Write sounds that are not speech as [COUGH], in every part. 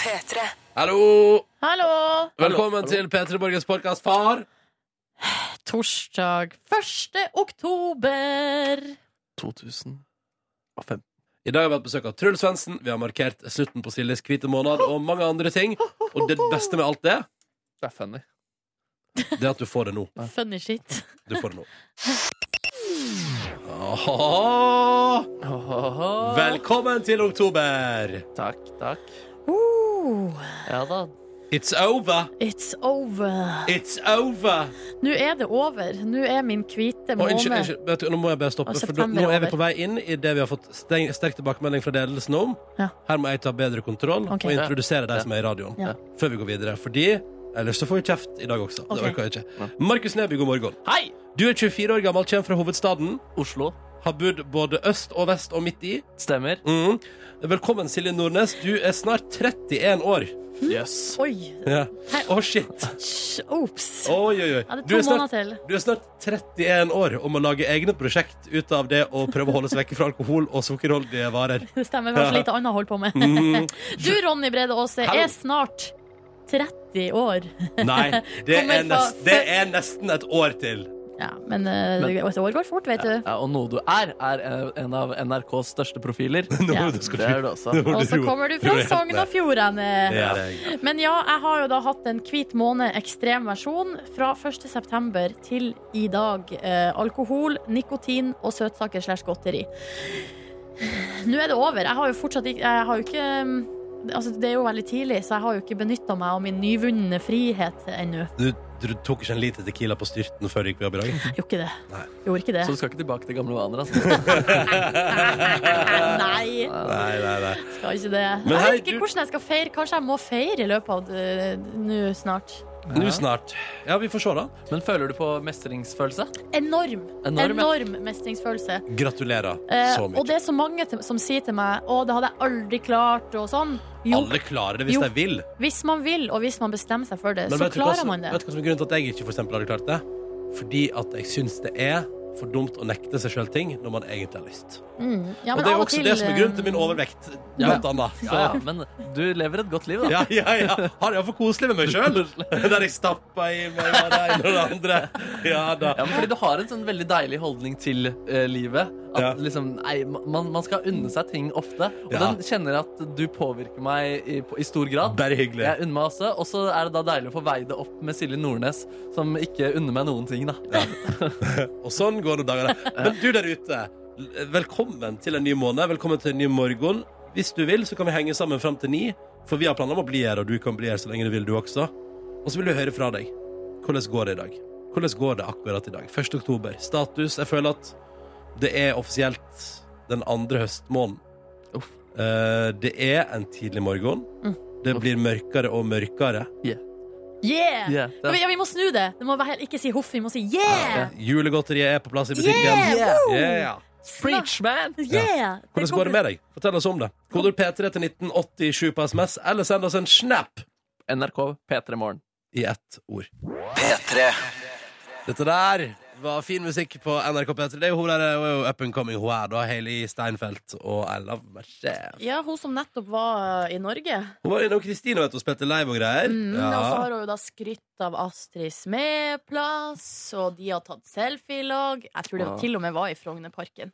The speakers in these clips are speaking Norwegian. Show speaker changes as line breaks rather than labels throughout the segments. P3.
Hallo!
Hallo!
Velkommen til P3 Borgens podcast, far.
Torsdag 1. oktober.
2005. I dag har vi hatt besøk av Truls Svendsen. Vi har markert slutten på Siljes hvite måned og mange andre ting. Og det beste med alt det,
Det er funny.
det er at du får det nå.
Funny shit.
Du får det nå. Aha. Velkommen til oktober!
Takk, takk.
Oh,
Ja da.
It's over!
it's over.
It's over!
Nå er det over. Nå er min hvite
Å, unnskyld,
måned.
unnskyld. Vet du, nå må jeg bare stoppe.
Og
For nå-
september
nå er vi
over.
på vei inn i det vi har fått steng, sterk tilbakemelding fra ledelsen om.
Ja.
Her må jeg ta bedre kontroll
Ok.
og introdusere de
Ja.
som er i radioen.
Ja.
Før vi går videre. Fordi ellers så får vi kjeft i dag også.
Ok.
Det orker jeg ikke. Markus Neby, god morgen.
Hei!
Du er 24 år gammel, kommer fra hovedstaden.
Oslo.
Har bodd både øst og vest og midt i.
Stemmer.
Mhm. Velkommen, Silje Nordnes. Du er snart 31 år.
Yes.
Oi.
Ja. Å, shit.
sj- Ops.
Oi, oi, oi.
Ja, det er
Du
to
er snart
måneder til.
du er snart 31 år og må lage egne prosjekt ut av det å prøve å holde seg vekk fra alkohol og sukkerholdige varer.
Det stemmer. Kanskje litt annet å holde på med.
Mm,
Du, Ronny Brede Aase,
Hallo.
er snart 30 år.
nei, det
Kommer
er,
fra
nest, det er nesten et år til.
Ja, men, eh,
Men-
et år går fort, vet du.
Ja, og noe du er, er en av NRKs største [LAUGHS] profiler.
Nå
Ja.
du skal
Det er du [LAUGHS] også.
nå må
Og så
roe-
kommer du
roe
fra
helt
Sogn og
ned.
Fjordane.
Det er det.
Men ja, jeg har jo da hatt en hvit måned ekstrem versjon fra 1. september til i dag. Eh, alkohol, nikotin og søtsaker slash godteri. Nå er det over. Jeg har jo fortsatt ikke Jeg har jo ikke mm, Altså, det er jo veldig tidlig, så jeg har jo ikke benytta meg av min nyvunne frihet ennå.
Du, du tok ikke en liter tequila på styrten før du gikk på jobb i dag?
Jeg Gjorde ikke det.
Nei.
Gjorde ikke det.
Så du skal ikke tilbake til gamle vaner, altså?
Nei,
Nei,
nei, nei.
skal ikke det.
Men
jeg
hei,
vet ikke
du-
hvordan jeg skal feire. Kanskje jeg må feire i løpet av eh, nå snart.
Nå snart. Ja, vi får se, da.
Men føler du på mestringsfølelse?
Enorm,
Enorm,
enorm,
ja.
mestringsfølelse.
Gratulerer
Eh,
så
og
mye.
det er så mange til, som sier til meg Å, det hadde jeg aldri klart og sånn. Jo,
Alle klarer det hvis
Jo.
de vil.
hvis man vil, og hvis man bestemmer seg for det,
Men
så
vet du hva
klarer
som-
man det.
Vet du hva som er grunnen til at jeg ikke for eksempel hadde klart det? Fordi at jeg syns det er for dumt å nekte seg sjøl ting når man egentlig har lyst.
Mm. Ja,
og det er
men av
jo også
til,
det som er grunnen til min
eh,
overvekt.
Ja.
Blant annet.
Ja, ja, men du lever et godt liv, da.
Ja, ja, ja. Har jeg for koselig med meg
[LAUGHS]
sjøl? Der jeg stappa i meg hva det ene og det andre. Ja da.
Ja, men fordi du har en sånn veldig deilig holdning til eh, livet. At
Ja.
liksom, nei, man, man skal unne seg ting ofte. Og
Ja.
den kjenner at du påvirker meg i, på- i stor grad.
Bare hyggelig.
Jeg unner meg også, og så er det da deilig å få veid det opp med Silje Nordnes, som ikke unner meg noen ting, da.
Og sånn går det dagene. Men du der ute, velkommen til en ny måned. Velkommen til en ny morgen. Hvis du vil, så kan vi henge sammen fram til ni. For vi har planer om å bli her, og du kan bli her så lenge du vil, du også. Og så vil vi høre fra deg. Hvordan går det i dag? Hvordan går det akkurat i dag? 1. oktober. Status. Jeg føler at det er offisielt den andre høstmåneden.
Uff.
Eh, det er en tidlig morgen.
Mm.
Det blir mørkere og mørkere.
eh, Yeah!
Yeah,
Ja, vi,
det,
ja, vi må snu det. Det må være, ikke si hoff, vi må si yeah!
Julegodteriet er på plass i
Yeah!
butikken. Yeah.
preach, man!
Yeah!
Hvordan går det med deg? Fortell oss om det. Koder P3 til 1987 på SMS, eller send oss en snap
NRK P3 Morgen.
i ett ord. Dette der var fin musikk på NRK P3. Det er jo hun der eh, hun er jo up and coming, hun her, da. Hailey Steinfeld og I Love Myself.
Ja, hun som nettopp var eh, i Norge.
Hun var innom Kristine, vet du, og spilte live og greier.
Mm, Og så
Ja.
har hun jo da skrytt av Astrid Smeplass, og de har tatt selfie i lag. Jeg tror det
Ja.
til og med var i Frognerparken.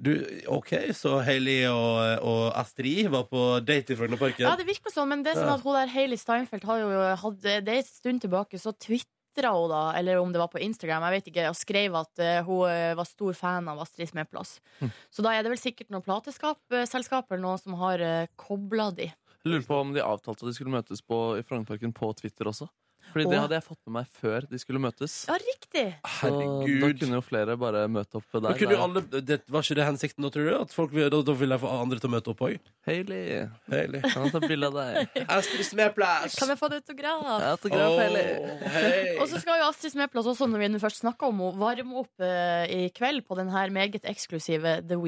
Du, OK, så Hailey og, og Astrid var på date i Frognerparken.
Ja, det virker sånn, men det er sånn at hun der Hailey Steinfeld har jo eh, hatt Det er en stund tilbake, så twitra hun da, eller om det var på Instagram, jeg vet ikke, og skrev at eh, hun eh, var stor fan av Astrid Smeplass. Så da er det vel sikkert noen plateselskap eller noe som har uh, kobla de.
Jeg lurer på om de avtalte at de skulle møtes på, i Frognerparken på Twitter også. Fordi det
Åh.
hadde jeg fått med meg før de skulle møtes.
Ja, riktig!
Så da
Herregud.
kunne jo flere bare møte opp der.
Men kunne jo
da.
alle, det, var ikke det hensikten da, tror du? At folk, da, da ville jeg få andre til å møte opp òg?
Hailey,
Hailey.
kan jeg ta bilde av
[LAUGHS]
deg?
Astrid Smeplass!
Kan jeg få en autograf?
Autograf, Hailey.
Og så skal jo Astrid Smeplass også, når vi nå først snakker om henne, varme opp eh, i kveld på den her meget eksklusive The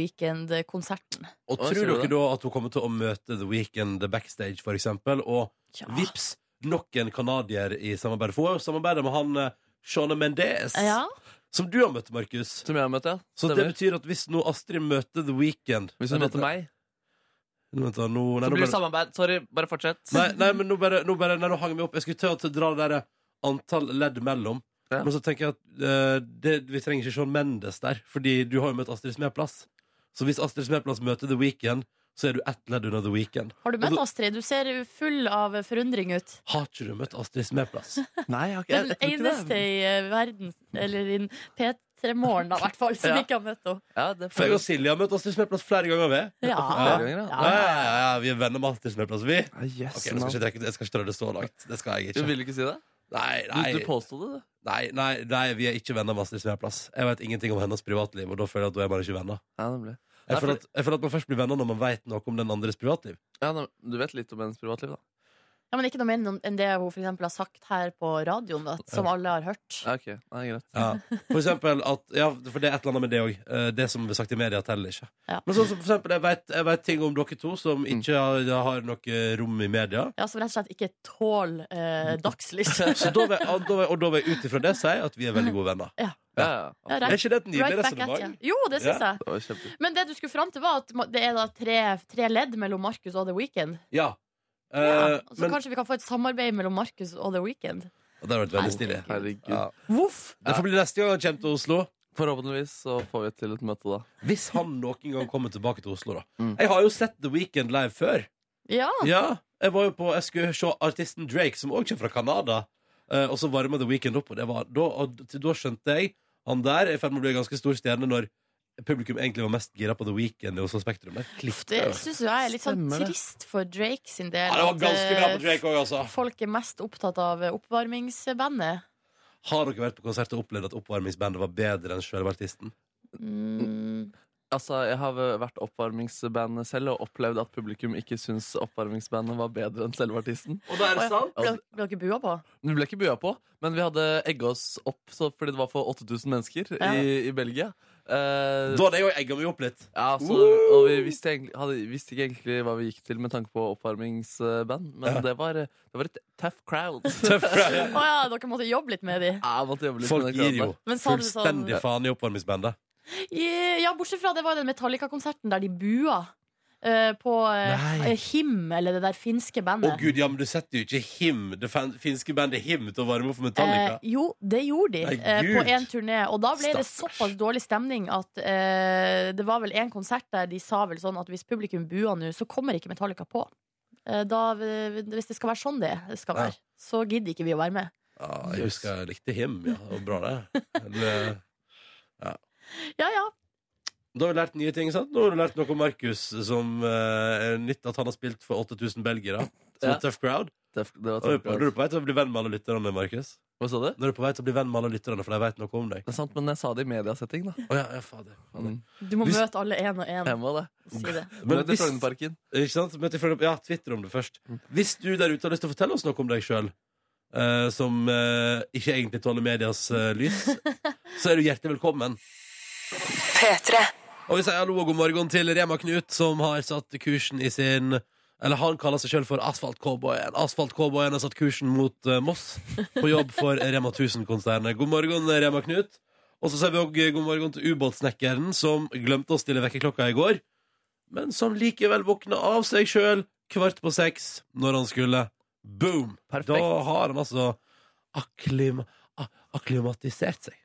Weekend-konserten.
Og
Hva
tror
sier du
dere
da?
da at hun kommer til å møte The Weeknd backstage, for eksempel? Og
Ja.
vips, nok en canadier i samarbeid. For hun har jo samarbeidet med han eh, Shawn Mendes,
Ja.
som du har møtt, Markus.
Som jeg har møtt, ja.
Så det
Stemmer.
betyr at hvis nå Astrid møter The Weeknd
Hvis hun
Nei, dette-
møter meg
Nå, vent da, nå, nei,
Så
nå
blir det
bare,
samarbeid. Sorry, bare fortsett.
nei, nei, men nå bare, nå bare nei, nå hang jeg meg opp. Jeg skulle til å dra det derre antall ledd mellom.
Ja.
Men så tenker jeg at eh, det, vi trenger ikke Sean Mendes der, fordi du har jo møtt Astrid Smeplass. Så hvis Astrid Smeplass møter The Weekend, så er du ett ledd under The Weekend.
Har du møtt Astrid? Du ser full av forundring ut.
Har ikke du møtt Astrid
[LAUGHS]
Smeplass?
Nei, jeg har
Det
ikke,
er den
jeg, jeg tror ikke
eneste
det.
i eh, verden, eller i P3-morgen i hvert fall, som
Ja.
ikke har møtt henne.
Ja, det
For
får
jeg og Silje har møtt Astrid Smeplass flere ganger, vi.
Ja.
flere ganger, da.
Ja, ja, ja, ja, vi er venner med Astrid Smeplass, vi.
Ah, yes,
Ok, nå skal jeg, ikke trekke, jeg skal ikke dra det så langt. Det skal jeg
Du
ikke.
ville ikke si det?
Nei,
Du,
nei,
du påsto det, du.
nei, nei, nei vi er ikke venner med Astrid Smeplass. Jeg vet ingenting om hennes privatliv, og da føler jeg at da er man ikke venner.
Ja, nemlig.
Jeg
Nei,
føler,
for-
at, jeg føler at man først blir venner når man vet noe om den andres privatliv.
Ja, nem- du vet litt om hennes privatliv, da.
Ja, men ikke noe mer enn det hun for eksempel har sagt her på radioen, da, som alle har hørt.
Ja, ok, Nei, greit.
Ja. [LAUGHS] For eksempel at Ja, for det er et eller annet med det òg. Det som blir sagt i media, teller ikke.
Ja. Mm.
Men sånn som for eksempel, jeg vet, jeg vet ting om dere to som ikke har, har noe rom i media.
Ja, Som rett og slett ikke tåler
[LAUGHS]
eh, dagslys.
Så da vil, og da vil, og da vil jeg ut ifra det si at vi er veldig gode venner.
Ja, ja, ja.
Ja,
Er
right,
ikke det et nydelig
right back at you.
resonnement?
Jo, det syns jeg.
Det var kjempe...
Men det du skulle fram til, var at ma- det er da tre, tre ledd mellom Markus og The Weekend.
Ja. Eh,
Ja, så
men,
kanskje vi kan få et samarbeid mellom Markus og The Weekend.
Og det hadde vært veldig stilig.
Herregud.
Ja.
Voff!
Det får bli neste gang han kommer til Oslo.
Forhåpentligvis så får vi til et møte da.
Hvis han noen gang kommer tilbake til Oslo, da.
Mm.
Jeg har jo sett The Weekend live før.
Ja.
Ja, Jeg var jo på, jeg skulle se artisten Drake, som også kommer fra Canada. Eh, og så varma The Weekend opp, og, det var, da, og t- da skjønte jeg han der er i ferd med å bli en ganske stor stjerne når publikum egentlig var mest gira på The Weekend i Oslo Spektrum. Der klippet
Det
jeg jo.
syns jo jeg er litt sånn
Stemmer det.
trist for Drake sin del.
Ja, det var
at,
ganske bra på
eh,
Drake òg, altså.
Folk er mest opptatt av oppvarmingsbandet.
Har dere vært på konsert og opplevd at oppvarmingsbandet var bedre enn sjølve artisten?
Mm.
Altså, Jeg har vært oppvarmingsband selv og opplevd at publikum ikke syns oppvarmingsbandet var bedre enn selve artisten.
Og da er
Å ja, Ble
Altså-
ble dere bua på?
Men Vi ble ikke bua på, men vi hadde egga oss opp så, fordi det var for 8000 mennesker
Ja.
i, i Belgia. Eh,
Da hadde jeg jo egga meg opp litt.
ja, så, og vi visste, egentlig, hadde, visste ikke egentlig hva vi gikk til med tanke på oppvarmingsband, men
Ja.
det, var, det var et tough crowd. [LAUGHS]
Tøff fra
Å ja, dere måtte jobbe litt med de.
Ja, jeg måtte jobbe litt
Folk
med den
gir jo
crowden
Men sa du sånn
fullstendig faen i oppvarmingsbandet.
I- Ja, bortsett fra det var den Metallica-konserten der de bua. eh, på eh,
Nei.
Him, eller det der finske
Å
bandet.
gud, ja, men du setter jo ikke Him, det fan- finske bandet Him, til å varme opp for Metallica.
Eh, jo, det gjorde de
Nei,
eh,
Gud.
på én turné. Og da ble det
Stakkars.
såpass dårlig stemning at eh, det var vel en konsert der de sa vel sånn at hvis publikum buer nå, så kommer ikke Metallica på. Eh, da, hvis det skal være sånn det skal
Ja.
være, så gidder ikke vi å være med.
Ja, jeg husker jeg likte Him, ja. Det var bra, det. Men, eh,
Ja ja.
Da har vi lært nye ting, sant? Nå har du lært noe om Markus som eh, er nytt at han har spilt for 8000 belgere. Som
Ja.
en tøff crowd.
Det, det var
Nå er
tough
du på nå er
crowd.
du på vei til å bli venn med alle lytterne, Markus.
Hva sa du?
Nå er du på vei til å bli venn med alle lytterne, for de vet noe om deg.
Det er sant, men jeg sa det i mediasetting, da.
Å ja, ja, fader. fader.
Mm.
Du må
Hvis-
møte alle én og én.
Jeg må det.
Si det.
Men
Møt i
hvis,
Frognerparken.
ikke sant? Møt i Frogner- ja, Twitter om det først. Hvis du der ute har lyst til å fortelle oss noe om deg sjøl, som eh, ikke egentlig tåler medias eh, lys, så er du hjertelig velkommen. Og vi sier hallo og god morgen til Rema Knut, som har satt kursen i sin Eller han kaller seg sjøl for Asfaltcowboyen. Asfaltcowboyen har satt kursen mot eh, Moss på jobb for Rema 1000-konsernet. God morgen, eh, Rema Knut. Og så sier vi òg god morgen til ubåtsnekkeren, som glemte å stille vekkerklokka i går, men som likevel våkna av seg sjøl kvart på seks når han skulle. Boom!
Perfekt.
Da har han altså akklim a- akklimatisert seg.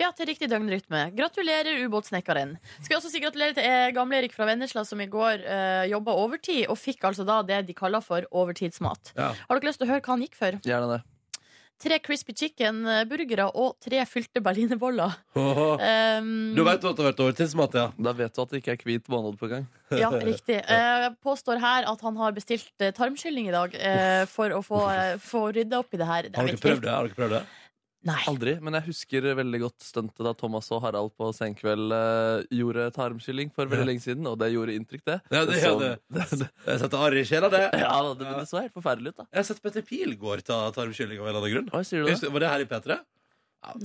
Ja, til riktig døgnrytme. Gratulerer, ubåtsnekkeren. Skal jeg også si gratulerer til eh, gamle Erik fra Vennesla, som i går eh, jobba overtid, og fikk altså da det de kaller for overtidsmat.
Ja.
Har dere lyst til å høre hva han gikk for?
Gjerne det.
Tre crispy chicken-burgere og tre fylte berlinerboller.
Åhå.
Um,
Du veit at det har vært overtidsmat, ja?
Da vet du at det ikke er hvit måned på gang.
Ja, riktig.
[LAUGHS]
Eh, påstår her at han har bestilt eh, tarmskylling i dag eh, for å få, eh, få rydda opp i det her.
Har dere prøvd det? Har dere prøvd det?
Nei.
Aldri, men jeg husker veldig godt stuntet da Thomas og Harald på Senkveld eh, gjorde tarmskylling for veldig
Ja.
lenge siden, og det gjorde inntrykk, det.
Ja, det
så-
gjør
det, det.
Jeg setter arr i sjela, det.
Sånn. Ja, da, det, men det så helt forferdelig ut, da.
Jeg har sett Petter Pilgaard ta tarmkylling av en eller annen grunn.
Hva sier du
Husker
da?
du- Var det her i P3?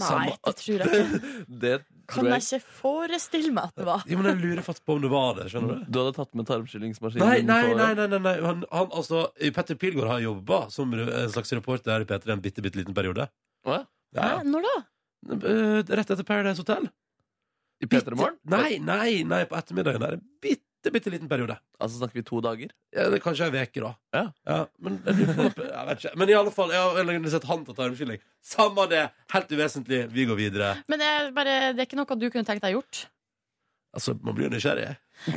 Nei, det
[LAUGHS]
tror jeg ikke.
Det
Kan
tror
jeg
jeg
ikke forestille meg at det var.
Jo, men jeg lurer faktisk på om det var det. skjønner du?
Du hadde tatt med tarmskyllingsmaskinen
Nei,
din
nei,
på-
nei, nei, nei, nei. Han, han, altså, Petter Pilgaard har jobba som en slags reporter her i P3 en bitte, bitte liten periode.
Hva?
Ja.
Hæ? Når da?
Eh, Rett etter Paradise Hotel.
I P3 Morgen?
Bitte- Nei, nei, nei, på ettermiddagen. Der. En bitte bitte, bitte liten periode.
Altså snakker vi to dager?
Ja, det er kanskje ei uke, da.
Ja.
men, jeg lurer på- jeg vet ikke. men i alle fall, jeg har organisert hand til å ta en unnskyldning. Samme det, helt uvesentlig. Vi går videre.
Men det er, bare, det er ikke noe du kunne tenkt deg gjort.
Altså, man blir jo nysgjerrig.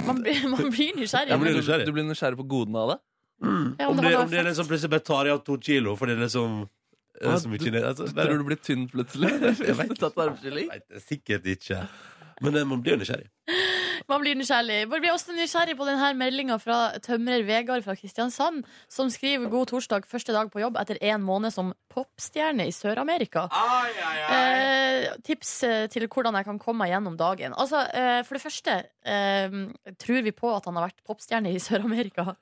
Man, blir- [LAUGHS] man blir nysgjerrig.
Ja, men
du,
blir nysgjerrig.
du blir nysgjerrig på godene av det?
Ja,
om,
om det
det,
var
om det er liksom plutselig bare tar jeg av to kilo fordi det er liksom det er
Ja,
så mye
du-
kine- altså, det er-
Tror du blir tynn plutselig?
Jeg vet ikke.
Tatt armskylling?
Nei, det er sikkert ikke. Men eh, man blir jo nysgjerrig.
Man blir nysgjerrig. Man blir også nysgjerrig på denne meldinga fra tømrer Vegard fra Kristiansand, som skriver 'God torsdag, første dag på jobb etter en måned som popstjerne i Sør-Amerika'. Eh, tips eh, til hvordan jeg kan komme meg gjennom dagen. Altså, eh, For det første, eh, tror vi på at han har vært popstjerne i Sør-Amerika?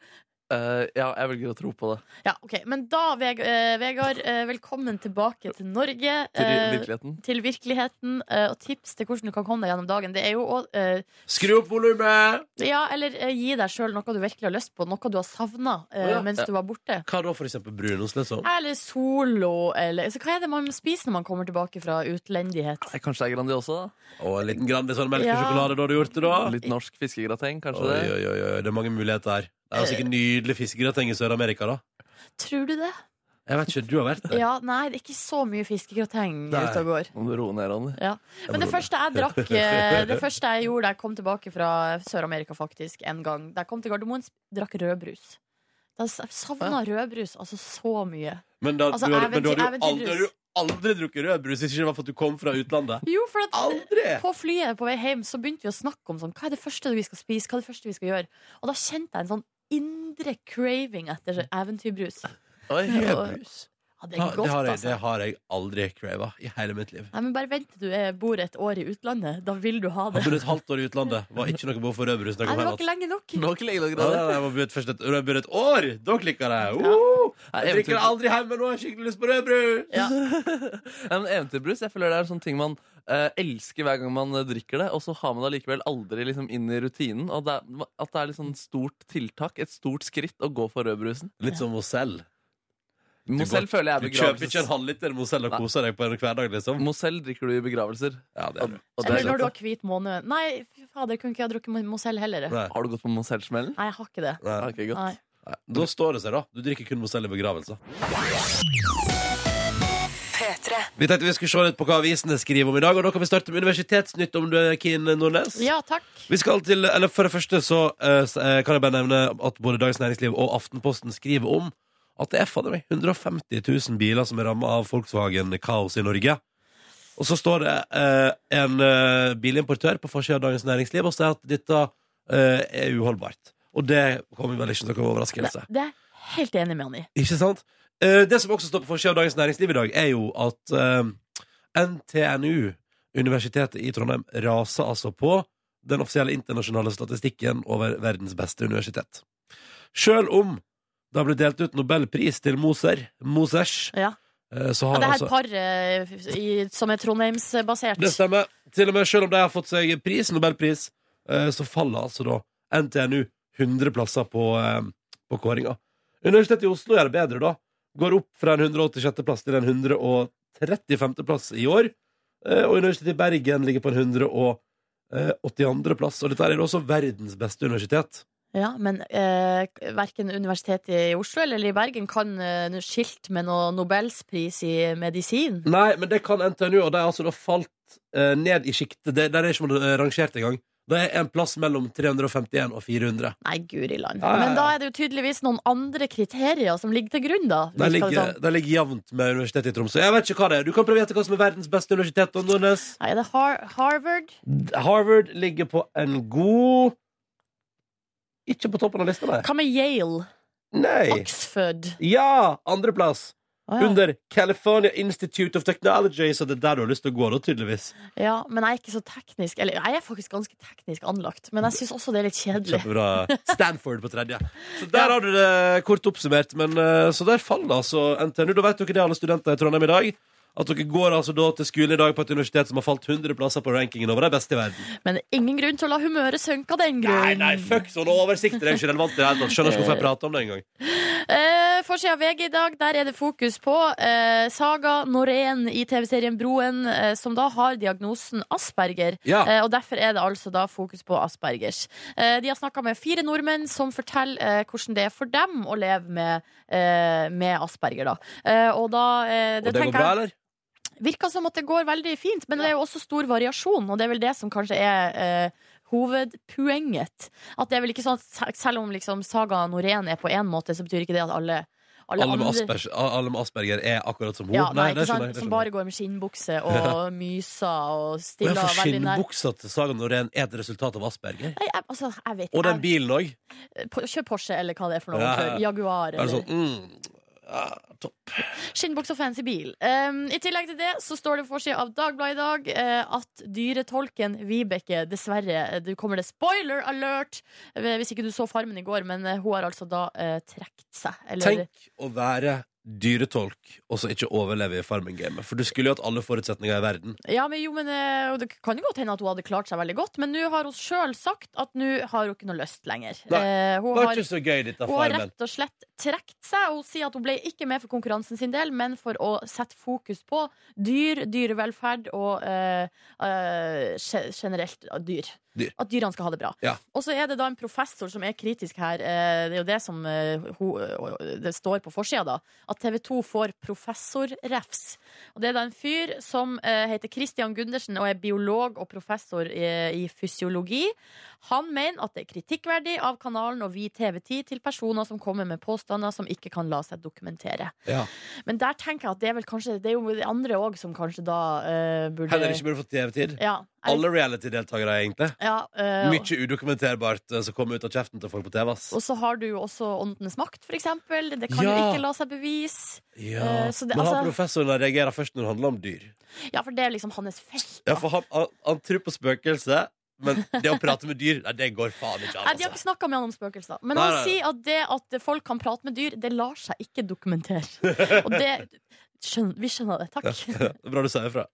Eh, ja, jeg velger å tro på det.
Ja, ok. Men da, Veg eh, Vegard, eh, velkommen tilbake til Norge.
Til
eh,
virkeligheten.
til virkeligheten, eh, og tips til hvordan du kan komme deg gjennom dagen. Det er jo å, eh,
Skru opp volumet!
Ja, eller eh, gi deg sjøl noe du virkelig har lyst på, noe du har savna
Å ja.
mens
Ja.
du var borte.
Hva da, for eksempel brunost? Liksom?
Eller solo, eller så Hva er det man spiser når man kommer tilbake fra utlendighet?
Nei, Eh, Kanskje det er Grandiosa? da?
Og en liten Grandis og en melk og
Ja.
sjokolade, da har du gjort det, da?
Litt norsk fiskegrateng, kanskje
Oi,
det?
oi, oi, oi, det er mange muligheter her. Det er jo
Eh.
sikkert nydelig fiskegrateng i Sør-Amerika, da.
Tror du det?
Jeg vet ikke, du har vært der.
Ja, nei, det er ikke så mye fiskegrateng
Nei.
ute og går.
Om du roer ned, Ronny.
Ja. Men det første jeg drakk
[LAUGHS]
eh, Det første jeg gjorde da jeg kom tilbake fra Sør-Amerika, faktisk, en gang Da jeg kom til Gardermoen, sp- drakk rødbrus. Da s- Jeg savna rødbrus altså så mye.
Men da,
Altså,
du har, men da har
eventyr-
du aldri, har
eventyrbrus.
du aldri drukket rødbrus, ikke det var for at du kom fra utlandet.
Jo, for at
Aldri!
På flyet på vei hjem så begynte vi å snakke om sånn, hva er det første vi skal spise, hva er det første vi skal gjøre. Og da kjente jeg en sånn indre craving etter eventyrbrus.
Oi,
Rødbrus? Ja, det
Ja,
er
Det
godt,
har jeg,
altså.
det har jeg aldri crava i hele mitt liv.
Nei, men bare vent til du er, bor et år i utlandet. Da vil du ha det.
Jeg bodde et halvt år i utlandet, var ikke noe behov for rødbrus. når jeg
Nei,
kom
det
hjem
var
igjen.
ikke lenge nok.
[LAUGHS] Nå klinger det
Ja,
grad.
nei, nei, jeg var budt først et, jeg var budt et år! Da klikka det! Uh,
Nei,
jeg drikker
eventyr-
aldri hjemme nå, jeg har skikkelig lyst på rødbrus!
[LAUGHS]
Ja.
Nei, men Eventyrbrus jeg føler det er en sånn ting man eh, elsker hver gang man eh, drikker det, og så har man det allikevel aldri liksom, inn i rutinen. Og det er, at det er litt sånn stort tiltak, et stort skritt, å gå for rødbrusen.
Litt som Mozell.
Mozell
går-
føler
Du kjøper
jeg er
ikke en
begravelses...
halvliter Mozell og
Nei.
koser deg på en hverdag, liksom.
Mozell drikker du i begravelser.
Ja, det er
Og,
det.
og det
Eller
er
når du
godt,
har hvit måned. Nei, fy fader, kunne ikke jeg ha drukket Mozell heller.
Nei.
da. Har du gått på Mozell-smellen?
Nei, jeg har ikke det.
Nei.
Ok, godt.
Nei.
Nei. Da står det seg, da. Du drikker kun Mozell i begravelser. Vi tenkte vi skulle se litt på hva avisene skriver om i dag, og da kan vi starte med Universitetsnytt, om du er keen, Nordnes.
Ja, takk.
Vi skal til, eller For det første så eh, s- eh, kan jeg bare nevne at både Dagens Næringsliv og Aftenposten skriver om at det er fader meg 150 000 biler som er ramma av Volkswagen-kaos i Norge. Og så står det eh, en eh, bilimportør på forsida av Dagens Næringsliv og sier at dette eh, er uholdbart. Og det kommer vel ikke som noen overraskelse.
Det er jeg helt enig med han i.
Ikke sant? Eh, det som også står på forsida av Dagens Næringsliv i dag, er jo at eh, NTNU, Universitetet i Trondheim, raser altså på den offisielle internasjonale statistikken over verdens beste universitet. Sjøl om det har blitt delt ut nobelpris til Moser, Mosers,
Ja.
eh, så
Ja,
har
det her
altså
paret eh, i- som er Trondheims-basert.
Det stemmer. Til og med selv om de har fått seg pris, nobelpris, eh, så faller altså da NTNU 100 plasser på, eh, på kåringa. Universitetet i Oslo gjør det bedre, da. Går opp fra en 186. plass til en 135. plass i år. Eh, Og Universitetet i Bergen ligger på en 182. plass. Og dette er jo også verdens beste universitet.
Ja, men eh, verken Universitetet i Oslo eller i Bergen kan eh, noe skilt med noe Nobelspris i medisin.
Nei, men det kan NTNU, og de har altså da falt eh, ned i sjiktet. Det- Der er ikke man rangert engang. Det er en plass mellom 351 og 400.
Nei, guri land.
Ja, ja, ja.
Men da er det jo tydeligvis noen andre kriterier som ligger til grunn, da.
De
virker det
ligger,
som.
de ligger jevnt med Universitetet i Tromsø. Jeg vet ikke hva det er. Du kan prøve å gjette hva som er verdens beste universitet. da, Nordnes.
Nei, er det Har Harvard?
Harvard ligger på en god Ikke på toppen av lista, nei.
Hva med Yale?
nei.
Oxford?
Ja! Andreplass.
Å, ja.
Under California Institute of Technology. Så det er der du har lyst til å gå, da, tydeligvis.
ja, men jeg er ikke så teknisk Eller jeg er faktisk ganske teknisk anlagt, men jeg syns også det er litt kjedelig.
Kjempebra. Stanford på tredje. Så der har du det kort oppsummert. Men, eh, så der faller altså NTNU. Da vet dere det, alle studenter i Trondheim i dag. At dere går altså da til skolen i dag på et universitet som har falt 100 plasser på rankingen over de beste i verden.
Men det er ingen grunn til å la humøret synke av den grunn.
Nei, nei, fuck sånne oversikter. Det er jo ikke relevant i det hele tatt. Skjønner ikke hvorfor jeg prater om det engang.
Eh, Forsida av VG i dag, der er det fokus på eh, Saga Norén i TV-serien Broen, eh, som da har diagnosen Asperger.
Ja.
Eh, og Derfor er det altså da fokus på Aspergers. Eh, de har snakka med fire nordmenn som forteller eh, hvordan det er for dem å leve med, eh, med Asperger. Da. Eh, og da eh,
Og det går
tenker
bra,
jeg-
eller?
virker som at det går veldig fint, men det er jo også stor variasjon, og det er vel det som kanskje er eh, hovedpoenget. At det er vel ikke sånn at se- selv om liksom Saga Norén er på én måte, så betyr ikke det at alle, alle,
Alle med,
andre
Asperger, alle med Asperger er akkurat som hun?
ja, nei,
det
ikke
skjønner jeg, det
sant? Som
skjønner jeg.
bare går
[LAUGHS]
med skinnbukse og myser og
Og
stiller
jeg får
veldig nær.
skinnbuksa til Saga Norén er et resultat av Asperger?
Nei, jeg, altså, jeg vet
Og den
ikke.
bilen òg?
Jeg- Po- Kjør Porsche, eller hva det er for noe.
Ja, ja,
Kjør Jaguar.
Er det
Eller.
sånn mm, ah, Topp.
Skinnbukse og fancy bil. Um, I tillegg til det så står det på forsida av Dagbladet i dag eh, at dyretolken Vibeke dessverre eh, Det kommer det spoiler alert eh, hvis ikke du så Farmen i går, men eh, hun har altså da uh, trukket seg. Eller
Tenk å være dyretolk og så ikke overleve i Farming-gamet. For du skulle jo hatt alle forutsetninger i verden.
Ja, men jo, men eh, og Det kan jo godt hende at hun hadde klart seg veldig godt, men nå har hun sjøl sagt at nå har hun ikke noe lyst lenger.
Nei,
Eh, hun
Det var
har
ikke så gøy, dette
Hun har
Farmen.
rett og slett trukket seg. og Hun sier at hun ble ikke med for konkurransen sin del, men for å sette fokus på dyr, dyrevelferd og eh, eh, ge- generelt eh, dyr.
Dyr.
At dyrene skal ha det bra.
Ja.
Og så er det da en professor som er kritisk her. eh, det er jo det som eh, hun- eh, det står på forsida, da. At TV 2 får professorrefs. Og det er da en fyr som eh, heter Christian Gundersen og er biolog og professor i, i fysiologi. Han mener at det er kritikkverdig av kanalen å vie TV10 til personer som kommer med påstander som ikke kan la seg dokumentere.
Ja.
Men der tenker jeg at det er vel kanskje Det er jo de andre òg som kanskje da eh, burde
Heller ikke burde fått TV-tid.
ja, jeg-
Alle reality-deltakere, egentlig.
ja, eh,
Mye udokumenterbart eh, som kommer ut av kjeften til folk på TV. Ass.
og så har du jo også Åndenes makt, for eksempel. Det kan jo
Ja.
ikke la seg bevise.
Ja.
eh, så det-
Men han
altså-
professoren han reagerer først når det handler om dyr.
Ja, for det er liksom hans felt.
Ja,
da.
for han, han, han tror på spøkelse, men det å prate med dyr, nei, det går faen ikke
Nei,
an.
de har
Altså.
ikke snakka med han om spøkelser. Men
Nei,
han
nei, nei.
sier at det at folk kan prate med dyr, det lar seg ikke dokumentere.
[LAUGHS]
Og det skjønner, Vi skjønner det. Takk.
Det er Bra du sier ifra.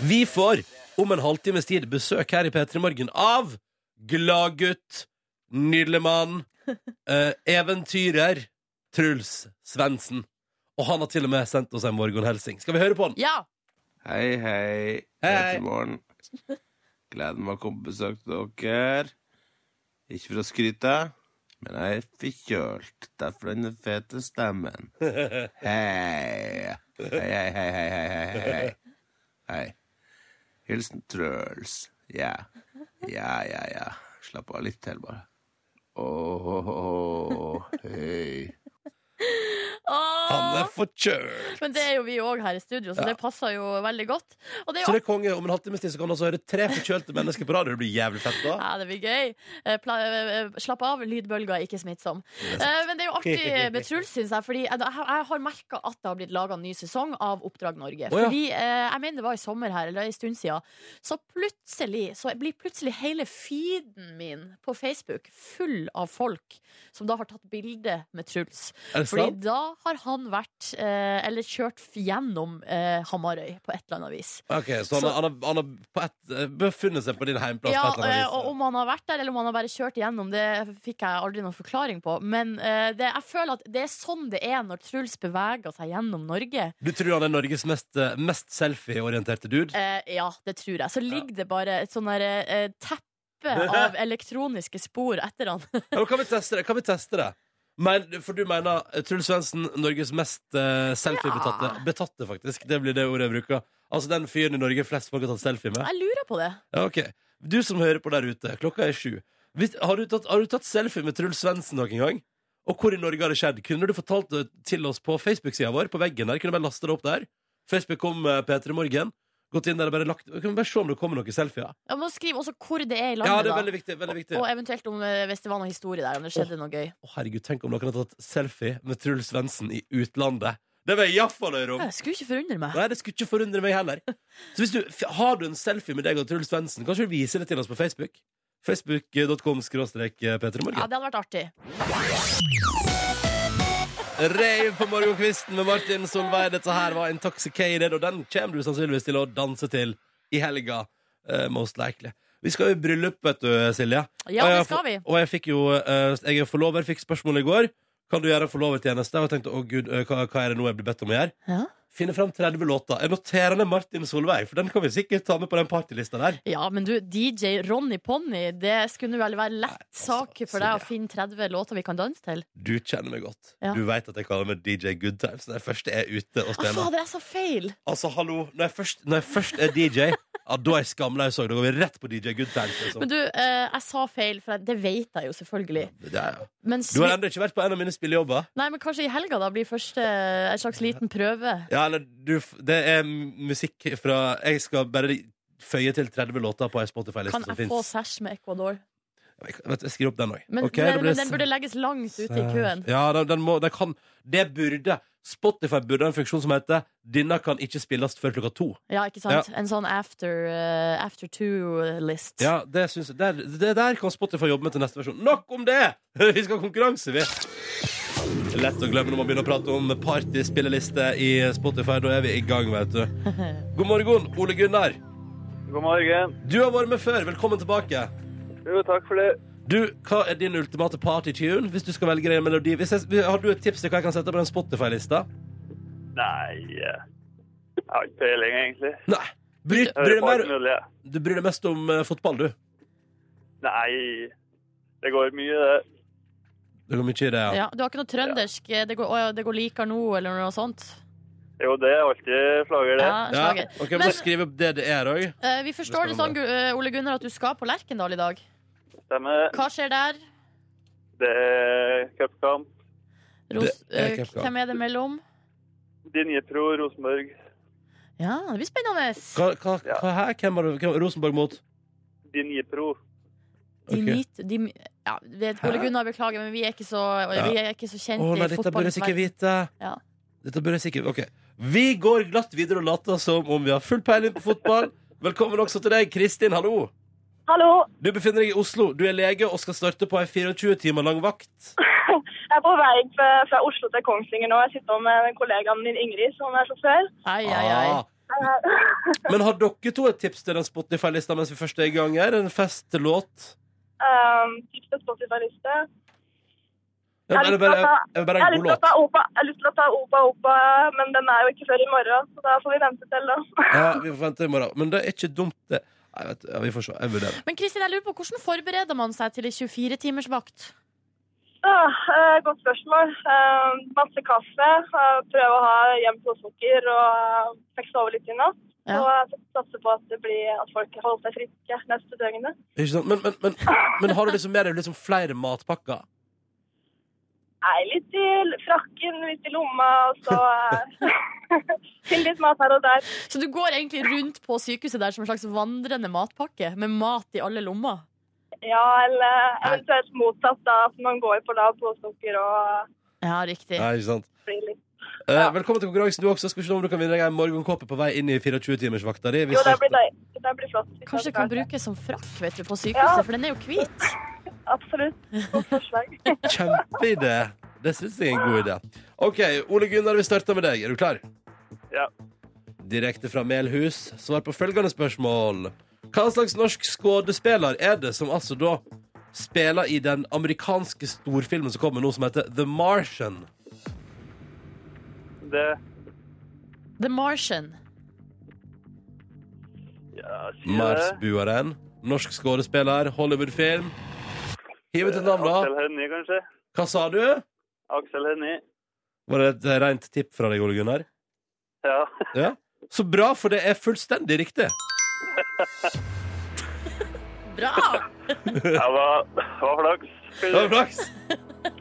Vi får om en halvtimes tid besøk her i P3 Morgen av gladgutt, nydelig mann,
[LAUGHS]
eh, eventyrer Truls Svendsen. Og han har til og med sendt oss en morgenhelsing. Skal vi høre på han?
Ja!
Hei, hei.
Hei.
Hei. morgen. Gleder meg å komme på besøk til dere. Ikke for å skryte, men jeg er forkjølt. Derfor den fete stemmen. Hei. Hei, hei, hei, hei, hei, hei, hei. Hei. Hilsen Truls. Ja. Ja, ja, ja. Slapp av litt til, bare. Åh, hei.
Han
Åh!
er forkjørt!
Men det er jo vi òg her i studio, så det passer jo veldig godt. Og det er
Så
jo
det er konge. Om en halvtimes tid så kan du altså høre tre forkjølte mennesker på radio. Det blir jævlig fett da.
ja, det blir gøy. Eh, Pla eh, slapp av, lydbølger er ikke smittsom. Eh, men det er jo
[LAUGHS]
artig med Truls, syns jeg. Fordi jeg, jeg har merka at det har blitt laga ny sesong av Oppdrag
Å,
Norge.
ja.
Fordi eh, jeg mener det var i sommer her, eller en stund siden. Så plutselig så blir plutselig hele feeden min på Facebook full av folk som da har tatt bilde med Truls.
Er det
Fordi
sant?
da har han vært, eh, eller kjørt f- gjennom eh, Hamarøy på et eller annet vis.
Ok, Så han,
Så-
har- han, har- han har på et, eh, befunnet seg på din heimplass
Ja,
på et eller
eh, og
annet vis?
Om han har vært der, eller om han har bare kjørt gjennom, det fikk jeg aldri noen forklaring på. Men eh, det, jeg føler at det er sånn det er når Truls beveger seg gjennom Norge.
Du tror han er Norges mest, eh, mest selfie-orienterte dude?
Eh, ja, det tror jeg. Så ligger det bare et sånn der, eh, teppe
[LAUGHS]
av elektroniske spor etter han.
Ja, men kan vi teste det? Kan vi teste det? Men, for du mener eh, Truls Svendsen, Norges mest eh, selfie-betatte?
Ja.
Betatte, faktisk. Det blir det ordet jeg bruker. Altså den fyren i Norge flest folk har tatt selfie med?
Jeg lurer på det.
Ja, ok. Du som hører på der ute, klokka er sju. Hvis, har, du tatt, har du tatt selfie med Truls Svendsen noen gang? Og hvor i Norge har det skjedd? Kunne du fortalt det til oss på Facebook-sida vår? På veggen der, Kunne du bare laste det opp der? Facebook kom eh, P3 Morgen. Gått inn der og bare lagt Kan vi bare se om det kommer noen selfier?
Jeg må skrive også hvor det er i
Ja,
landet,
det er
da.
veldig viktig. veldig viktig
Og eventuelt om, eh, hvis det var noe historie der, om det skjedde noe gøy.
Å, herregud, tenk om noen har tatt selfie med Truls Svendsen i utlandet. Det vil jeg iallfall høre om!
Jeg skulle ikke forundre meg.
Nei, det skulle ikke forundre meg heller. Så hvis du, f- Har du en selfie med deg og Truls Svendsen, kanskje du viser det til oss på Facebook? Facebook.com skråstrek eh,
Ja,
P3morgen.
det hadde vært artig.
Reiv på morgenkvisten med Martin Solveig. Dette her var Intoxicated, og den kommer du sannsynligvis til å danse til i helga. eh, most likely. Vi skal jo i bryllup, vet du, Silje.
Ja,
Og jeg
det
har
skal
få-
vi.
Og jeg fikk jo eh, Jeg er forlover, fikk spørsmål i går. Kan du gjøre forlovertjeneste? Og jeg tenkte å gud, eh, hva, hva er det nå jeg blir bedt om å gjøre?
Ja.
Finne fram 30 låter. Jeg noterer ned Martin Solveig, for den kan vi sikkert ta med på den partylista der.
Ja, men du, DJ Ronny Ponni, det skulle vel være lett
altså,
sak for deg å
Silje.
finne 30 låter vi kan danse til?
Du kjenner meg godt.
Ja.
Du veit at jeg kaller meg DJ Good Times når jeg først er ute og
Å,
spiller.
fader, jeg sa feil!
altså, hallo, når jeg først, når jeg først er DJ, ja, da er jeg skamløs òg. Da går vi rett på DJ Good Times. Liksom.
Men du, eh, jeg sa feil, for jeg- det vet jeg jo selvfølgelig.
Det er jo-
Men,
Du har
svi-
ennå ikke vært på en av mine spillejobber.
nei, men kanskje i helga da blir første eh, en slags liten prøve?
Ja, eller du, f- det er musikk fra Jeg skal bare føye til 30 låter på ei Spotify-liste
Kan
som
jeg få
fins.
sesh med Ecuador?
Jeg, kan- vet du, jeg skriver opp den òg.
Men, men, men den burde legges langt ute i køen.
Ja, den, den må, den kan, det burde Spotify burde ha en funksjon som heter 'Denne kan ikke spilles før klokka to'.
Ja, ikke sant? En sånn after, eh, after two-list.
Ja, det, synes jeg, der, det der kan Spotify jobbe med til neste versjon. Nok om det! [LAUGHS] Vi skal ha konkurranse, vi. Det er Lett å glemme når man begynner å prate om partyspilleliste i Spotify. Da er vi i gang, vet du. God morgen, Ole Gunnar.
God morgen.
Du har vært med før. Velkommen tilbake.
Jo, takk for det.
Du, Hva er din ultimate partytune? Hvis du skal velge deg en melodi hvis jeg, Har du et tips til hva jeg kan sette på den Spotify-lista?
Nei eh, Jeg har ikke peiling, egentlig.
Nei. Bryr,
Jeg hører
bryr deg
på
mer,
alt mulig. jeg.
du bryr deg mest om eh, fotball, du.
Nei, det går mye, det.
Det går mye i det, ja.
Ja, du har ikke noe trøndersk eh, 'det går, å, ja, det går likar nå', eller noe sånt?
Jo, det er alltid flagger, det.
Ja, slager.
Ok, men,
Men-
Skriv opp det det er òg.
Eh, vi forstår det
Det skal
sånn, Gu- eh, Ole Gunnar, at du skal på Lerkendal i dag.
Stemmer.
Hva skjer der?
Det er cupkamp.
Ros
Det er
eh,
cupkamp.
hvem er det mellom?
Dinjepro, Rosenborg.
Ja, det blir spennende.
Hva, hva,
Ja.
hva her? Hvem var det? hvem- Rosenborg mot?
Dinjepro.
De
Ok.
nyter- de, ja, det, Ole
Hæ?
Gunnar, beklager, men vi er ikke så,
Ja.
vi er ikke så kjent
Å nei,
i
dette burde jeg sikkert
fotballens verden.
vite.
Ja.
Dette burde jeg sikkert Ok. Vi går glatt videre og later som om vi har full peiling på fotball. Velkommen også til deg, Kristin. Hallo.
Hallo,
Du befinner deg i Oslo. Du er lege og skal starte på ei 24 timer lang vakt.
jeg er på vei fra fra Oslo til Kongsvinger nå. Jeg sitter med kollegaen min Ingrid, som er sjåfør.
Ai, ai, ai.
Ah. Men har dere to et tips til den Spotify-lista mens vi først er i gang her? En festlåt?
Um, tips til Spotify-liste.
Ja, eller bare, eller
Jeg
bare
har
en god
lyst til å
låt.
ta Opa, jeg har lyst til å ta Opa Opa, men den er jo ikke før i morgen, så da får vi vente til da. [LAUGHS]
Ja, vi får vente i morgen. Men det er ikke dumt, det. Nei, vet du, ja, vi får se. Jeg vurderer.
Men Kristin, jeg lurer på, hvordan forbereder man seg til en 24-timersvakt?
Ah, eh, godt spørsmål. Um, masse kaffe, eh, prøve å ha jevnt blodsukker og eh, fikk sove litt i natt.
Ja.
Og jeg satser på at, det blir, at folk holder seg friske neste døgnet.
Ikke sant? Men, men, men, men har du liksom med deg liksom flere matpakker?
Nei, litt i l- frakken, litt i lomma, og så eh, [LAUGHS] til litt mat her og der.
Så du går egentlig rundt på sykehuset der som en slags vandrende matpakke, med mat i alle lommer?
Ja, eller eventuelt motsatt, da, at man går på lav blodsukker og
Ja, riktig.
Nei, ikke sant?
blir litt
Eh, velkommen til konkurransen du også. Skal vi se om du kan vinne deg en morgenkåpe på vei inn i 24-timersvakta di.
Jo, det blir, døy- det blir flott. hvis
Kanskje det
man
kan
klarer
brukes som frakk vet du, på
Ja.
sykehuset, for den er jo hvit.
det.
[LAUGHS]
Absolutt. Godt forslag.
Kjempeidé. Det syns jeg er en god idé. OK, Ole Gunnar, vi starter med deg. Er du klar?
Ja.
Direkte fra Melhus, svar på følgende spørsmål. Hva slags norsk skuespiller er det som altså da spiller i den amerikanske storfilmen som kommer nå, som heter The Martian?
Det
The Martian.
ja, sier det.
Marsbuaren. Norsk skuespiller, Hollywood-film. Hiv ut et navn, da.
Aksel Hennie, kanskje?
Hva sa du?
Aksel Hennie.
Var det et rent tipp fra deg, Ole Gunnar?
Ja.
Ja. Så bra, for det er fullstendig riktig.
Bra!
Jeg var, var flaks.
Det var flaks.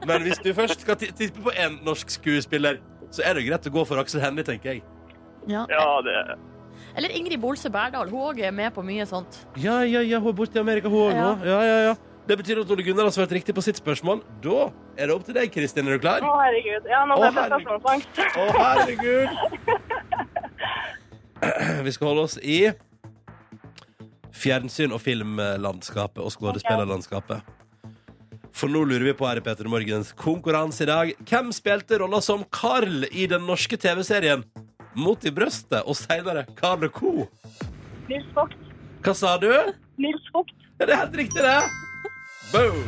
Men hvis du først skal ti- tippe på én norsk skuespiller, så er det greit å gå for Aksel Hennie, tenker jeg.
Ja.
Ja, det
Eller Ingrid Bolse Berdal. Hun òg er med på mye sånt.
Ja, ja, ja, hun er borte i Amerika, hun òg
Ja.
nå. Ja, ja, ja. Det betyr at Ole Gunnar har svart riktig på sitt spørsmål. Da er det opp til deg, Kristin. Er du klar?
Å, herregud. Ja, nå
Å,
ble jeg
herregud.
prestasjonsangst.
Å, herregud! [CLEARS THROAT] Vi skal holde oss i fjernsyn- og filmlandskapet og skuespillerlandskapet. For nå lurer vi på her i Peter Morgens konkurranse i dag. Hvem spilte rolla som Carl i den norske TV-serien Mot i brøstet og senere Carl Co?
Nils Vogt.
Hva sa du? Ja,
Nils Vogt.
det er helt riktig, det. Boom!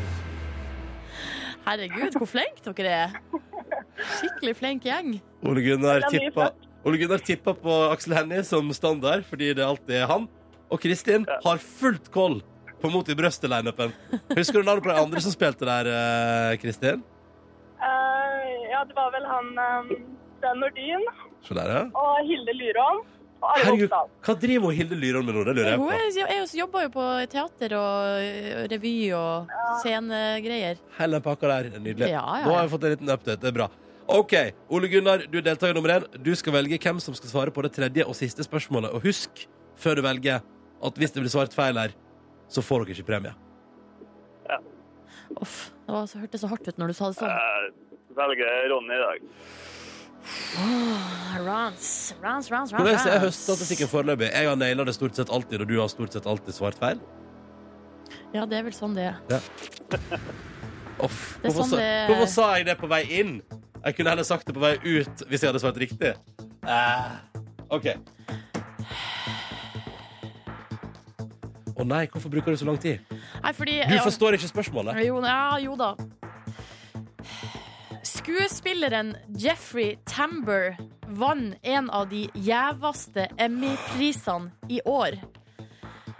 Herregud, hvor flinke dere er. Skikkelig flink gjeng.
Ole Gunnar
Det er mye
tippa, Ole Gunnar tippa på Aksel Hennie som standard, fordi det alltid er han. Og Kristin har fullt koll på Mot i brøstet-lineupen. Husker du navnet på de andre som spilte der, eh, Kristin?
Eh, ja, det var vel han um, Sven Nordin
Se der, ja.
og Hilde Lyrån og Arve
Herregud,
Oppdal.
hva driver hun Hilde Lyron med nå? Det lurer jeg
Hun
på.
er, er, jo- jobber jo på teater og ø, revy og scenegreier.
Hele pakka der. Nydelig.
Ja, ja, ja.
Nå har jeg fått en liten update. Det er bra. OK, Ole Gunnar, du er deltaker nummer én. Du skal velge hvem som skal svare på det tredje og siste spørsmålet. Og husk, før du velger, at hvis det blir svart feil her, så får dere ikke premie.
Uff, det var så, hørtes så hardt ut når du sa det sånn.
Jeg velger Ronny i dag.
Åh, Rans, rans, rans, rans.
Hvordan er
rans.
høststatistikken foreløpig? Jeg har naila det stort sett alltid, og du har stort sett alltid svart feil.
Ja, det er vel sånn det er.
Off.
Det er
Hvorfor,
sånn
sa,
det-
hvorfor sa jeg det på vei inn? Jeg kunne heller sagt det på vei ut hvis jeg hadde svart riktig. Eh, OK. Å nei, hvorfor bruker du så lang tid?
Nei, fordi
Du forstår ikke spørsmålet.
Jo, ja, jo da. Skuespilleren Jeffrey Tambor vant en av de gjeveste Emmy-prisene i år.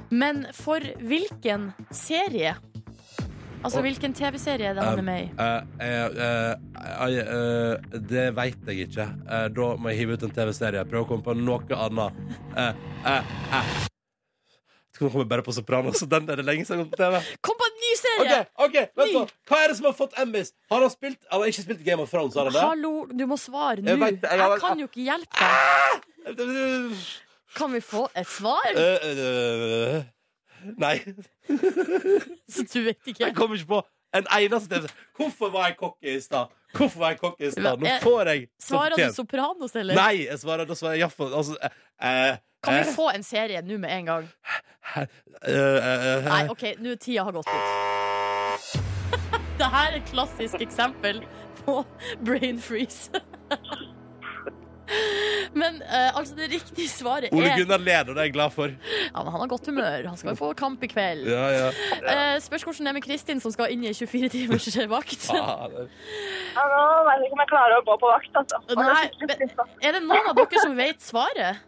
Men for hvilken serie? Altså hvilken TV-serie er det han er med i?
Eh, eh, eh, eh, eh, det veit jeg ikke. Eh, da må jeg hive ut en TV-serie. Prøve å komme på noe annet. Uh, Nå kommer jeg bare på Sopranos, og den er det lenge siden jeg har gått på TV.
Kom på en ny
Ok,
serie!
ok, vent nå Hva er det som har fått Emmys? Har han spilt, han har ikke spilt Game of Thrones, har han det?
Hallo, du må svare nå.
Jeg vet- jeg-
Jeg kan jo ikke hjelpe deg. Kan vi få et svar?
Øh, øh, øh. Nei,
Så [LAUGHS] du vet ikke.
Eh, jeg kom ikke på en eneste TV Hvorfor var jeg kokke i stad? Hvorfor var jeg kokke i stad? Nå
Jeg-
får jeg som
Svarer du
fortjent.
Sopranos, eller?
Nei, jeg svarer, da svarer jeg iallfall altså, eh, eh,
Kan
eh,
vi få en serie nå med en gang?
eh, eh,
Nei, OK, nå er tida har gått ut. [LAUGHS] Dette er et klassisk eksempel på brain freeze. [LAUGHS] Men eh, altså, det riktige svaret
Ole
er
Gunnar ler, og det er jeg glad for.
Ja, men Han har godt humør. Han skal jo på kamp i kveld.
Ja, ja.
Eh, spørs hvordan det er med Kristin, som skal inn i 24 [LAUGHS] timers vakt.
Ah, det-
Ja, nå vet jeg ikke om jeg klarer å gå på vakt, altså. Og det er
Nei,
skikkelig
men-
trist, altså.
Er det noen av dere som vet svaret?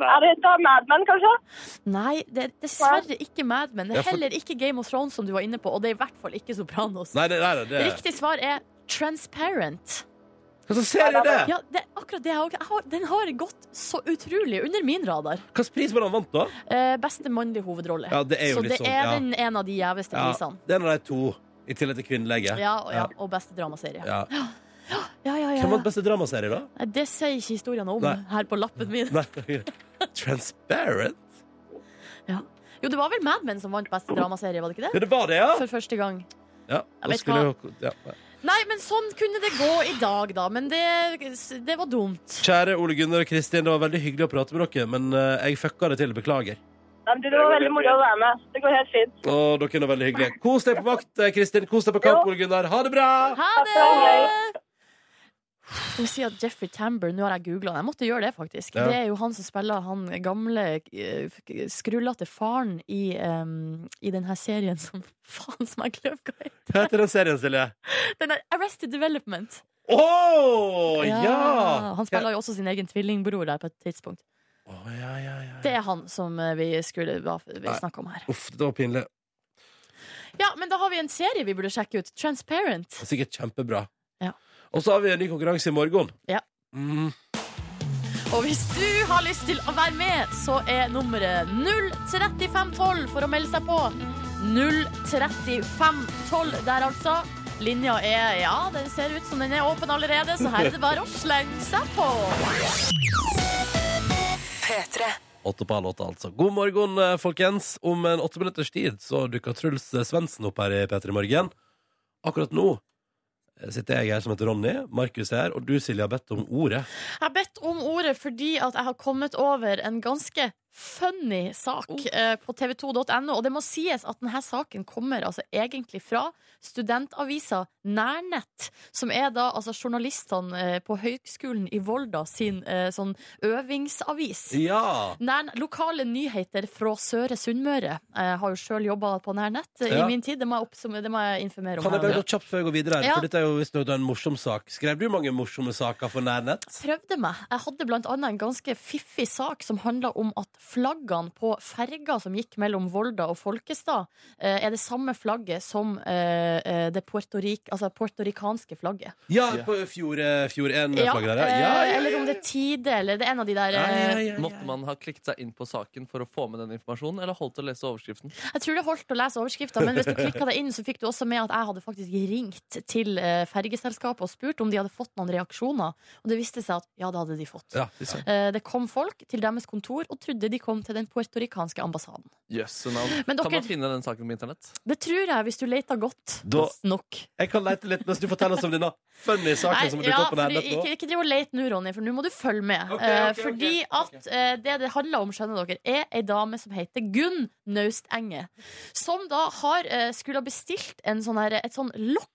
Nei,
Er det et av Mad Men, kanskje?
Nei, det er dessverre ikke Mad Men. Det
Ja,
er
for-
heller ikke Game of Thrones, som du var inne på, og det er i hvert fall ikke Sopranos.
Nei, det, nei, nei, det.
Riktig svar er Transparent.
Hva slags serie er det?
Ja, det er akkurat det jeg også- jeg har. Den har gått så utrolig under min radar.
Hvilken pris var det han vant, da?
Eh, beste mannlige hovedrolle.
Ja, det er jo
så
litt sånn,
det er
ja.
den en av de gjeveste
Ja,
prisene.
det er en av de to, i tillegg til kvinnelege.
sånn. Ja, og, ja, og beste dramaserie. Ja,
Ja.
ja, ja.
Hvem
ja.
vant beste dramaserie,
[LAUGHS]
da?
Nei, Det sier ikke historien om
Nei.
her på lappen min.
Nei. Transparent?
Jo, det var vel Mad Men som vant beste dramaserie, var det ikke
Ja,
det?
det var det, ja!
For første gang.
ja da
vet
skulle jo, ja.
Nei, men sånn kunne det gå i dag, da. Men det, det var dumt.
Kjære Ole Gunnar og Kristin, det var veldig hyggelig å prate med dere, men eh, jeg fucka det til. Beklager.
Nei, men du, det var veldig moro å være med. Det går helt fint.
Og dere er nå veldig hyggelige. Kos deg på vakt, eh, Kristin. Kos deg på kamp, Ole Gunnar. Ha det bra!
Ha
Hei.
det! Skal vi si at Jeffrey Tambor, nå har jeg googla Jeg måtte gjøre det, faktisk.
Ja.
Det er jo han som spiller han gamle, eh, f- skrullete faren i, um, i den her serien som [LAUGHS] Faen som jeg glemte hva heter.
Hva heter den serien, Silje?
Den der Arrested Development.
Å! ja!
Han spiller jo også sin egen tvillingbror der på et tidspunkt.
Å, ja, ja, ja.
Det er han som eh, vi skulle hva vi
Nei.
snakke om her.
Uff, det var pinlig.
Ja, men da har vi en serie vi burde sjekke ut. Transparent.
Det er sikkert kjempebra.
Ja.
Og så har vi en ny konkurranse i morgen.
Ja.
Mm.
Og hvis du har lyst til å være med, så er nummeret 03512 for å melde seg på. 03512 der, altså. Linja er Ja, den ser ut som den er åpen allerede, så her er det bare å slenge seg på.
Åtte på halv åtte, altså. God morgen, eh, folkens. Om en åtte minutters tid så dukker Truls Svendsen opp her i P3 Morgen. Akkurat nå eh, sitter jeg her som heter Ronny, Markus er her, og du, Silje, har bedt om ordet.
Jeg har bedt om ordet fordi at jeg har kommet over en ganske funny sak eh, på tv2.no. Og det må sies at denne saken kommer altså egentlig fra studentavisa Nærnett, som er da altså journalistene eh, på Høgskolen i Volda sin eh, sånn øvingsavis.
Ja.
Nær, lokale nyheter fra Søre Sunnmøre. Jeg har jo sjøl jobba på Nærnett eh,
Ja.
i min tid. Det må jeg, oppsumme- det må jeg informere om.
Kan jeg
her
bare
nå.
gå kjapt før jeg går videre? her?
Ja.
For dette er jo visstnok da en morsom sak. Skrev du mange morsomme saker for Nærnett?
prøvde meg. Jeg hadde blant annet en ganske fiffig sak som handla om at flaggene på ferga som gikk mellom Volda og Folkestad, eh, er det samme flagget som eh, eh, det puertoric- altså puertoricanske flagget.
Ja, på Fjord, eh, fjord 1
Ja,
flagget der, ja. Ja,
eh,
ja,
Eller
ja.
om det er Tide, eller det er en av de der
ja, ja,
eh,
ja, ja.
Måtte man ha klikket seg inn på saken for å få med den informasjonen, eller holdt å lese overskriften?
Jeg tror det holdt å lese overskrifta, men hvis du klikka deg inn, så fikk du også med at jeg hadde faktisk ringt til eh, fergeselskapet og spurt om de hadde fått noen reaksjoner, og det viste seg at ja, det hadde de fått.
Ja, de sa-
Eh, Det kom folk til deres kontor og trodde de kom til den puertoricanske ambassaden.
Jøsse navn.
Men
Kan man
dere,
finne den saken på internett?
det tror jeg, hvis du leter godt
Da-
nok.
Jeg kan lete litt mens du forteller oss om denne funny saken som dukker
ja,
opp på
fordi-
Nærnett nå.
ikke, ikke driv og let nå, Ronny, for nå må du følge med.
Ok,
Eh,
ok, ok.
fordi at eh, det det handler om, skjønner dere, er ei dame som heter Gunn Naustenge, som da har eh, skulle ha bestilt en sånn her, et sånn lokk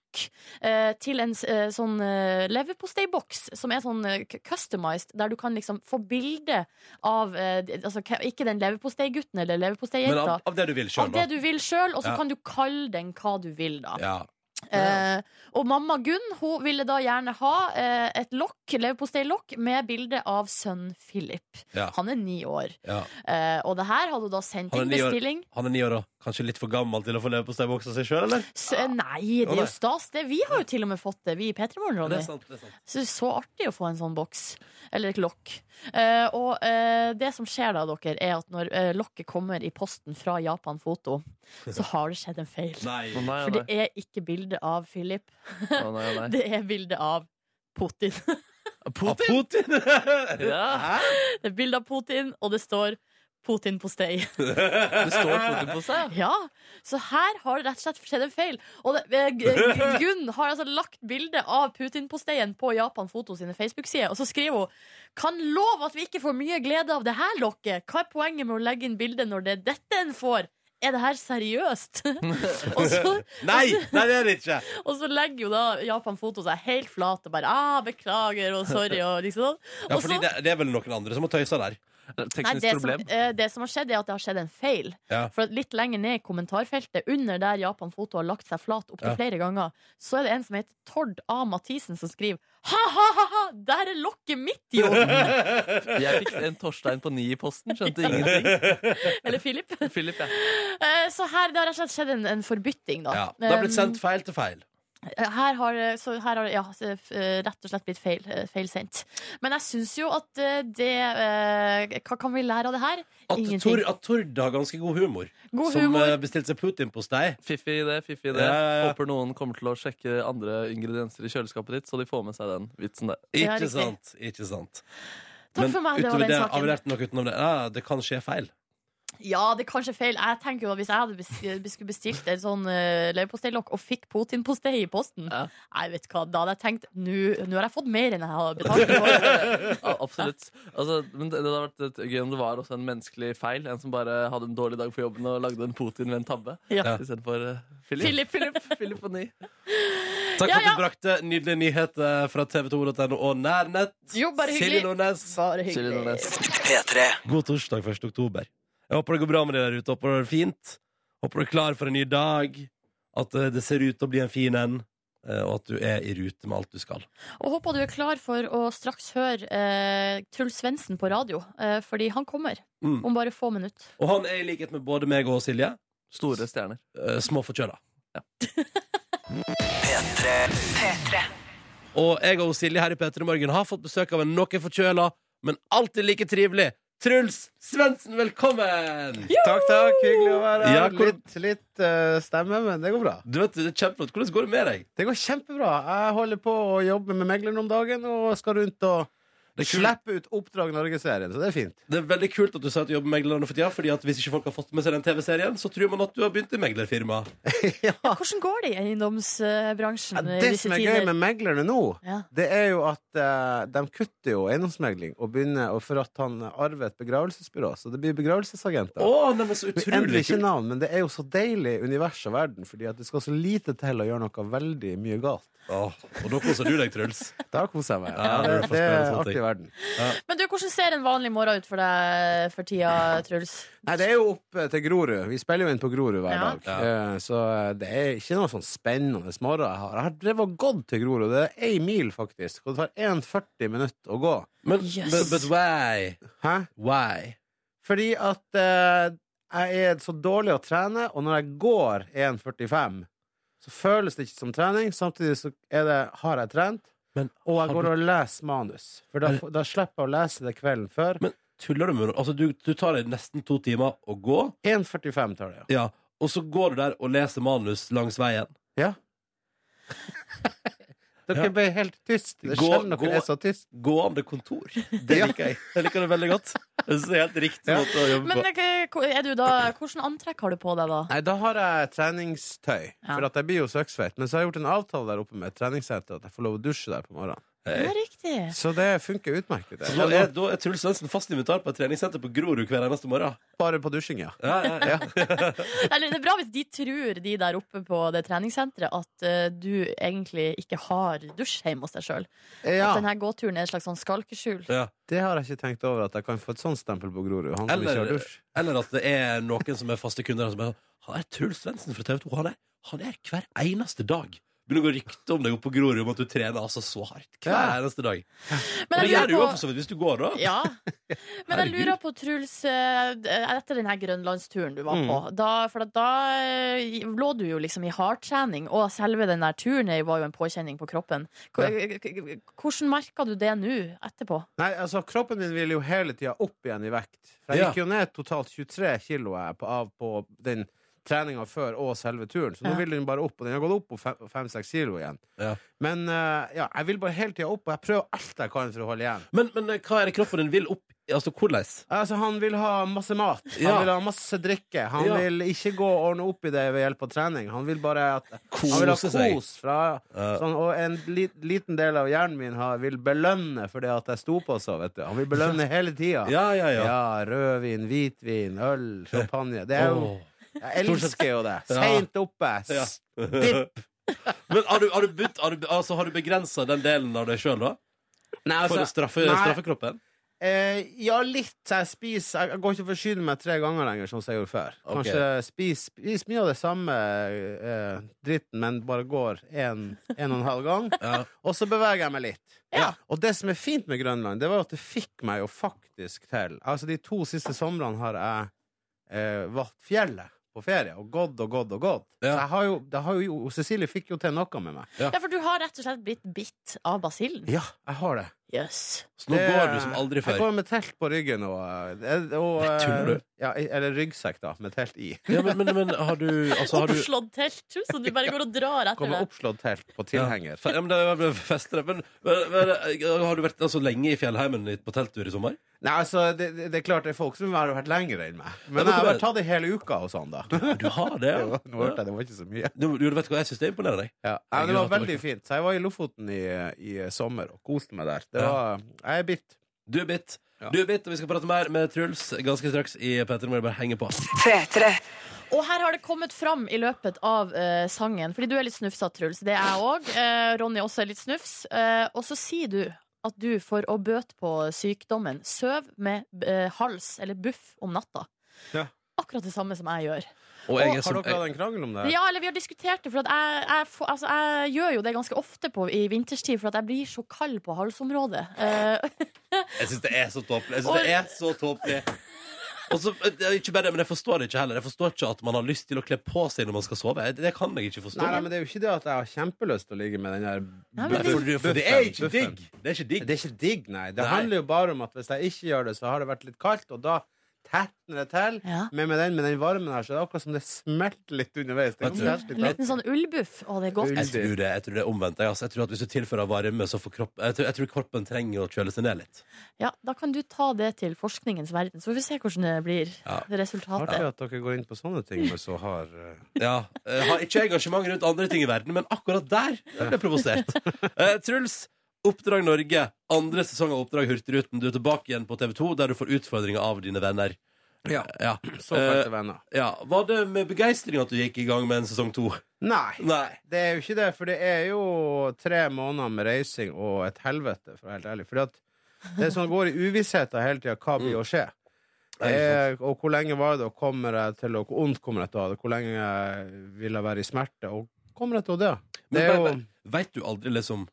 eh, til en s- eh, sånn eh, leverposteiboks, som er sånn eh, k- customized, der du kan liksom få bilde av eh, d- altså, k- Ikke den leverposteigutten eller
Men
leverposteijenta.
av, av det du vil
Av
sjøl,
det du vil sjøl, og så
Ja.
kan du kalle den hva du vil, da.
Ja.
Eh, og mamma Gunn hun ville da gjerne ha eh, et lokk leverposteilokk med bilde av sønnen Philip.
Ja.
Han er ni år.
Ja.
Eh, og det her hadde hun da sendt
Han er
inn
ni år.
bestilling.
Han er ni år og kanskje litt for gammel til å få leverposteiboksa si sjøl, eller?
Så, eh, nei,
Å,
det er
nei.
jo stas. Det, vi har jo til og med fått det, vi i P3 Morgen,
Det
Ronny.
er sant, det er sant.
Så, så artig å få en sånn boks. Eller et lokk. Eh, og eh, det som skjer da, dere, er at når eh, lokket kommer i posten fra Japan Foto,
[LAUGHS]
så har det skjedd en feil.
Nei.
Å nei, å
For det
nei.
er ikke bilde av Philip.
Å nei, å nei.
Det er bilde av Putin.
Av Putin! [LAUGHS]
Ja,
Hæ?
Det er bilde av Putin, og det står Putin på stay.
det står Putin på seg.
[LAUGHS] Ja, Så her har det rett og slett skjedd en feil. Og det, eh, G- G- Gunn har altså lagt bilde av Putin-posteien på Japan Foto sine Facebook-sider, og så skriver hun Kan love at vi ikke får mye glede av det her lokket. Hva er poenget med å legge inn bilde når det er dette en får? Er det her seriøst? [LAUGHS] og, så,
Nei, nei, det er det ikke.
Altså- og så legger jo da Japan Foto seg helt flat og bare ah, 'Beklager og sorry' og liksom sånn.
Ja,
Og
fordi
så-
det, det er vel noen andre som har tøysa der.
Nei,
Teknisk
det, som,
problem.
eh, det som har skjedd, er at det har skjedd en feil.
Ja.
For at Litt lenger ned i kommentarfeltet, under der Japan Foto har lagt seg flat opptil
Ja.
flere ganger, så er det en som heter Tord A. Mathisen, som skriver Ha-ha-ha, der er lokket mitt,
[LAUGHS]
jo!
Jeg fikk en Torstein på ni i posten, skjønte ingenting.
Eller Philip.
Philip, ja.
Eh, Så her det har rett og slett skjedd en, en forbytting, da.
Ja. Det har blitt
Um,
sendt feil til feil.
Her har, så her har ja, f- eh, rett og slett blitt feil, eh, feilsendt. Men jeg syns jo at eh, det eh, Hva kan vi lære av det her?
At,
Ingenting.
Tor, at Tord har ganske god humor,
God
som
humor.
eh, bestilte seg Putin-postei.
Fiffig idé, fiffig idé.
Ja, ja, ja.
Håper noen kommer til å sjekke andre ingredienser i kjøleskapet ditt, så de får med seg den vitsen der.
Ja,
Ikke
riktig.
sant. Ikke sant.
Takk for meg, det var
utover
den
det,
saken.
har vi lært noe utenom det? Ja, det kan skje feil.
Ja, det er kanskje feil. Jeg tenker jo at Hvis jeg hadde bes- skulle bestilt en sånn uh, leverposteilokk og fikk Putin-postei i posten
Ja.
Nei, vet du hva, Da hadde jeg tenkt nå nå har jeg fått mer enn jeg har betalt. for.
Ja, absolutt. Altså, men det, det hadde vært et- gøy om det var også en menneskelig feil. En som bare hadde en dårlig dag på jobben og lagde en Putin ved en tabbe.
Ja.
Istedenfor uh, Philip.
Philip, Philip.
Philip på ni.
Takk for
Ja,
at du brakte nydelige nyheter fra tv2.no og Nærnett.
Jo, bare
Silje
hyggelig.
Nordnes.
Bare
Silje
hyggelig.
Nordnes.
God torsdag 1. oktober. Jeg håper det går bra med deg der ute. Håper du har det fint. Håper du er klar for en ny dag. At eh, det ser ut til å bli en fin en. eh, Og at du er i rute med alt du skal.
Og håper du er klar for å straks høre eh, Truls Svendsen på radio, eh, fordi han kommer
Mm.
om bare få minutter.
Og han er i likhet med både meg og Silje
Store stjerner.
eh, småforkjøla. Og jeg og Silje her i P3 Morgen har fått besøk av en noe forkjøla, men alltid like trivelig Truls Svendsen, velkommen!
Takk, takk. Hyggelig å være her.
Ja, hvor-
Litt, litt eh, stemme, men det går bra.
Du vet, det er kjempeflott. Hvordan går det med deg?
Det går kjempebra. Jeg holder på å jobbe med megleren om dagen og skal rundt og
Det er kult.
Slipp ut Oppdrag Norge-serien, så det er
[LAUGHS]
fint.
Det er veldig kult at du sa at du jobber med meglerne for tida, fordi at hvis ikke folk har fått med seg den TV-serien, så tror man at du har begynt i meglerfirma.
Hvordan går det i eiendomsbransjen
Ja,
i
det
disse
som er gøy
tider?
med meglerne nå,
Ja.
det er jo at eh, de kutter jo eiendomsmegling og begynner og for at han arver et begravelsesbyrå. Så det blir begravelsesagenter.
Å, nei, men så
Vi endrer
utrolig
ikke
kult.
navn, men det er jo så deilig univers og verden, fordi at det skal så lite til å gjøre noe veldig mye galt.
Åh, og da koser du deg, Truls.
Da koser jeg meg.
Ja,
det,
det er
det er
fascinerende ting.
artig verden.
Men du, hvordan ser en vanlig morgen ut for deg for tida, Truls?
Nei, det er jo opp eh, til Grorud. Vi spiller jo inn på Grorud hver
Ja.
dag. Eh, Så eh, det er ikke noe sånn spennende morgen jeg har. Jeg har drevet og gått til Grorud. Det er ei mil, faktisk. Og det tar 1,40 minutter å gå.
Men
Yes.
but, but why?
Hæ?
Why?
Fordi at eh, jeg er så dårlig å trene, og når jeg går 1,45, så føles det ikke som trening. Samtidig så er det, har jeg trent,
Men
og
har
jeg går
du-
og leser manus. For da,
Er det-
f- da slipper jeg å lese det kvelden før.
Men tuller du med meg? Altså, du, du tar deg nesten to timer å gå,
1,45 tar det,
ja,
ja.
og så går du der og leser manus langs veien.
Dere
Ja.
ble helt tyst. Det er
Gå-
sjelden
gå-
dere er så tyst.
Gående kontor. Det
Ja.
liker jeg. Jeg liker det veldig godt. Det er helt riktig
Ja.
måte å jobbe
Men
på.
eh, er du da, hvordan antrekk har du på deg da?
Nei, da har jeg treningstøy,
Ja.
for at jeg blir jo søksfeit. Men så har jeg gjort en avtale der oppe med et treningssenter at jeg får lov å dusje der på morgenen.
Ja, riktig.
Så det funker utmerket.
Så Da
Det.
er, da er Truls Svendsen fast invitar på et treningssenter på Grorud hver eneste morgen.
Bare på dusjing, ja.
Ja, ja, ja.
Eller, det er bra hvis de tror, de der oppe på det treningssenteret, at eh, du egentlig ikke har dusj hjemme hos deg sjøl.
ja.
At denne gåturen er et slags sånn skalkeskjul.
ja.
Det har jeg ikke tenkt over, at jeg kan få et sånt stempel på Grorud. Han som ikke
Eller-
har dusj.
Eller at det er noen som er faste kunder som er sånn, Han er Truls Svendsen fra TV 2. Han er, han er hver eneste dag. Begynner å gå rykte om deg oppe på Grorud om at du trener altså så hardt hver
Ja.
eneste dag. Og
Men
det gjør
jeg
du jo
lurer
for
på
så vidt hvis du går, da.
ja. Men
Herregud.
jeg lurer på, Truls, eh, etter denne grønlandsturen du var på
Mm.
da, For at da eh, lå du jo liksom i hardtrening, og selve den der turen var jo en påkjenning på kroppen. eh, K- Hvordan merka du det nå, etterpå?
Nei, altså, kroppen min vil jo hele tida opp igjen i vekt. For jeg
Ja.
gikk jo ned totalt 23 kilo jeg, på, av på den treninga før og selve turen, så nå
Ja.
vil den bare opp. Og den har gått opp på 5-6 kilo igjen.
Ja.
Men eh, ja, jeg vil bare hele tida opp, og jeg prøver alt jeg kan for å holde igjen.
Men, men eh, hva er det kroppen din vil opp i? Altså hvordan?
Altså, han vil ha masse mat, han
Ja.
vil ha masse drikke. Han
Ja.
vil ikke gå og ordne opp i det ved hjelp av trening. Han vil bare at, han vil ha
Kose seg.
kos fra sånn, Og en li, liten del av hjernen min har, vil belønne for det at jeg sto på så, vet du. Han vil belønne hele tida.
Ja, ja, ja.
rødvin, hvitvin, øl, champagne. Det er jo
Åh.
Jeg elsker jo det.
Ja.
Seint oppe.
Ja.
s- Dipp.
Men har du, har du, begynt- har du, altså, har du begrensa den delen av deg sjøl, da?
Nei,
For å
altså,
straffe,
nei.
straffe kroppen?
eh, ja, litt. så Jeg spiser Jeg jeg går ikke og forsyner meg tre ganger lenger, sånn som jeg gjorde før.
Ok.
Kanskje spis, spis mye av det samme eh, dritten, men bare går en, en og en halv gang.
[LAUGHS] Ja.
Og så beveger jeg meg litt.
Ja.
Og det som er fint med Grønland, det var jo at det fikk meg jo faktisk til Altså, de to siste somrene har jeg eh, valgt fjellet på ferie, og gått og gått og gått.
Ja.
Så jeg har jo, det har jo Cecilie fikk jo til noe med meg.
Ja, for du har rett og slett blitt bitt av basillen.
Ja, jeg har det.
Jøss.
Så nå
det,
går du som aldri
Jeg
før.
går med telt på ryggen og, eh, og
Nei,
eh,
tuller du?
Ja, eller ryggsekk, da, med telt i.
Ja, men, men, men har du altså, har du,
Oppslått telt, så du bare går og drar etter
Kommer
det.
oppslått telt på tilhenger.
Ja, men det er vel fester, men, men, men har du vært altså, lenge i fjellheimen ditt på telttur i sommer?
Nei, altså, det, det det er klart det er folk som har vært lengre enn meg. Men
men
jeg har
du-
vært tatt det hele uka og
[LAUGHS]
sånn, da.
Du har det, ja.
Nå hørte jeg det var ikke så mye.
Du, du vet hva jeg syns det imponerer deg?
Ja. Nei, men det
Herregud, at
var
det var
veldig fint. Så jeg var i Lofoten i, i sommer og koste meg der. Det
Ja.
var, jeg er bitt.
Du er bitt.
Ja.
Du er bitt, og vi skal prate mer med Truls ganske straks i P3 Morgen. Bare henge på.
Og her har det kommet fram i løpet av eh, sangen. Fordi du er litt snufsete, Truls. Det er jeg òg. Eh, Ronny også er litt snufs. Eh, og så sier du at du, for å bøte på sykdommen, søv med eh, hals eller buff om natta.
Ja.
Akkurat det samme som jeg gjør.
Og
jeg er
Har dere hatt en krangel om det?
Ja, eller vi har diskutert det, for at jeg, jeg, får- altså, jeg gjør jo det ganske ofte på, i vinterstid, for at jeg blir så kald på halsområdet. Eh,
Jeg syns det er så tåpelig. Jeg synes det er så tåpelig. Og så, eh, det er ikke bare det, men jeg forstår det ikke heller. Jeg forstår ikke at man har lyst til å kle på seg når man skal sove. Det kan jeg ikke
Nei,
forstå.
nei, men det er jo ikke det at jeg har kjempelyst til å ligge med den der
Nei, men
buffen-
for, for det er ikke
buffen.
digg. Det er ikke digg.
Det er ikke digg, nei. Det
Nei.
handler jo bare om at hvis jeg ikke gjør det, så har det vært litt kaldt, og da tetnere til.
Ja.
Men med den, med den varmen her, så er det akkurat som det smelter litt underveis. Det
Vet du,
er
En liten sånn ullbuff. Å, det er godt.
Jeg tror det, jeg tror det er omvendt. Jeg, altså. jeg tror at Hvis du tilfører varme, så får kropp, jeg, tror, jeg tror kroppen trenger å kjøle seg ned litt.
Ja, da kan du ta det til forskningens verden, så får vi se hvordan det blir.
Ja.
Det resultatet.
Artig at dere går inn på sånne ting med så hard eh,
[LAUGHS] Ja, eh, Har ikke engasjement rundt andre ting i verden, men akkurat der jeg ble jeg provosert. Eh, Truls, Oppdrag Norge, andre sesong av Oppdrag Hurtigruten. Du er tilbake igjen på TV2, der du får utfordringer av dine venner. Eh,
Ja.
Ja,
såkalte venner.
ja. Var det med begeistring at du gikk i gang med en sesong to? [LAUGHS]
Nei,
Nei.
det er jo ikke det. For det er jo tre måneder med reising og et helvete, for å være helt ærlig. Fordi at det er sånn går i uvissheten hele tida. Hva blir å skje? Det er, og hvor lenge var det, og kommer jeg til å Hvor vondt kommer jeg til å ha det? Hvor lenge vil jeg være i smerte? Og kommer jeg til å dø?
Men
Eh, Det er
bare-
jo
Veit du aldri liksom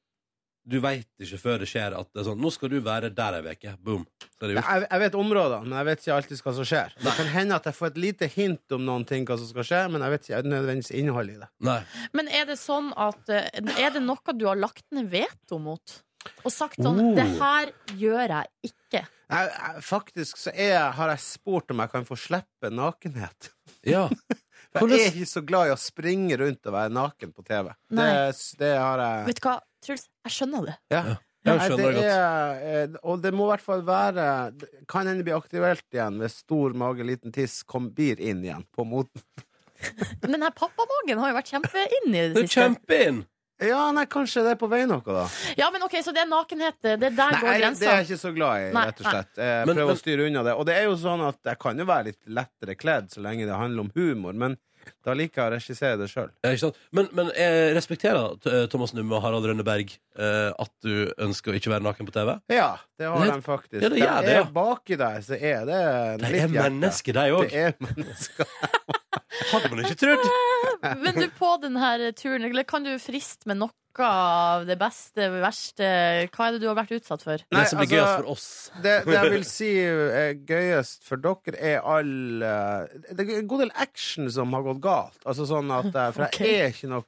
Du veit ikke før det skjer at det er sånn Nå skal du være der ei uke. Boom. Så er det gjort.
jeg, jeg vet områdene, men jeg vet ikke alltid hva som skjer. Det kan hende at jeg får et lite hint om noen ting, hva som skal skje, men jeg vet ikke nødvendigvis innholdet i det.
Nei.
Men er det sånn at eh, Er det noe du har lagt ned veto mot? Og sagt sånn
Oh.
Det her gjør jeg ikke.
Jeg, jeg, faktisk så er, jeg- har jeg spurt om jeg kan få slippe nakenhet.
Ja.
For jeg er ikke så glad i å springe rundt og være naken på TV.
Nei.
Det, det har jeg
Vet du hva, Truls? Jeg skjønner det.
[LAUGHS] ja.
Jeg
Nei,
skjønner det
det
godt.
er, eh, og det må i hvert fall være det Kan hende bli aktivert igjen hvis stor mage, liten tiss kom, blir inn igjen på moten.
Men den her pappamagen har jo vært kjempeinne i
Det
det
er
siste.
kjempeinn!
Ja, nei, kanskje det er på vei noe, da.
Ja, men ok, Så det er nakenhet. Det er der
Nei,
går
jeg- det er
grensa.
jeg ikke så glad i,
Nei,
rett og slett. Jeg
Men-
prøver
men-
å styre unna det. Og det er jo sånn at jeg kan jo være litt lettere kledd så lenge det handler om humor, men da liker jeg å regissere det sjøl.
Ja, ikke sant? Men, men jeg respekterer t- eh, Thomas Numme og Harald Rønneberg eh, at du ønsker å ikke være naken på TV.
Ja, det har
Det-
de faktisk.
Ja, det gjør det, ja.
er baki der, så er det
De
litt
er
hjerte.
mennesker, de òg.
Det er mennesker.
Hadde man ikke trodd!
Men du, på denne turen, eller kan du friste med noe av det beste, verste Hva er det du har vært utsatt for?
Det
Nei,
som blir
altså-
gøyest for oss.
Det, det jeg vil si er gøyest for dere, er all eh, Det er en god del action som har gått galt. Altså sånn at eh, For
Ok.
jeg er ikke noe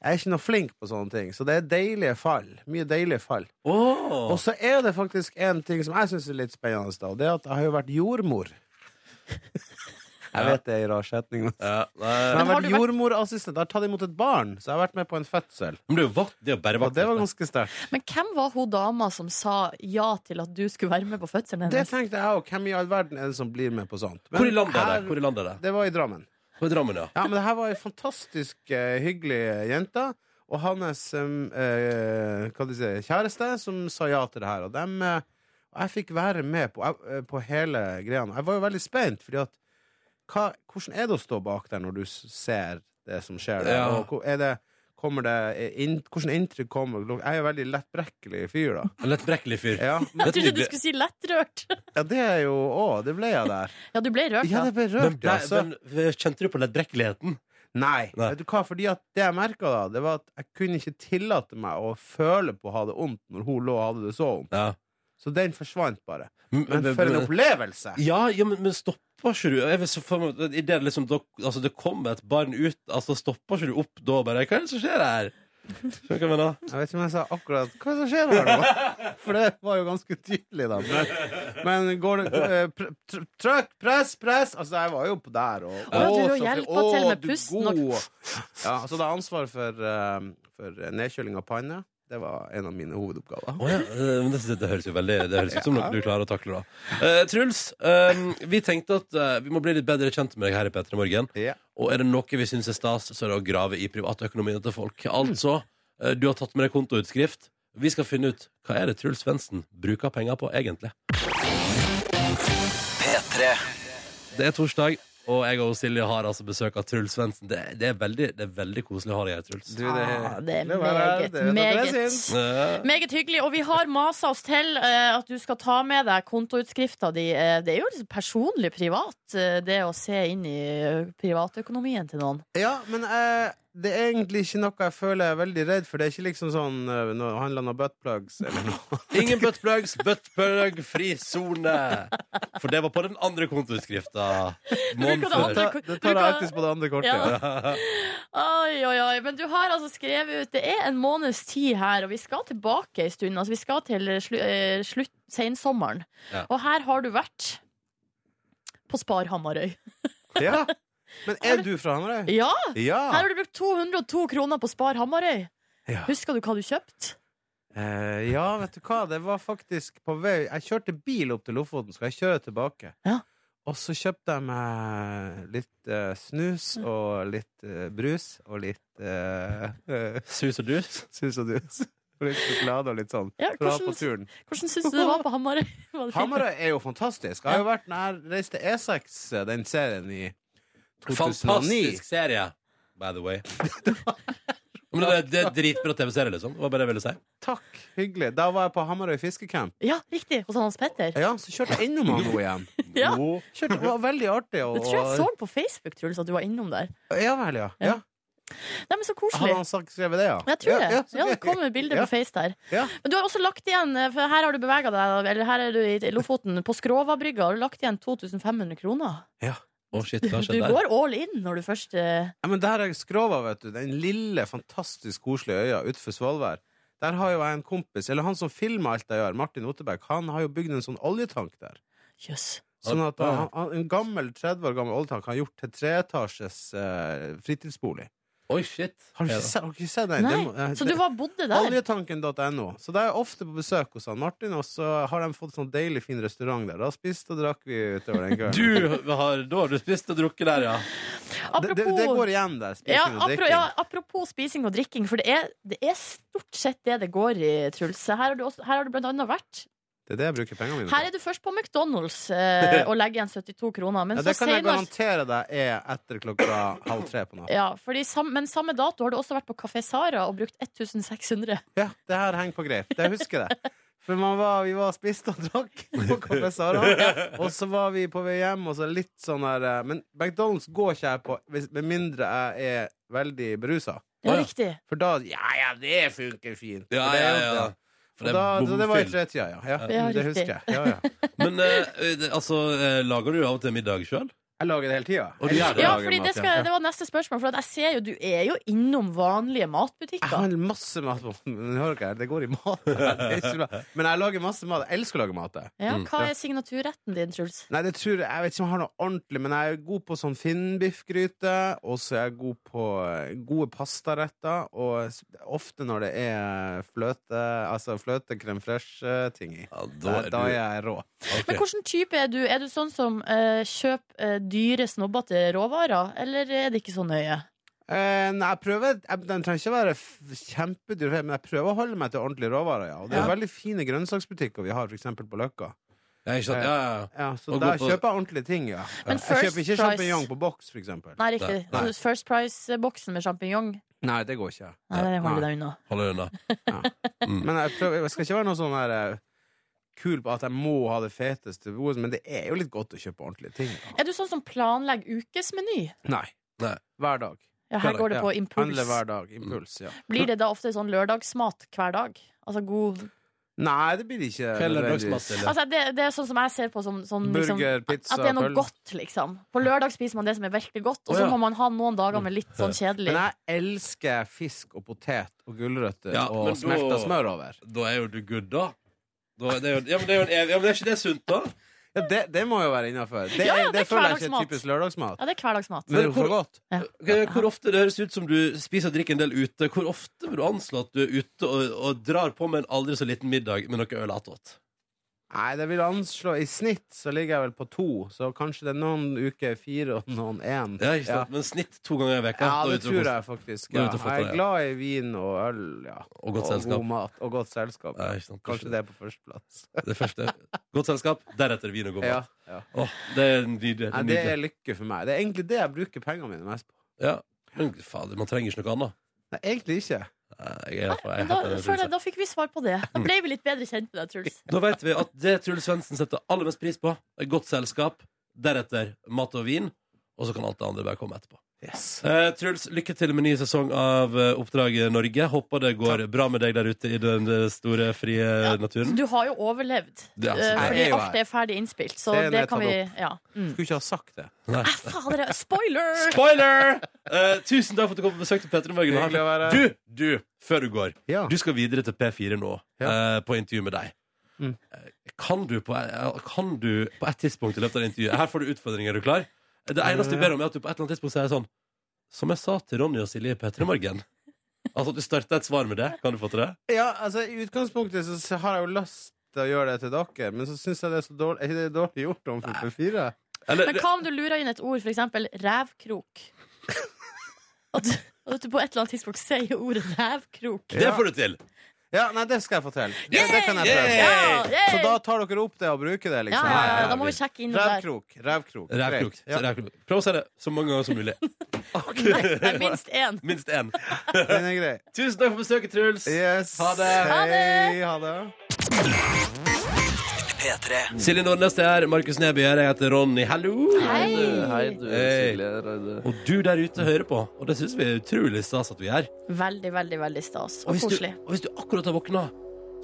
jeg er ikke noe flink på sånne ting, så det er deilige fall. Mye deilige fall.
Åh.
Og så er det faktisk en ting som jeg syns er litt spennende, da, og det er at jeg har jo vært
[LAUGHS]
jordmor. Jeg vet det er en rar setning, men
Ja, nei.
jeg har
har
vært
du vært-
jordmorassistent. Jeg har tatt imot et barn, så jeg har vært med på en fødsel.
Men det er jo vakt, det er jo bare
Og
vakt.
det var ganske sterkt.
Men hvem var hun dama som sa ja til at du skulle være med på fødselen
Det
hennes?
tenkte jeg òg. Hvem i all verden er det som blir med på sånt? Men
Hvor i landet er det?
her-
Hvor i landet er det?
Det var i Drammen.
På Drammen, ja.
Ja, men det her var ei fantastisk eh, hyggelig jente. Og hans em, eh, hva de sier, kjæreste som sa ja til det her. Og dem, eh, og jeg fikk være med på, eh, på hele greia. Jeg var jo veldig spent, fordi at hva, Hvordan er det å stå bak der når du s- ser det som skjer der?
Ja.
Og hvor- er det, kommer det eh, inn, hvordan inntrykk kommer Jeg er jo en veldig lettbrekkelig
[LAUGHS]
fyr, da.
En lettbrekkelig fyr.
Ja,
Jeg trodde du
nydelig.
skulle si lettrørt.
ja det er jo Å, det ble jeg der.
[LAUGHS] Ja, du ble rørt, ja.
Ja, det ble
Men,
rørt, ja.
ble-
Så-
men kjente du på lettbrekkeligheten?
Nei.
Nei.
Vet du hva? Fordi at det jeg merka da, det var at jeg kunne ikke tillate meg å føle på å ha det vondt når hun lå og hadde det så vondt.
Ja.
Så den forsvant bare.
Men,
Men for en opplevelse!
Ja, ja men, men stopper ikke du jeg vil så for meg, i det, liksom, dok- altså, det kommer et barn ut, altså, stopper ikke du opp da bare Hva er det som skjer her? Skjønner du hva jeg mener?
Jeg vet ikke om jeg sa akkurat hva som skjer her nå, [LAUGHS] for det var jo ganske tydelig, da. Men, men går det eh, pr- tr- Trøkk! Press! Press! Altså, jeg var jo på der, og
ja, du
Å,
har
så fri-
hjelpa til
å,
med
du
pusten
god.
og-
Ja, så det er ansvar for, eh, for nedkjøling av panne. Det var en av mine hovedoppgaver.
Å ja, eh, men det, det, høres jo veldig Det høres ut som noe du klarer å takle, da. Eh, Truls, eh, vi tenkte at eh, vi må bli litt bedre kjent med deg her i P3 Morgen.
Ja.
Og er det noe vi syns er stas, så er det å grave i privatøkonomien til folk. Altså, eh, du har tatt med deg kontoutskrift. Vi skal finne ut hva er det Truls Svendsen bruker penger på, egentlig. Det er torsdag, og jeg og Silje har altså besøk av Truls Svendsen. Det, det, er veldig- det er veldig koselig å ha deg her, Truls.
Du,
Ah, det er
hyggelig å være her.
meget,
Det vet dere jeg
meget.
syns.
Eh,
Meget hyggelig. Og vi har masa oss til eh, at du skal ta med deg kontoutskrifta di. Eh, det er jo liksom personlig privat, eh, det å se inn i eh, privatøkonomien til noen.
Ja, men eh, det er egentlig ikke noe jeg føler jeg er veldig redd for. Det er ikke liksom sånn eh, Nå handler det om buttplugs eller
[LAUGHS]
noe.
Ingen buttplugs, buttplug-fri sone. For det var på den andre kontoutskrifta.
Men du kan ha
Måneden
andre-
før.
Da- Det tar jeg alltid på det andre kortet.
Ja. Oi, oi, oi. Men du har altså skrevet ut Det er en måneds tid her, og vi skal tilbake en stund. Altså, vi skal til slu, eh, slutt, sensommeren.
Ja.
Og her har du vært. på Spar Hamarøy.
Ja. Men er du fra Hamarøy?
Ja! Her
Ja.
har du brukt 202 kroner på Spar Hamarøy.
Ja.
Husker du hva du kjøpte?
Eh, ja, vet du hva, det var faktisk på vei Jeg kjørte bil opp til Lofoten, skal jeg kjøre tilbake.
Ja.
Og så kjøpte jeg meg litt eh, snus og litt eh, brus og litt eh, eh, [LAUGHS]
Sus og dus.
snus og dus. Og litt sjokolade og litt sånn.
Ja,
For å ha på
hvordan
turen.
hvordan syns du det var på Hamarøy? [LAUGHS] Var det fint?
Hamarøy er jo fantastisk. Jeg har jo vært når jeg reiste E6, eh, den serien i 2009.
Fantastisk serie, by the way. Men det, det er dritbra TV-serie, liksom. Det var bare det jeg ville si.
Takk, hyggelig. Da var jeg på Hamarøy fiskecamp.
Ja, riktig. Hos Hans Petter.
Ja, så kjørte jeg innom han nå igjen.
Ja.
Jo. Kjørte, det var veldig artig. Og,
Det tror jeg så på Facebook, Truls, at du var innom der.
Ja vel, ja. ja.
Nei, men så koselig.
Hadde han sagt, skrevet det, ja?
Jeg tror det.
Ja,
Ja,
så
det
gøy. [LAUGHS]
kommer et bilde
Ja.
på Face der.
Ja.
Men du har også lagt igjen, eh, for her har du bevega deg, eller her er du i Lofoten, på Skrovabrygga, har du lagt igjen 2500 kroner.
Å, shit, hva
Du
skjedde der?
går all in når du først eh,
Ja, men der er Skrova, vet du. Den lille, fantastisk koselige øya utenfor Svolvær. Der har jo jeg en kompis, eller han som filmer alt jeg gjør, Martin Ottebæk, han har jo bygd en sånn oljetank der.
Jøss.
Sånn at han, han, En gammel 30 år gammel oljetank har gjort til treetasjes eh, fritidsbolig.
Oi, shit.
Har du
Ja,
ikke,
da.
sett- har du ikke sett den?
Nei,
Det må- eh,
så du var bodde der?
Oljetanken.no. Så da er jeg ofte på besøk hos han Martin, og så har de fått sånn deilig fin restaurant der. Da spiste og drakk vi utover den kvelden.
Du har, da har du spist og drukket der, ja.
det, det, det
Apropos
går igjen der. Spising
ja,
og
apro,
drikking.
ja, apropos spising og drikking, for det er, det er stort sett det det går i, Truls. Her har du, også, her har du blant annet vært.
Det er det jeg bruker pengene mine på.
Her er du først på McDonald's
[LAUGHS]
eh, og legger igjen 72 kroner, men
Ja,
så
det kan jeg
senere
garantere deg er etter klokka halv tre på natta.
ja, fordi sam, Men samme dato har du også vært på Café Sara og brukt 1600.
Ja, det her henger på greip. Det husker jeg. For man var, vi var spiste og drakk på Café Sara. Og så var vi på vei hjem, og så litt sånn her eh, Men McDonald's går ikke jeg på hvis- med mindre jeg er veldig berusa.
Det
Ja.
er riktig.
For da Ja, ja, det funker fint.
Ja,
For det er jo
ja, ja.
det.
For
Og
det
da,
er
så det var i
bomfyll.
tretida, ja. ja.
Ja,
mm, Det
riktig.
husker jeg. Ja, ja.
Men eh, det- altså, eh, lager du av og til middag sjøl?
Jeg lager det hele tida.
Og du gjør det?
Ja, fordi det, skal, det var neste spørsmål. For at jeg ser jo, du er jo innom vanlige
Jeg har
matbutikker.
en masse mat på Men Hører dere, det går i mat. [LAUGHS] Det er ikke bra. Men jeg lager masse mat. Jeg elsker å lage mat. jeg.
Ja, hva er signaturretten din, Truls?
Nei, det tror jeg Jeg vet ikke om jeg har noe ordentlig, men jeg er god på sånn finnbiffgryte. Og så er jeg god på eh, gode pastaretter. Og s- ofte når det er fløte, altså fløte crème fresh-ting i.
Ja,
Da, da er jeg rå.
Men hvilken type er du? Er du sånn som eh, kjøper eh, dyre, snobbete råvarer, eller er det ikke så nøye?
Eh, nei, jeg prøver jeg, Den trenger ikke være f- kjempedyr, men jeg prøver å holde meg til ordentlige råvarer. Ja. Og det er
Ja.
veldig fine grønnsaksbutikker vi har, f.eks. på Løkka.
Ja, ikke sant? Ja, ja, ja.
Ja, så
Og
der
gå på-
kjøper jeg ordentlige ting, ja.
Men
Jeg
First
kjøper ikke
Price-
sjampinjong på boks, for eksempel.
Nei, riktig.
Nei, nei.
Så First Price-boksen med sjampinjong.
Nei, det går ikke.
Nei, den holder
Nei.
deg unna.
Hold deg unna.
Men jeg, prøver, jeg skal ikke være noe sånn her eh, kul på at jeg må ha det feteste, på bordet, men det er jo litt godt å kjøpe ordentlige ting. da.
Er du sånn som planlegger ukesmeny?
Nei.
Nei.
Hver dag.
Ja, her går det
Ja.
på impuls.
Handle hver dag. Impuls, ja.
Blir det da ofte sånn lørdagsmat hver dag? Altså god
Nei, det blir ikke
Hva er
nødvendigvis.
lørdagsmat, eller?
Altså, det, det er sånn som jeg ser på som, sånn, liksom,
Burger, pizza,
At det er noe
pøl.
godt, liksom. På lørdag spiser man det som er virkelig godt, og
Å,
så
ja.
må man ha noen dager med litt sånn kjedelig.
Men jeg elsker fisk og potet og gulrøtter
Ja,
og
men da-
smelta smør over.
Da er jo du good, da. da er det jo, ja, men det er jo en evig, ja, men er ikke det sunt, da?
Ja, det, det må jo være innafor. Det,
Ja, ja, det
er- det
er
føler jeg ikke er
hverdagsmat.
typisk lørdagsmat.
Ja, det er hverdagsmat.
Men det er jo
hvor-
for godt.
Eh, Hvor ofte det høres ut som du spiser og drikker en del ute, hvor ofte vil du anslå at du er ute og, og drar på med en aldri så liten middag med noe øl attåt?
Nei, det vil anslå I snitt så ligger jeg vel på to, så kanskje det er noen uker fire og noen én.
Ja, ikke sant? Men snitt to ganger i veka.
Ja,
da er
det
du ute og
tror
koser.
jeg faktisk.
Da er
Ja.
du ute og fatter
Jeg
det,
er
ja.
glad i vin og øl, ja.
Og godt selskap.
god mat. Og godt selskap.
Ja, ikke sant.
Kanskje det er på førsteplass.
Det første. Godt selskap, deretter vin og god
Ja,
mat.
ja.
Åh, det er nydelig.
Nei, det
nydelig.
er lykke for meg. Det er egentlig det jeg bruker pengene mine mest på.
Ja. Men fader, man trenger ikke noe annet.
Nei, egentlig ikke.
Nei, Jeg er, jeg er
Da,
helt enig med
føler jeg,
Truls.
da fikk vi svar på det. Da ble vi litt bedre kjent med deg,
[LAUGHS]
Truls.
Da vet vi at det Truls Svendsen setter aller mest pris på, er godt selskap, deretter mat og vin, og så kan alt det andre bare komme etterpå. Eh, Truls, lykke til med ny sesong av eh, Oppdrag Norge. Håper det går bra med deg der ute i den eh, store, frie
Så
naturen.
du har jo overlevd,
Det er sant.
eh, fordi
altså, Jeg er jo
alt
her.
er ferdig innspilt. Så
Det er
det kan vi
nettopp
Ja. Mm.
Skulle ikke ha sagt det.
Ah, fader, det er- spoiler!
Spoiler! Eh, tusen takk for at du kom på besøk til Petter i morgen. Ha
Hyggelig å være
en- Du, du, før du går.
Ja.
Du skal videre til P4 nå, eh, på intervju med deg.
Mm.
Eh, Kan, du på, eh, kan du på et tidspunkt i løpet av det intervjuet Her får du utfordringer, er du klar? Det eneste vi ber om, er at du på et eller annet tidspunkt sier sånn Som jeg sa til Ronny og Silje i P3 Morgen. Altså at du starter et svar med det. Kan du få til det?
Ja, altså I utgangspunktet så s- har jeg jo lyst til å gjøre det til dere, men så syns jeg det er så dårlig Er ikke det dårlig gjort om 44?
Eller,
Men hva om du lurer inn et ord, for eksempel rævkrok? At du, at du på et eller annet tidspunkt sier ordet rævkrok.
det får du til!
Ja, nei, det skal jeg få til. Det, det kan jeg prøve.
Ja, yay!
Så da tar dere opp det og bruker det,
ja,
liksom?
ja, ja, da må vi sjekke inn der.
Rævkrok. Rævkrok.
Rævkrok.
Greit. Ja,
Rævkrok. Prøv å si det så mange ganger som mulig.
Det er minst én.
Minst én.
den er grei.
Tusen takk for besøket, Truls.
Yes.
Ha det.
Ha det.
Hei, ha det.
Silje Nordnes det er Markus Neby her. Jeg heter Ronny. Hallo!
Hei.
du, hei, du
Hei.
Silje Raude.
Og du der ute hører på, og det syns vi er utrolig stas at vi gjør.
Veldig, veldig veldig stas
Og
og
hvis du,
koselig.
og hvis du akkurat har våkna,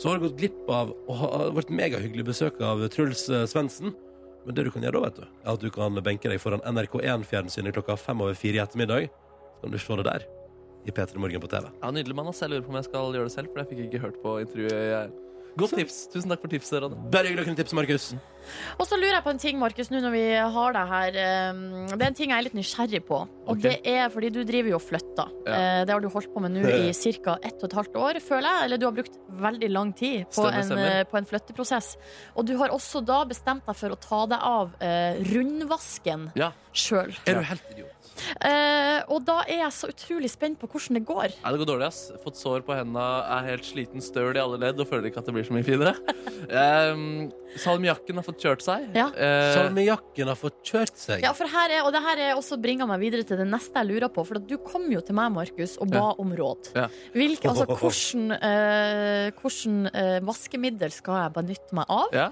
så har du gått glipp av å ha ha vært megahyggelig besøk av Truls eh, Svendsen. Men det du kan gjøre da, vet du, er at du kan benke deg foran NRK1-fjernsynet klokka fem over fire i ettermiddag. Så kan du se det der i P3 Morgen på TV.
Ja, nydelig mann. ass. Jeg lurer på om jeg skal gjøre det selv, for jeg fikk ikke hørt på intervjuet. Jeg... Godt tips. Tusen takk for tipset. Rade.
Bare hyggelig å kunne tipse, Markus.
Og så lurer jeg på en ting, Markus, nå når vi har deg her. eh, Det er en ting jeg er litt nysgjerrig på. Og
Ok.
det er fordi du driver jo og flytter.
Ja.
Eh, Det har du holdt på med nå i ca. ett og et halvt år, føler jeg. Eller du har brukt veldig lang tid på,
Stemmer,
en,
stemmer.
eh, på en flytteprosess. Og du har også da bestemt deg for å ta deg av eh, rundvasken
Ja.
sjøl.
Er du helt idiot?
Og da er jeg så utrolig spent på hvordan det går.
Nei, det går dårlig, ass. Fått sår på henda, er helt sliten, støl i alle ledd og føler ikke at det blir så
[LAUGHS]
mye finere. Ehm, salmiakken har fått kjørt seg.
Ja.
Eh,
Salmiakken har fått kjørt seg.
Ja, for her er, og det her er også bringer meg videre til det neste jeg lurer på. For at du kom jo til meg, Markus, og ba om råd.
Ja.
Hvilke,
[LAUGHS]
altså, hvordan eh, hvordan eh, vaskemiddel skal jeg benytte meg av?
Ja.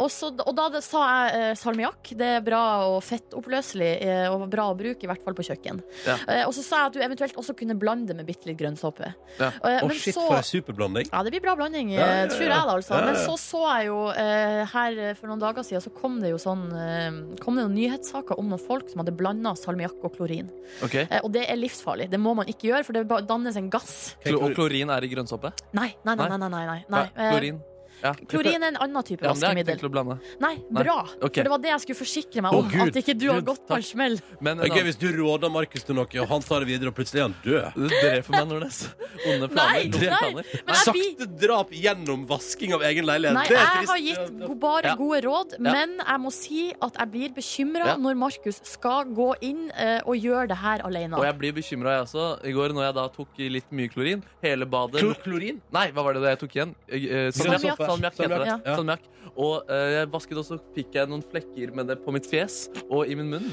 Og, så, og da det, sa jeg eh, salmiakk. Det er bra og fettoppløselig eh, og bra å bruke, i hvert fall på kjøkken.
Ja.
Eh, og så sa jeg at du eventuelt også kunne blande det med bitte litt grønnsåpe.
Ja.
Eh,
Å,
men
shit,
så-
for ei superblanding.
ja, det blir bra blanding,
Ja, ja, ja.
tror jeg da, altså.
Ja, ja.
Men så så jeg jo eh, her eh, for noen dager siden, så kom det jo sånn eh, Kom det noen nyhetssaker om noen folk som hadde blanda salmiakk og klorin.
ok.
Eh, og det er livsfarlig. Det må man ikke gjøre, for det ba- dannes en gass.
Klo og klorin er i grønnsåpe?
Nei, nei, nei. nei, nei, nei, nei. nei.
Ja, klorin. Ja.
Eh, klorin er en annen type
Ja, men det har jeg ikke
vaskemiddel.
tenkt til å blande.
Nei,
Nei.
bra.
Ok.
For det var det jeg skulle forsikre meg
Å,
om.
Gud.
at ikke du har
Gud,
gått på en smell.
Men en
Det er gøy
annen-
hvis du råder Markus til noe, og han tar det videre, og plutselig er han død.
Du dreper meg,
[LAUGHS]
Nordnes. Onde planer.
Nei,
dumme
nei.
planer.
Men jeg, blir-
Sakte drap gjennom vasking av egen leilighet.
Nei,
Det er
jeg
trist.
har gitt go- bare
Ja.
gode råd,
Ja.
men jeg må si at jeg blir bekymra
Ja.
når Markus skal gå inn eh, og gjøre det her alene.
Og jeg blir bekymra, jeg også. I går når jeg da tok i litt mye klorin, hele badet
Klo- Klorin?
Nei, hva var det jeg tok igjen? Eh,
Salmiakk.
Salmiakk. Salmiakk heter det.
Salmiakk, ja.
Salmiakk. Og eh, jeg vasket, og så fikk jeg noen flekker med det på mitt fjes og i min
[LAUGHS]
munn.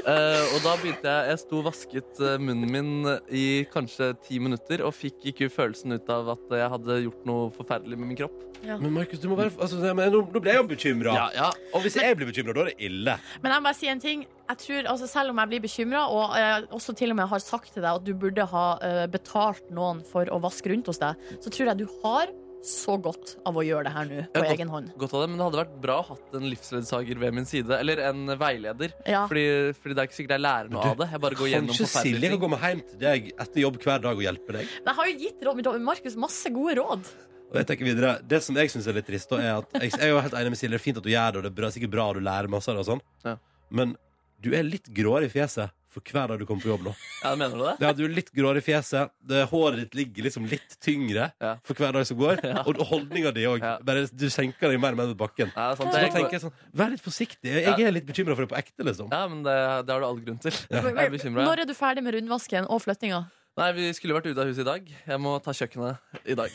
Eh, og da begynte jeg Jeg sto og vasket eh, munnen min i kanskje ti minutter og fikk ikke følelsen ut av at jeg hadde gjort noe forferdelig med min kropp.
Men Markus, du må være altså, det- men, nå, nå ble jeg jo bekymra.
Ja, ja.
Og hvis jeg blir bekymra, da er det ille.
Men jeg må bare si en ting. Jeg tror, altså, selv om jeg blir bekymra, og eh, også til og med har sagt til deg at du burde ha eh, betalt noen for å vaske rundt hos deg, så tror jeg du har så godt av å gjøre det her nå på
Ja, godt.
egen hånd.
Godt av det, men det hadde vært bra å hatt en livsledsager ved min side. Eller en veileder.
Ja.
Fordi, fordi det er ikke sikkert jeg lærer noe
Men du,
av det. Jeg bare går gjennom
Kanskje Silje
forferdelige
kan
ting.
komme hjem til deg etter jobb hver dag og hjelpe deg.
Men Jeg har jo gitt råd, Markus masse gode råd.
Og jeg tenker videre, Det som jeg syns er litt trist, da, er at jeg, jeg er jo helt enig med Silje. Det er fint at du gjør det, og det er bra, sikkert bra du lærer masse av det og sånn.
Ja.
Men du er litt gråere i fjeset for hver dag du kommer på jobb nå.
Ja, mener du det?
Ja, du er litt gråere i fjeset. Det, håret ditt ligger liksom litt tyngre
Ja.
for hver dag som [LAUGHS] går. Og holdninga di òg.
Ja.
Du senker deg mer og mer mot bakken.
Ja, det er sant.
Så da
Jeg
tenker jeg sånn, Vær litt forsiktig. Jeg
Ja.
er litt bekymra for det på ekte. liksom
Ja, men det, det har du all grunn til. Jeg er bekymret.
Når er du ferdig med rundvasken og flyttinga?
Nei, vi skulle vært ute av huset i dag. Jeg må ta kjøkkenet
[LAUGHS]
i dag.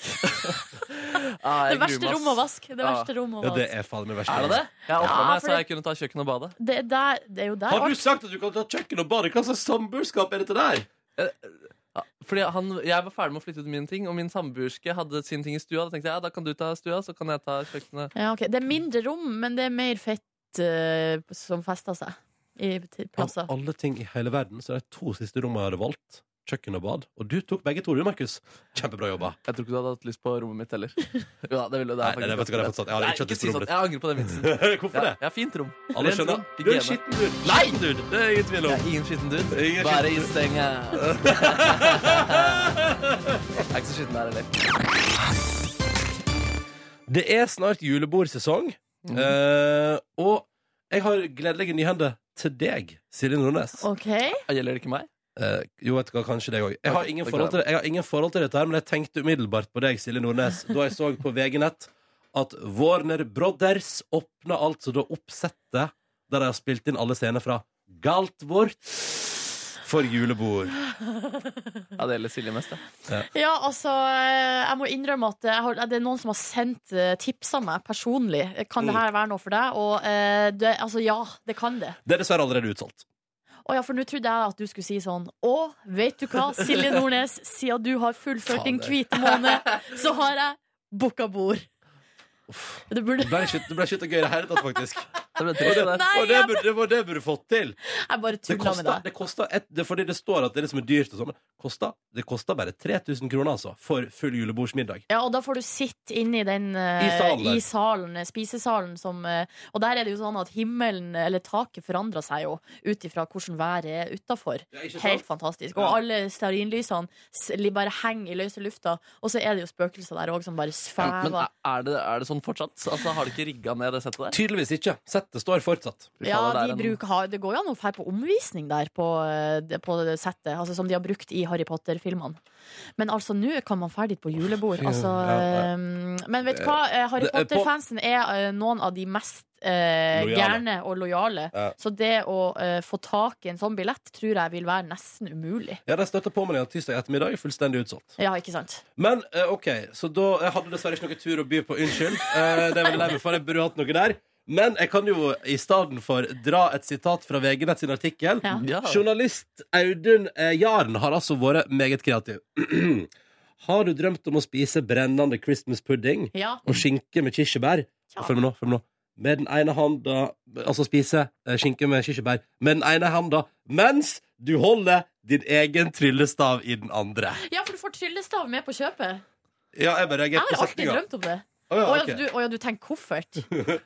Ah,
Det
jeg gruer
verste
meg, ass.
rommet å vaske. Det
Ja.
verste rommet å
Ja, det
vaske.
er faen meg verst.
Er det det? Jeg ofra
Ja,
meg,
for
så
det-
jeg kunne ta kjøkkenet og bade.
Det, er der, det er jo der
Har du
alt
sagt at du kan ta kjøkken og bade? Hva slags samboerskap er dette der?
Fordi han, jeg var ferdig med å flytte ut mine ting, og min samboerske hadde sin ting i stua. Da tenkte jeg ja, da kan du ta stua, så kan jeg ta kjøkkenet.
ja, ok. Det er mindre rom, men det er mer fett eh, som fester seg i t- plasser.
Av alle ting i hele verden så er de to siste rommene jeg hadde valgt. Kjøkken og bad. Og du tok begge to, du, Markus. Kjempebra jobba.
Jeg tror ikke du hadde hatt lyst på rommet mitt heller. [LAUGHS] Jo da, det ville det
Nei,
er
nei,
faktisk
vet du hva jeg har fått sagt? Jeg hadde
Nei,
ikke hatt
ikke
lyst
si
på
sånn.
rommet
Jeg angrer på den vitsen.
[LAUGHS] Hvorfor
Ja,
det?
jeg har fint
[LAUGHS]
rom.
Alle
Rent
skjønner. Du
rom,
er en
hygiene.
skitten dude. Nei, dude! Det er ingen tvil om.
Jeg er ingen skitten
Ingen
dude. Bare i
skitten. [LAUGHS]
senga. [LAUGHS] Jeg er ikke så skitten der heller.
Det er snart julebordsesong,
Mm.
eh, og jeg har gledelige nyhender til deg, Silje Nordnes.
OK.
Gjelder det ikke meg?
Eh, jo, vet du hva, kanskje deg òg. Jeg, har
Ok,
ingen
det
forhold
går
til det- jeg har ingen forhold til dette, her, men jeg tenkte umiddelbart på deg, Silje Nordnes, da jeg så på VG-nett at Warner Brothers åpna altså da oppsettet der de har spilt inn alle scener fra Galt vårt for julebord.
Ja, det gjelder Silje mest, det.
Ja, altså, eh, jeg må innrømme at jeg har, det er noen som har sendt eh, tipsa meg personlig. Kan
Mm.
det her være noe for deg? Og eh, det, altså, ja, det kan det.
Det er dessverre allerede utsolgt.
Å ja, for nå trodde jeg at du skulle si sånn Å, vet du hva, Silje Nordnes, siden du har fullført din
Fader.
hvite måned, så har jeg booka bord. Det burde
Det ble ikke, det ble ikke gøy i det hele tatt, faktisk.
Det ble trist, det.
Nei,
og det burde, det var det burde du fått til.
Jeg bare
Det
tulla med
koster,
deg.
det koster et, det, fordi det står at det er det som er dyrt og sånn. men koster- Det koster bare 3000 kroner, altså, for full julebordsmiddag.
Ja, og da får du sitte inne i den eh,
I salen der.
i salen, eh, spisesalen som eh, Og der er det jo sånn at himmelen, eller taket, forandrer seg jo ut ifra hvordan været er utafor. Helt fantastisk. Og
Ja.
alle stearinlysene s- li- bare henger i løse lufta. Og så er det jo spøkelser der òg som bare
Ja, Men
eh,
svever.
er er det, er det sånn fortsatt? Altså, Har de ikke rigga ned det settet der?
Tydeligvis ikke. Settet står fortsatt.
Fy
Ja,
faen, det er
de
en-
bruker, har- det går jo an å dra på omvisning der på, eh, det- på det settet, altså som de har brukt i Harry Potter-filmene. Men altså, nå kan man ferdig på julebord.
fy,
Altså,
ja, ja.
eh, men vet du hva? Eh, Harry
det er på-
Potter-fansen er eh, noen av de mest eh,
Lojale.
gærne og lojale.
Ja.
Så det å eh, få tak i en sånn billett tror jeg vil være nesten umulig.
Ja, De støtter på med det tirsdag ettermiddag. Fullstendig utsolgt.
Ja, ikke sant?
Men eh, OK, så da Jeg hadde dessverre ikke noe tur å by på. Unnskyld. Eh, det er veldig lei meg for. Jeg burde hatt noe der. Men jeg kan jo i stedet for dra et sitat fra VG Nett sin artikkel.
Ja.
Ja.
Journalist Audun eh, Jaren har altså vært meget kreativ. [CLEARS THROAT] har du drømt om å spise brennende Christmas pudding
Ja.
og skinke med kirsebær?
Mm. Ja.
Følg med nå. følg Med nå. Med den ene handa Altså spise eh, skinke med kirsebær med den ene handa mens du holder din egen tryllestav i den andre.
ja, for du får tryllestav med på kjøpet.
Ja, jeg bare
Jeg
reagerte
har alltid drømt om det.
Å ja,
Å ja,
ok.
du, å ja, du tenker koffert.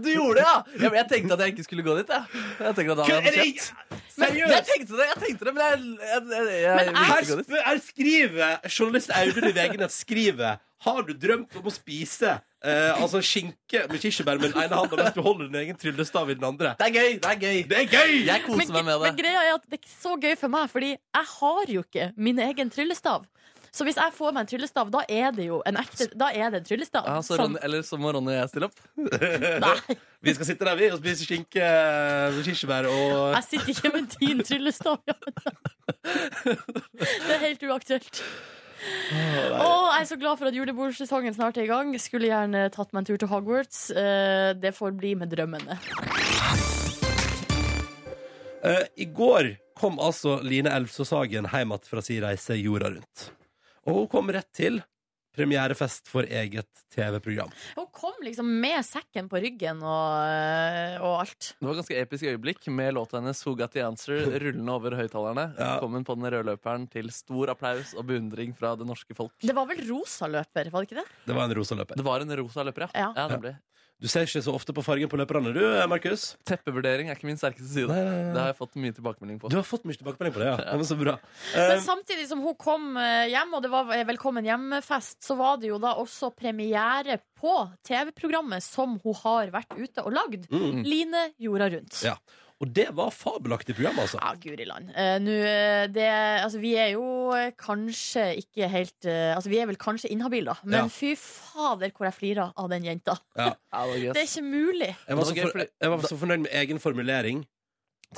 du gjorde det, [LAUGHS] ja! Jeg, jeg tenkte at jeg ikke skulle gå dit, jeg. Jeg tenkte at da hadde
Hva er
jeg
det-
fått kjeft. Jeg
Seriøst!
tenkte det, jeg tenkte det, men jeg, jeg, jeg, jeg,
Men
ville
Her,
ikke gå dit.
sp- her skriver journalist Audun i VG Nett skriver Har du drømt om å spise eh, altså skinke med kirsebær med den ene handa mens du holder din egen tryllestav i den andre?
Det er gøy! Det er gøy!
Det er gøy!
Jeg koser meg med
men
det.
greia er at det er ikke så gøy for meg, fordi jeg har jo ikke min egen tryllestav. Så hvis jeg får meg en tryllestav, da er det jo en ekte Da er det en tryllestav.
Ja, så
Sånn.
Ronny, eller så må Ronny og jeg stille opp.
Nei,
Vi skal sitte der vi og spise skinke med kirsebær og
jeg sitter ikke med din tryllestav. Ja. Det er helt uaktuelt. Å, jeg er så glad for at julebordsesongen snart er i gang. Skulle gjerne tatt meg en tur til Hogwarts. Eh, Det får bli med drømmene.
Eh, I går kom altså Line Elvsås Hagen hjem igjen fra si reise jorda rundt. Og hun kom rett til premierefest for eget TV-program.
Hun kom liksom med sekken på ryggen og, eh, og alt.
Det var ganske episk øyeblikk med låta hennes Who Got The Answer rullende over høyttalerne.
Ja.
Kom hun på den røde løperen til stor applaus og beundring fra det norske folk.
Det var vel rosa løper, var det ikke det?
Det var en rosa løper.
Det var en rosa løper, ja.
Ja.
ja. nemlig.
Du ser ikke så ofte på fargen på løperne, du, Markus?
Teppevurdering er ikke min sterkeste side.
Nei, nei, nei.
Det har jeg fått mye tilbakemelding på.
Du har fått mye tilbakemelding på det, ja. ja. men så bra.
Men
Eh,
samtidig som hun kom eh, hjem, og det var eh, velkommen hjemmefest, så var det jo da også premiere på TV-programmet som hun har vært ute og lagd.
Mm.
Line jorda rundt.
ja. Og det var fabelaktig program, altså.
Ja, guri land. Eh, nå, eh, det Altså, vi er jo eh, kanskje ikke helt eh, Altså, vi er vel kanskje inhabile, da.
Ja.
Men fy fader, hvor jeg flirer av den jenta.
Ja, det var gøy,
Det er
ass.
ikke mulig.
Jeg var,
Det
så,
var gøy,
for,
fordi-
jeg var så fornøyd med egen formulering.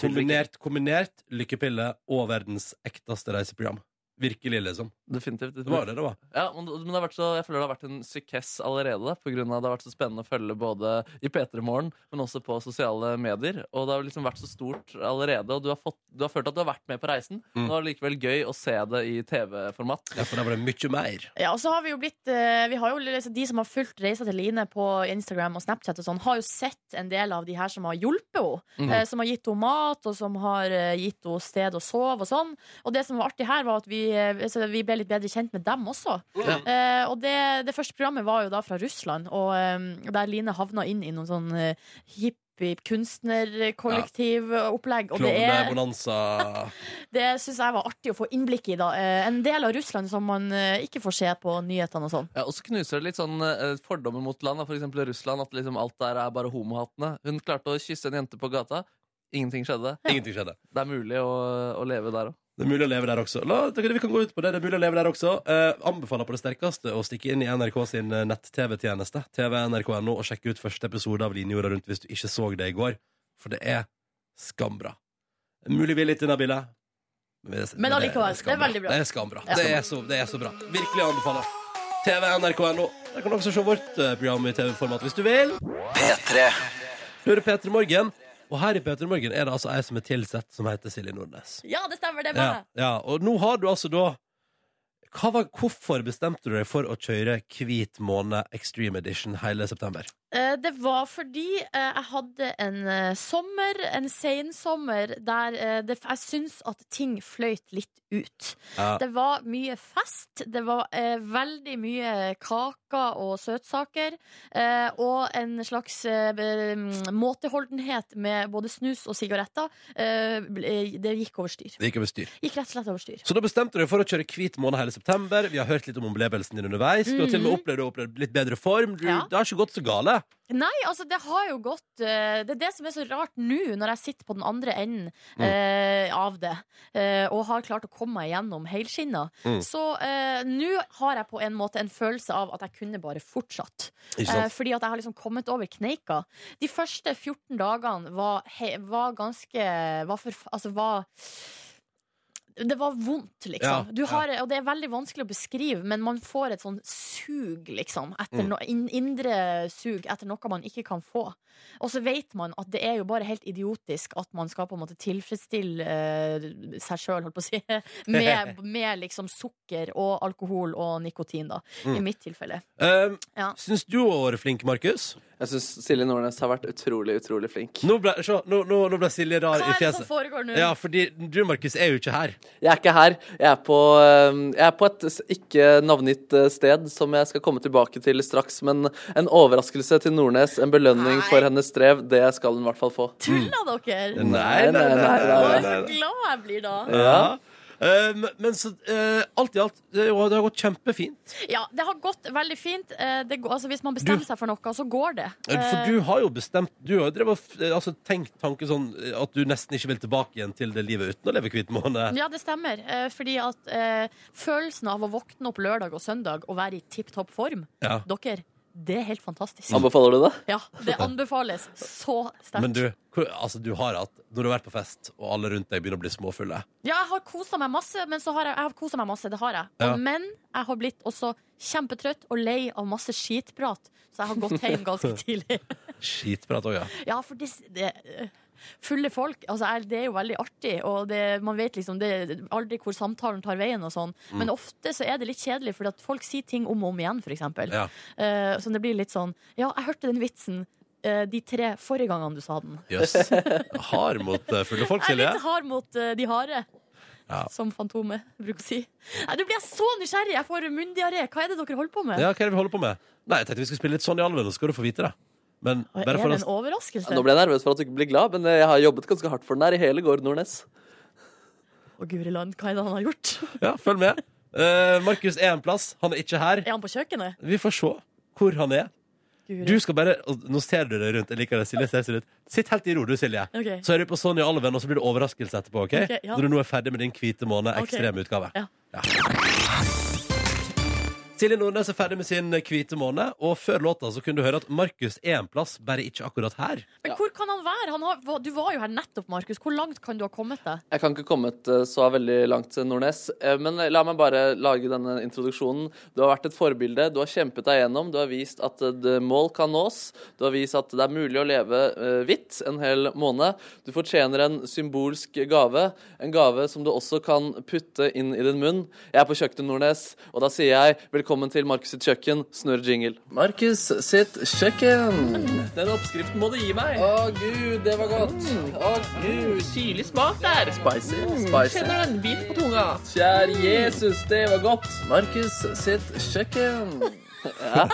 Kombinert, kombinert lykkepille og verdens ekteste reiseprogram. Virkelig, liksom.
Definitivt.
Det var det det var.
Ja, men, men det har vært så, jeg føler det har vært en sykess allerede. da, På grunn av Det har vært så spennende å følge både i P3 Morgen, men også på sosiale medier. Og det har liksom vært så stort allerede, og du har, fått, du har følt at du har vært med på reisen.
Mm.
Det var likevel gøy å se det i TV-format.
Ja, for da var det mye mer.
Ja, og så har vi jo blitt eh, vi har jo, liksom, De som har fulgt reisa til Line på Instagram og Snapchat, og sånn, har jo sett en del av de her som har hjulpet henne.
Mhm.
eh, som har gitt henne mat, og som har eh, gitt henne sted å sove og sånn. Og det som var artig her, var at vi, eh, altså, vi ble litt bedre kjent med dem også. Eh, og det, det første programmet var jo da fra Russland, og eh, der Line havna inn i noen sånn eh, hipp oppi kunstnerkollektivopplegg. Og det, er,
Klovnebonanza.
det syns jeg var artig å få innblikk i. da Eh, En del av Russland som man eh, ikke får se på nyhetene og sånn.
Ja, og så knuser det litt sånn eh, fordommer mot land, da. for eksempel Russland, at liksom alt der er bare homohattene. Hun klarte å kysse en jente på gata. Ingenting skjedde.
Ingenting skjedde.
Det er mulig å, å leve der òg.
Det er mulig å leve der også. La, dere, vi kan gå ut på det. Det er mulig å leve der også. Eh, anbefaler på det sterkeste å stikke inn i NRK sin eh, nett-TV-tjeneste, tv.nrk.no, og sjekke ut første episode av Linjorda rundt hvis du ikke så det i går. For det er skambra. Mulig vi er litt inhabile. Men, det-
Men allikevel, det er
skambra.
veldig bra.
Det er skambra.
Ja.
Det, er så, det er så bra. Virkelig anbefaler. tv.nrk.no. Der kan du også se vårt eh, program i TV-format hvis du vil. Du hører P3 Morgen, og her i P3 Morgen er det altså ei som er tilsett, som heter Silje Nordnes.
Ja, det stemmer, det er
Ja,
meg!
ja, og nå har du altså da hva var, Hvorfor bestemte du deg for å kjøre Hvit måned Extreme Edition hele september?
Eh, Det var fordi eh, jeg hadde en eh, sommer, en sensommer, der eh, det, jeg syns at ting fløyt litt ut.
Ja.
Det var mye fest, det var eh, veldig mye kaker og søtsaker, eh, og en slags eh, be- måteholdenhet med både snus og sigaretter. Eh, ble- det gikk over styr.
Det gikk over styr.
Gikk rett og slett over styr.
Så da bestemte du deg for å kjøre Hvit måned hele september. Vi har hørt litt om opplevelsen din underveis. Du har til og med opplevd, opplevd litt bedre form. Du,
Mhm. Ja.
Det har ikke gått så gale.
Nei, altså det har jo gått eh, Det er det som er så rart nå, når jeg sitter på den andre enden
Mm.
eh, av det, eh, og har klart å komme meg gjennom helskinna.
Mm.
Så eh, nå har jeg på en måte en følelse av at jeg kunne bare fortsatt.
Ikke
Eh,
sant?
fordi at jeg har liksom kommet over kneika. De første 14 dagene var, he, var ganske var for, Altså var det var vondt, liksom.
Ja,
du har, Og det er veldig vanskelig å beskrive, men man får et sånn sug, liksom.
Mm.
Etter no, in, indre sug etter noe man ikke kan få. Og så vet man at det er jo bare helt idiotisk at man skal på en måte tilfredsstille eh, seg sjøl, holdt på å si, [LAUGHS] med,
[LAUGHS]
med liksom sukker og alkohol og nikotin, da.
Mm.
I mitt tilfelle.
Um,
Ja.
Syns du har vært flink, Markus?
Jeg syns Silje Nordnes har vært utrolig, utrolig flink.
Nå ble, se, nå, nå, nå ble Silje rar i
Hva er det som
fjeset.
foregår nå?
Ja, fordi du, Markus, er jo ikke her.
Jeg er ikke her. Jeg er på, øhm, jeg er på et s- ikke navngitt øh, sted som jeg skal komme tilbake til straks. Men en overraskelse til Nordnes, en belønning for hennes strev, det skal hun i hvert fall få.
Tuller dere?
Mm.
Nei, nei, nei,
Å,
nei,
så glad jeg blir da.
Ja. Um, men så, eh, alt i alt, det, jo, det har gått kjempefint.
Ja, det har gått veldig fint. Eh, Det går, altså, hvis man bestemmer
Du-
seg for noe, så går det.
For
Eh.
du har jo bestemt Du har jo drevet, og f- altså, tenkt tanken sånn eh, at du nesten ikke vil tilbake igjen til det livet uten å leve hvit måned.
Ja, det stemmer. Eh, Fordi at eh, følelsen av å våkne opp lørdag og søndag og være i tipp topp form,
Ja.
dere, det er helt fantastisk.
Anbefaler du det?
Ja, det anbefales så sterkt.
Men du, hvor- altså, du har hatt Når du har vært på fest, og alle rundt deg begynner å bli småfulle
Ja, jeg har kosa meg masse, men så har jeg, jeg har koset meg masse, det har jeg.
Ja.
Men jeg har blitt også kjempetrøtt og lei av masse skitprat, så jeg har gått hjem ganske
[LAUGHS]
tidlig.
Skitprat òg, ja.
Ja, for det, det eh, Fulle folk, altså er- det er jo veldig artig, og det, man vet liksom det, aldri hvor samtalen tar veien og sånn.
Mm.
Men ofte så er det litt kjedelig, fordi at folk sier ting om og om igjen, for eksempel.
ja.
Eh, så det blir litt sånn Ja, jeg hørte den vitsen eh, de tre forrige gangene du sa den.
Jøss.
[LAUGHS]
Hard mot eh, fulle folk,
Jeg er
Silje.
litt hard mot eh, de harde.
Ja.
Som Fantomet bruker å si. Nei, Nå blir jeg så nysgjerrig! Jeg får munndiaré. Hva er det dere holder på med?
Ja, hva er det vi holder på med? Nei, jeg tenkte vi skulle spille litt Sonja Alven, og så skal du få vite det. Men
Og
bare
er
for
det
oss
en overraskelse?
Ja, nå ble jeg nervøs for at du ikke blir glad, men eh, jeg har jobbet ganske hardt for den her i hele går, Nordnes.
Å, guri land, hva er det han har gjort? [LAUGHS]
Ja, følg med. Eh, Markus er en plass. Han er ikke her.
Er han på kjøkkenet?
Vi får se hvor han er.
Guri.
Du skal bare, og Nå ser du deg rundt. Jeg liker det, Silje. Ser sånn ut. Sitt helt i ro, du, Silje.
Ok.
Så er du på Sonja Alven, og så blir det overraskelse etterpå. ok?
Ok, ja.
Når du nå er ferdig med din hvite måned
Ok.
ekstreme utgave.
Ja.
Silje Nordnes er ferdig med sin hvite måned, og før låta så kunne du høre at Markus er en plass, bare ikke akkurat her.
Men hvor kan han være? Han har, du var jo her nettopp, Markus. Hvor langt kan du ha kommet deg?
Jeg kan ikke komme et, eh, så veldig langt, eh, Nordnes. Eh, Men la meg bare lage denne introduksjonen. Du har vært et forbilde. Du har kjempet deg gjennom. Du har vist at eh, det- mål kan nås. Du har vist at det er mulig å leve eh, hvitt en hel måned. Du fortjener en symbolsk gave. En gave som du også kan putte inn i din munn. Jeg er på kjøkkenet, Nordnes, og da sier jeg velkommen til Markus sitt kjøkken. Snurr jingle. Markus sitt kjøkken. Den oppskriften må du gi meg. Å gud, det var godt. Å gud, Syrlig smak der. Spicy. spicy. Kjenner den bit på tunga. Kjære Jesus, det var godt. Markus sitt kjøkken. Ja.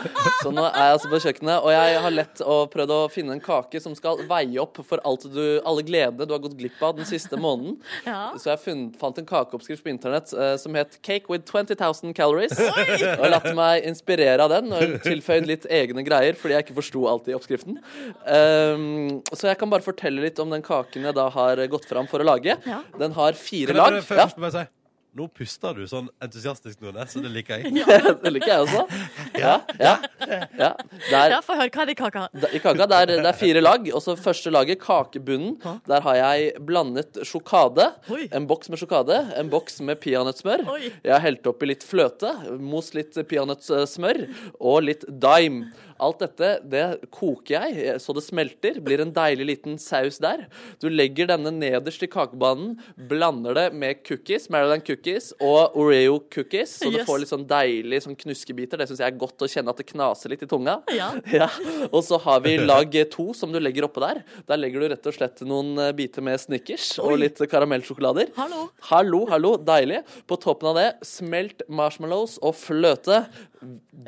Så nå er jeg altså på kjøkkenet, og jeg har lett og prøvd å finne en kake som skal veie opp for alt du, alle gledene du har gått glipp av den siste måneden.
Ja.
Så jeg funn- fant en kakeoppskrift på internett eh, som het 'Cake with 20,000 calories'. Og latt meg inspirere av den og tilføyd litt egne greier fordi jeg ikke forsto alt i oppskriften. Ehm, så jeg kan bare fortelle litt om den kaken jeg da har gått fram for å lage.
Ja.
Den har fire
Kan jeg bare
lag. Ja,
først bare si Nå puster du sånn entusiastisk, Nordnes, så det liker
[LAUGHS]
jeg.
[LAUGHS] det liker jeg også. Ja, ja, ja. Der,
Ja, få høre. Hva er det i kaka?
Da- I kaka det er, det er fire lag. Og så første laget, kakebunnen, der har jeg blandet sjokade.
Oi.
En boks med sjokade, en boks med peanøttsmør.
Oi.
Jeg har helt oppi litt fløte, most litt peanøttsmør og litt dime. Alt dette det koker jeg eh, så det smelter. Blir en deilig liten saus der. Du legger denne nederst i kakebanen, blander det med cookies, Maryland cookies og Oreo cookies, så du
Yes.
får litt sånn deilig sånn knuskebiter. Det syns jeg er godt å kjenne at det knaser litt i tunga.
Ja.
[LAUGHS] Ja, Og så har vi lag to som du legger oppå der. Der legger du rett og slett noen eh, biter med Snickers og litt karamellsjokolader.
Hallo.
Hallo, hallo, deilig. På toppen av det, smelt marshmallows og fløte.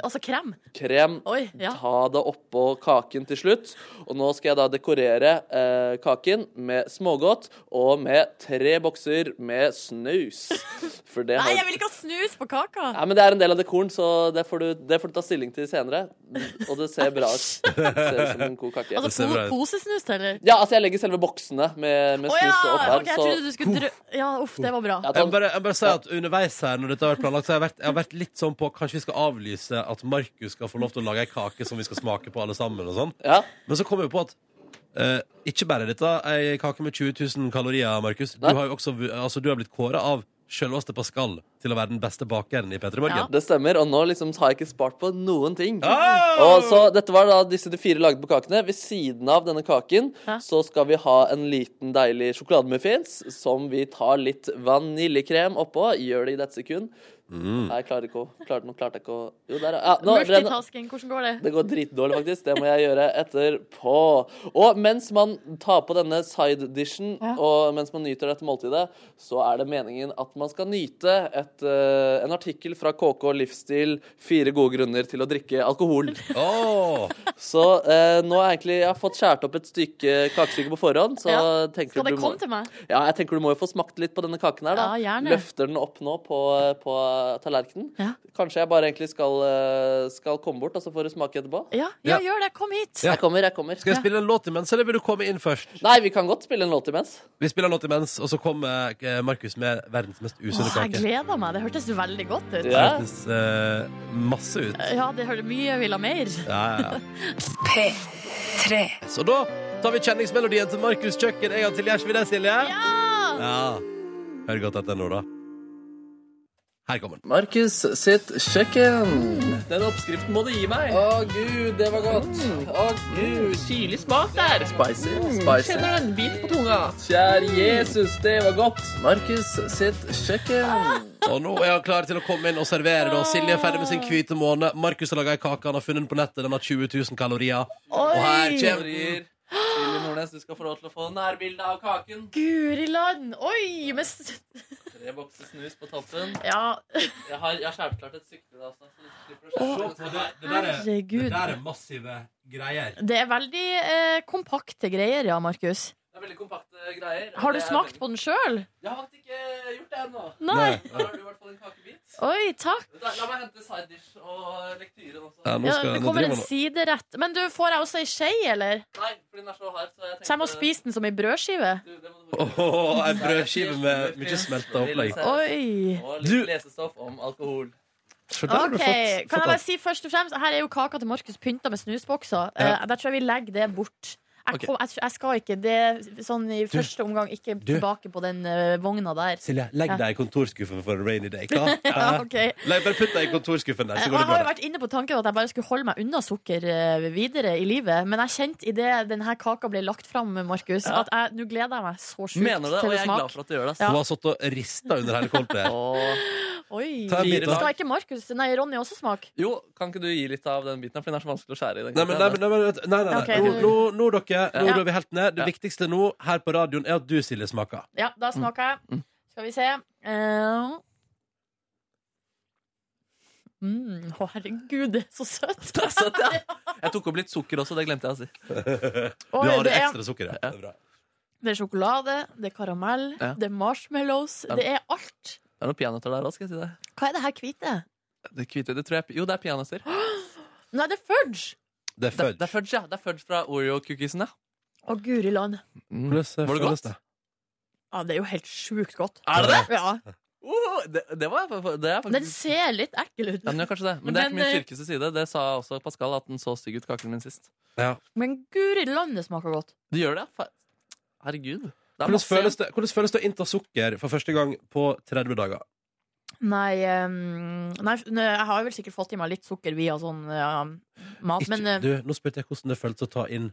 Altså krem.
Krem.
Oi, ja.
Ta det oppå kaken til slutt. Og nå skal jeg da dekorere eh, kaken med smågodt og med tre bokser med snus. For det
[LAUGHS] Nei, jeg
har
vil ikke ha snus på kaka.
Nei, men Det er en del av dekoren, så det får, du, det får du ta stilling til senere. Og det ser bra ut. Det ser ut som en god kake.
Altså
ser
po
bra ut.
posesnus, eller?
Ja, altså jeg legger selve boksene med, med
Å
snus
ja!
opp her.
ok, jeg trodde du skulle drø... Ja, uff, det var bra.
så,
Jeg
ja,
må
sånn,
bare, jeg må bare si at underveis her, når dette har vært planlagt, så har jeg vært, jeg har vært litt sånn på Kanskje vi skal avlyse at Markus skal få lov til å lage ei kake som vi skal smake på alle sammen, og sånn.
ja.
Men så kom jeg jo på at eh, ikke bare er dette ei kake med 20 000 kalorier, Markus. Du
Nei.
har jo også vu- altså, du har blitt kåra av sjølveste Pascal til å være den beste bakeren i P3 Morgen.
Det stemmer, og nå liksom har jeg ikke spart på noen ting.
Ah!
Og så Dette var da disse de fire lagde på kakene. Ved siden av denne kaken
Ja.
så skal vi ha en liten deilig sjokolademuffins som vi tar litt vaniljekrem oppå. Gjør det i dette sekund.
Mm.
Nei, jeg klarer ikke å klarte, Nå klarte jeg ikke å Jo, der, ja. Nå, ren-
Multitasking, hvordan går det?
Det går dritdårlig, faktisk. Det må jeg gjøre etterpå. Og mens man tar på denne side dishen, og mens man nyter dette måltidet, så er det meningen at man skal nyte et, eh, en artikkel fra KK Livsstil 'Fire gode grunner til å drikke
[LAUGHS]
alkohol'.
Åh!
Så eh, nå har jeg egentlig jeg har fått skåret opp et stykke kakestykke på forhånd. Så
Ja.
tenker
Skal det
du må,
komme til meg?
ja, jeg tenker du må jo få smakt litt på denne kaken her, da.
Ja, gjerne.
Løfter den opp nå på, eh, på tallerkenen.
Ja.
Kanskje jeg bare egentlig skal, eh, skal komme bort, og så får du smake etterpå.
Ja, ja,
Ja.
gjør det. Kom hit.
Ja.
Jeg kommer, jeg kommer.
Skal jeg spille en låt imens, eller vil du komme inn først?
Nei, vi kan godt spille en låt imens.
Vi spiller en låt imens, og så kommer eh, Markus med verdens mest usunne
Åh, jeg
kake.
gleder meg. Det hørtes veldig godt ut.
Ja.
Det hørtes eh, masse ut.
Ja, det hørte mye jeg ville ha mer.
Ja, ja, ja. Så da tar vi kjenningsmelodien til Markus Kjøkken en gang til. Gjør ikke vi det, Silje? Ja! Hør godt etter nå, da. Her kommer den.
Markus sitt kjøkken. Den oppskriften må du gi meg. Å gud, det var godt. Å gud. Syrlig smak der. Spicy. spicy. Kjenner en bit på tunga. Mm. Kjære Jesus, det var godt. Markus sitt kjøkken.
Og nå er han klar til å komme inn og servere. da Silje er ferdig med sin hvite måne. Markus har laga ei kake han har funnet den på nettet. Den har 20 000 kalorier. Og her kommer
Kjevrier. Silje Nordnes, du skal få lov til å få nærbilde av kaken.
Guri land! Oi! Men s-
Tre bokser snus på toppen.
Ja,
Jeg har, jeg har skjært klart et stykke. Da, så du slipper å skjære.
herregud.
er massive greier.
Det er veldig eh, kompakte greier, ja, Markus.
Det er veldig kompakte greier.
Har du smakt på den sjøl?
Jeg har faktisk ikke gjort det ennå.
Nei.
Her har du i hvert fall en kakebit.
Oi, takk.
La la meg hente side dish og lektyren også.
Ja, nå
Ja,
skal,
det
nå driver
kommer en
han og-
siderett. Men du, får jeg også ei skje, eller?
Nei, fordi den er så hard, så jeg tenkte
Så jeg må spise den som ei brødskive?
Du, det må du
Åh,
bruke.
en brødskive med mye smelta opplegg.
Oi.
Og
Du-
litt lesestoff om alkohol.
Så der har du
Ok,
fått,
Kan jeg
fått
bare
alt.
si først og fremst Her er jo kaka til Markus pynta med snusbokser.
Ja.
Eh, der tror jeg vi legger det bort. Jeg,
Ok.
kom, jeg, jeg skal ikke det sånn i første omgang ikke tilbake på den eh, vogna der.
Silje, legg
Ja.
deg i kontorskuffen for a rainy day. Hva?
[LAUGHS] Ja, ok
Nei, bare putt deg i kontorskuffen der, så
Jeg
går det
har jo
bra.
vært inne på tanken at jeg bare skulle holde meg unna sukker eh, videre i livet. Men jeg kjente idet denne kaka ble lagt fram, Markus,
Ja.
at jeg- nå gleder jeg meg så sjukt
Mener det, og
til å
jeg er glad
smake.
for at du gjør det. ass.
Hun har sittet og rista under hele coldplayen.
Og...
Oi.
Ta en bit, da.
Skal ikke Markus, nei, Ronny også smake?
Jo, kan ikke du gi litt av den biten? For den er så vanskelig å skjære i. den
Nei, men, nei, men, nei, men, vet- nei, nei, nei.
Ok,
Nå,
du-
nå, nå, dere, nå
Ja.
drar vi helt ned. Det
Ja.
viktigste nå her på radioen er at du, Silje, smaker.
[LAUGHS] Ja,
Mm.
da smaker jeg. Skal vi se. Eh, Mm, å, herregud, det er så søtt!
[LAUGHS] [LAUGHS] Det er søtt, ja. Jeg tok opp litt sukker også, det glemte jeg å si.
Du
Oi,
har det
det, er,
ekstra sukkeret. Det er bra.
det er sjokolade, det er karamell,
Ja.
det er marshmallows,
Ja.
det er alt.
Det er noen peanøtter der òg, skal jeg si deg.
Hva er det her hvite?
Det hvite, det tror jeg Jo, det er peanøtter. Det,
Nei, det er fudge!
Det er
er- det
fudge.
er fudge, ja. Det er fudge fra Oreo-cookiesen, ja.
Å, guri land.
Mm. Var det godt?
Ja, det er jo helt sjukt godt.
Er det det?
[LAUGHS] Ja.
Oh, det, det var det er
Den
faktisk
ser litt ekkel ut,
ja, den gjør kanskje det, men det er
Men,
ikke min
eh,
styrkeste side. Det sa også Pascal, at den så stygg ut, kaken min sist.
men guri land, det smaker godt.
Det gjør det, ja. Fa- Herregud. Det er
Hvordan
masse
føles det, hvordan føles det å innta sukker for første gang på 30 dager?
Nei, ehm, nei, f- nei, jeg har vel sikkert fått i meg litt sukker via sånn ja, mat,
Ikke,
men eh,
du, nå spurte jeg hvordan det føltes å ta inn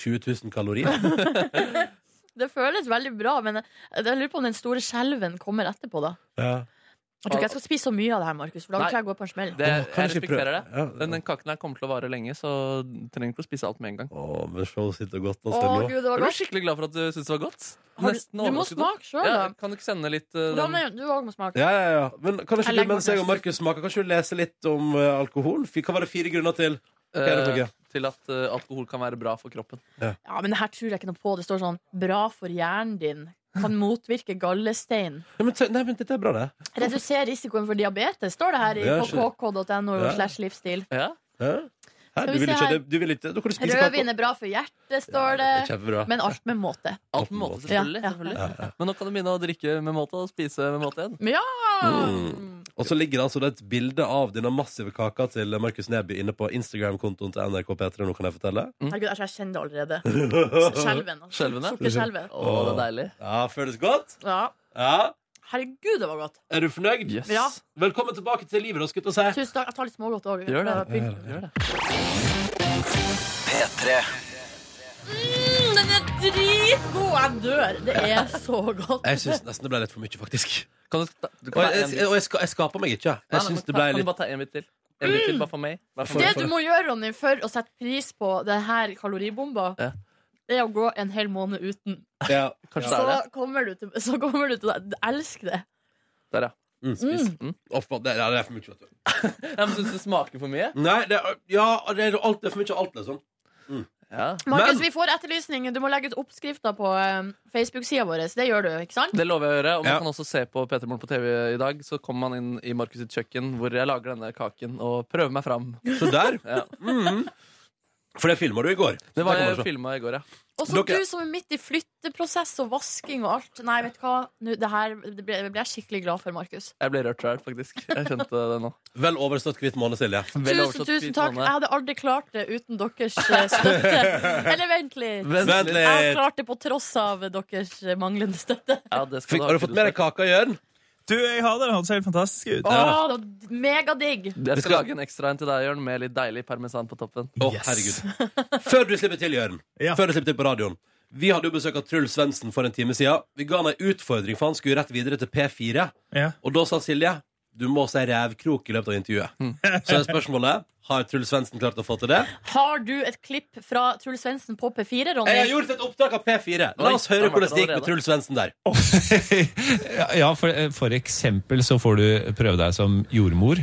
20 000
[LAUGHS]
kalorier.
det føles veldig bra. Men jeg, jeg lurer på om den store skjelven kommer etterpå, da.
Ja.
Jeg tror ikke jeg skal spise så mye av det her, Markus, for da
Nei.
tror jeg jeg går på en smell.
Det,
Åh, kan
jeg
du ikke prøve?
respekterer det.
Ja,
Den, den kaken her kommer til å vare lenge, så du trenger ikke å spise alt med en gang.
Å, men se, hun sitter godt og
Å,
stiller nå.
gud, det
Jeg
var
ble
godt.
skikkelig glad for at du syntes det var godt.
Har Du, du
Nesten
må
overrasket godt.
smake sjøl, da.
Ja, kan du ikke sende litt eh,
Da
den?
må- Du òg må smake.
Ja, ja, ja. Men kan ikke
Jeg
du,
legger meg
mens jeg og
ned.
Markus smaker, kan ikke du lese litt om eh, alkohol? Fy- Hva var det fire grunner til? Hva er det for
eh,
noe?
til at eh, alkohol kan være bra for kroppen.
Ja, men det her tror jeg ikke noe på. Det står sånn 'bra for hjernen din'. Kan motvirke gallestein.
Nei, men, t- nei, men dette er bra, det.
Redusere risikoen for diabetes, står det her i,
Ja,
på
skjønner.
kk.no.
Ja.
slash livsstil
Ja,
Hæ? Hæ?
Skal
Du
vi
vil
se
ikke,
her.
det- du vil ikke, da kan du spise
Rødvin
kake.
er bra for hjertet, står
Ja, det er
det.
Kjempebra.
Men alt med måte.
alt med måte,
Ja,
selvfølgelig.
ja, ja.
selvfølgelig. Men nå kan du begynne å drikke med måte og spise med måte igjen.
Mm. Og så ligger det altså et bilde av denne massive kaka til Markus Neby inne på Instagram-kontoen til NRK P3. Nå kan jeg fortelle.
Herregud, altså, jeg kjenner
[LAUGHS]
det allerede. Skjelven. altså.
Skjelven, ja.
Sukkerskjelven.
Å, det er deilig.
Ja, Føles godt?
Ja.
Ja.
Herregud, det var godt.
Er du fornøyd?
Yes.
Ja.
Velkommen tilbake til livet, da, skulle jeg til å si.
Tusen takk. Jeg tar litt smågodt òg.
Gjør det. Gjør det.
Mm, den er dritgod! Jeg dør. Det er så godt.
Jeg syns nesten det ble litt for mye, faktisk.
Kan du, ta- du
Og
kan ta
jeg,
en
jeg,
bit.
og jeg, ska, jeg skaper meg ikke.
Nei,
Jeg
nei,
syns
men
det
ta-
ble
Kan du
litt
bare ta en bit til? En bit til, bare for meg. Bare for
Det
meg.
du må gjøre, Ronny, for å sette pris på det her kaloribomba,
Ja.
det er å gå en hel måned uten.
ja.
Kanskje
Så
det er det.
kommer du til, [LAUGHS] så kommer du til det. Elsk det.
Der, ja.
Mm.
Spis.
Mm.
Mm.
Å, faen, det, ja, det er for mye. Vet du.
Ja, men Syns du det smaker for mye?
Nei, det er, ja, det er, alt, det er for mye av alt, liksom.
Ja.
Markus,
Men-
vi får etterlysning. Du må legge ut oppskrifter på eh, Facebook-sida vår. Det gjør du, ikke sant?
Det lover jeg å gjøre. Og man
Ja.
kan også se på Peter Morgen på TV i dag. Så kommer man inn i Markus sitt kjøkken, hvor jeg lager denne kaken og prøver meg fram.
Så [LAUGHS] der.
Ja.
Mm. For det filma du i går.
Det
Der
var
kan man
jeg
se.
filma i går, ja.
Og så
Dere-
du som er midt i flytteprosess og vasking og alt. Nei, vet du hva? Nå, det her det ble, ble jeg skikkelig glad for, Markus.
Jeg ble rørt sjøl, faktisk. Jeg kjente det nå.
Vel overstått hvitt måned, Silje.
Vel
Tusen,
overstått
tusen
hvit
takk.
måned.
Jeg hadde aldri klart det uten deres eh, støtte.
[LAUGHS]
Eller vent litt.
Vent
Vent
litt.
litt.
Jeg har klart det på tross av deres eh, manglende støtte.
Ja, det skal
Fikk, har du fått med deg kaka, Jørn?
Du, jeg har det. Det hørtes helt fantastisk ut.
Å,
Ja.
det var megadigg!
Jeg skal
skal-
lage en ekstra en til deg, Jørn, med litt deilig parmesan på toppen.
Å, herregud. Før du slipper til, Jørn.
Ja.
Før du slipper til på radioen. Vi hadde jo besøk av Truls Svendsen for en time siden. Vi ga han ei utfordring, for han skulle rett videre til P4.
Ja.
Og da sa Silje du må si revkrok i løpet av intervjuet.
Mm.
Så er spørsmålet har Truls Svendsen klart å få til det.
Har du et klipp fra Truls Svendsen på P4,
Jeg har
Ronny?
gjort et opptak av P4. La
Oi,
oss høre
han
hvordan det
var
gikk med
allerede.
Truls Svendsen der.
[LAUGHS] Ja, for, eh, for eksempel så får du prøve deg som jordmor.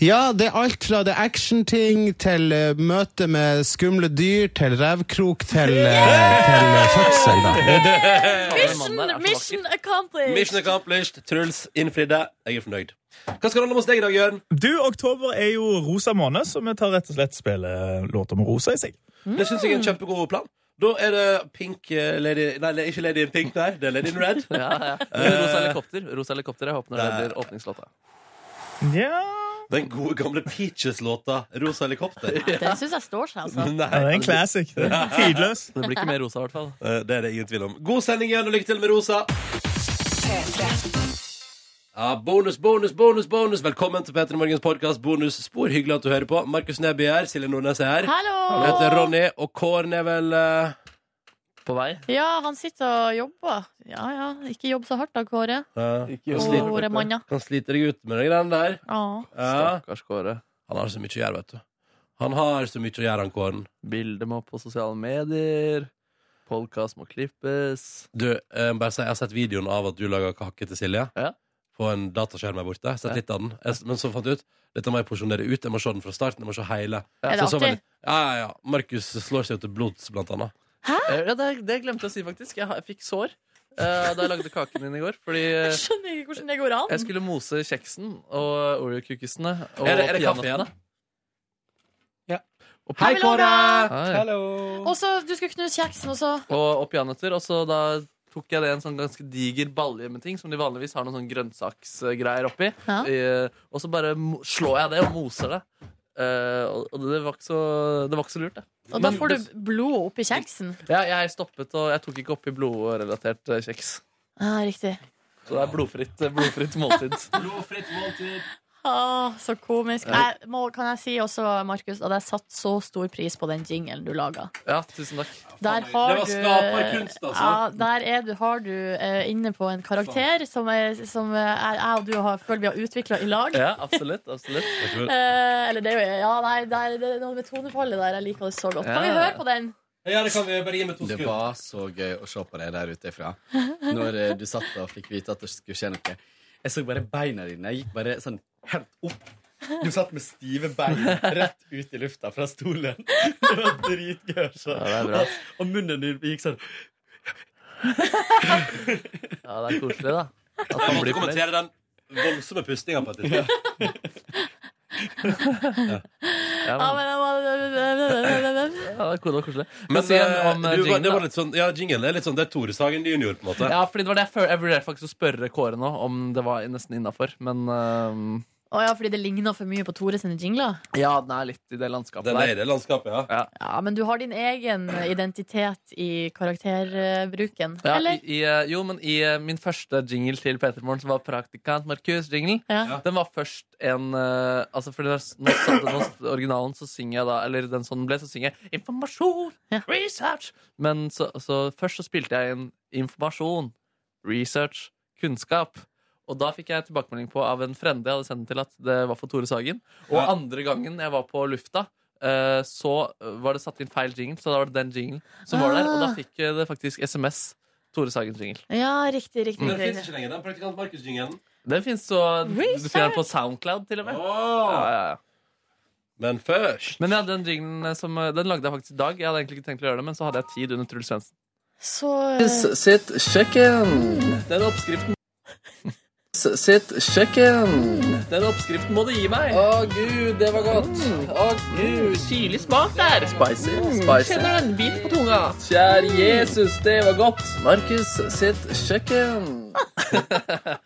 Ja, det er alt fra det er actionting til eh, møte med skumle dyr, til revkrok, til, eh, til eh, fødsel. Da.
Den
Mission,
mannen der er så
mission
vakker.
accomplished!
Mission accomplished. Truls innfridde. Jeg er fornøyd. Hva skal det handle om hos deg i dag, Jørn?
Du, oktober er jo rosa måned, så vi tar rett og slett spille låter med rosa i seg.
Det syns jeg er en kjempegod plan. Da er det pink eh, lady Nei, det er ikke lady in pink, nei. Det er lady in red.
Ja, [LAUGHS] ja. Rosa helikopter. Rosa helikopter, Jeg håper når det blir åpningslåta.
Ja,
[LAUGHS] Den gode gamle Peaches-låta 'Rosa helikopter'.
Den syns jeg står seg, altså.
Nei,
det er en classic. Det er Tidløs.
Det blir ikke mer rosa, i hvert fall.
Eh, Det er det ingen tvil om. God sending igjen, og lykke til med Rosa. Ja, bonus, bonus, bonus, bonus. Velkommen til Petter Morgens podkast Bonusspor. Hyggelig at du hører på. Markus Neby er her. Silje Nordnes er her.
Hallo!
Jeg heter Ronny, og Kåren er vel eh,
På vei.
Ja, han sitter og jobber. Ja ja, ikke jobb så hardt da, Kåre.
eh,
Å,
sliter.
Åre manna.
Han sliter deg ut med de greiene der.
Ja.
Ja.
Stakkars Kåre.
Han har så mye å gjøre, vet du. Han har så mye å gjøre, han Kåren.
Bilde må opp på sosiale medier. Podkast må klippes.
Du, eh, bare si, jeg har sett videoen av at du lager kake til Silje.
Ja.
på en dataskjerm her borte. Sett litt av den. Jeg, s- men så fant jeg ut dette må jeg porsjonere ut. Jeg må se den fra starten. Jeg må se hele.
Er det
Så, så var
artig?
det- ja, ja, ja. Markus slår seg jo til blods, blant annet.
Eh, Ja, det, det glemte jeg å si, faktisk. Jeg, har- jeg fikk sår eh, da jeg lagde kaken min i går. Fordi eh,
Jeg skjønner ikke hvordan det går an.
jeg skulle mose kjeksen og oreo-kukisene og
Er det- er det kaffe igjen?
peanøttene.
Hei, Kåre!
Hei.
Hallo!
Og så du skulle knuse kjeksen, og så
Og, og peanøtter. Og så da tok jeg det i en sånn ganske diger balje med ting som de vanligvis har noen sånn grønnsaksgreier oppi.
ja.
Eh, og så bare mo- slår jeg det og moser det. Eh, og og det var ikke så, det var ikke så lurt, det.
Og da
Men
får
det-
du blod oppi kjeksen.
Jeg, jeg stoppet, og jeg tok ikke oppi blodrelatert eh, kjeks.
Ja, riktig.
Så det er blodfritt, eh, blodfritt måltid.
Ah, så komisk. Jeg, må, kan jeg si også, Markus, at jeg satte så stor pris på den jingelen du laga.
[LAUGHS] Ja, tusen takk.
Der
Det
har
var
du
skaperkunst, altså.
Ja, der er du, har du eh, inne på en karakter som, er, som eh, er, jeg og du har, føler vi har utvikla i lag.
Ja, absolutt, absolutt.
Eh, eller det er jo Ja, nei, det er, det er noe med tonefallet der. Jeg liker det så godt. Kan vi
Ja.
høre på den?
Ja, det kan vi bare gi med to
Det
sekunder.
var så gøy å se på deg der ute ifra. Når eh, du satt og fikk vite at det skulle skje noe. Jeg så bare beina dine. Jeg gikk bare sånn helt opp. Du satt med stive bein rett ut i lufta fra stolen. Det var dritgøy å se.
Ja, det er bra.
Og, og munnen din gikk sånn.
Ja, det er koselig, da. At
Jeg
man
måtte
blir fornøyd.
kommentere den voldsomme pustinga på et tidspunkt.
Ja,
Ja,
men,
men, jeg må-
ja, det er koselig. koselig.
Men
Men si om,
eh,
om
du, var- det var
jingle, da.
litt sånn, ja, jingle er litt sånn Det er Tore Sagen junior, på en måte.
Ja, fordi det var det jeg følte. Jeg vurderte faktisk å spørre Kåre nå om det var nesten innafor, men ehm,
Å ja, fordi det ligner for mye på Tore sine jingler?
ja, den er litt i det landskapet
Den er i
der.
det landskapet, ja.
Ja, men du har din egen identitet i karakterbruken,
Ja, i,
eller?
i, eh, jo, men i eh, min første jingle til Peter Morgen, som var Praktikant Markus-jinglen,
Ja.
den var først en eh, Altså, fordi når, når, sånn- når originalen så synger jeg da Eller den sånn den ble, så synger jeg 'informasjon',
Ja.
'research'. Men så, så først så spilte jeg inn 'informasjon', 'research', 'kunnskap'. Og da fikk jeg tilbakemelding på av en frende jeg hadde sendt den til at det var for Tore Sagen. Og
Ja.
andre gangen jeg var på lufta, eh, så var det satt inn feil jingle. Så da var det den jinglen som var der. Og da
Ah.
fikk jeg det faktisk SMS. Tore Sagens jingle.
ja, riktig, riktig.
Men Den
riktig.
fins ikke lenger, den Praktikant Markus-jingelen.
Den fins så Du
Research!
finner den på Soundcloud, til og med. Ja, ja, ja.
Men først
Men ja, den jinglen eh, som, den lagde jeg faktisk i dag. Jeg hadde egentlig ikke tenkt å gjøre det, men så hadde jeg tid under Truls Svendsen.
Så
Sitt kjøkken. Den oppskriften Sitt kjøkken. Den oppskriften må du gi meg. Å gud, det var godt. Å gud. Syrlig smak der. Spicy. spicy. Kjenner den bit på tunga. Mm. Kjære Jesus, det var godt. Markus sitt kjøkken.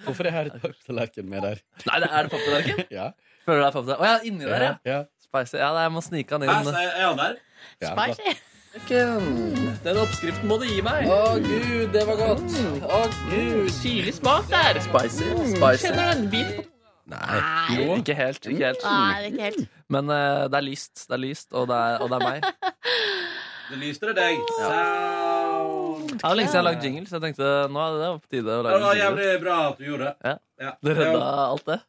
Hvorfor er det her et tallerken med der?
Nei, det er det papptallerken?
Ja.
[LAUGHS] Føler du deg papptallerken? Å ja, inni der, ja.
ja.
Spicy. Ja, nei, jeg må snike han
Her
inn.
er er han der.
Ja, det var-
spicy.
Den oppskriften må du gi meg. Å gud, det var godt. Å gud, Mm. Syrlig smak der. Spicy. spicy. Kjenner du en bit på Ah.
Nei.
Jo. Ikke helt. ikke helt
Nei, det er ikke helt.
Men eh, det er lyst, det er lyst, og det er, og det er [LAUGHS] meg.
Det lyste det deg. Sound.
Det er jo lenge siden jeg har lagd jingle, så jeg tenkte nå er det på tide å
Det var
lage jingle.
jævlig bra at du gjorde det.
Ja.
Ja.
Det redda alt det.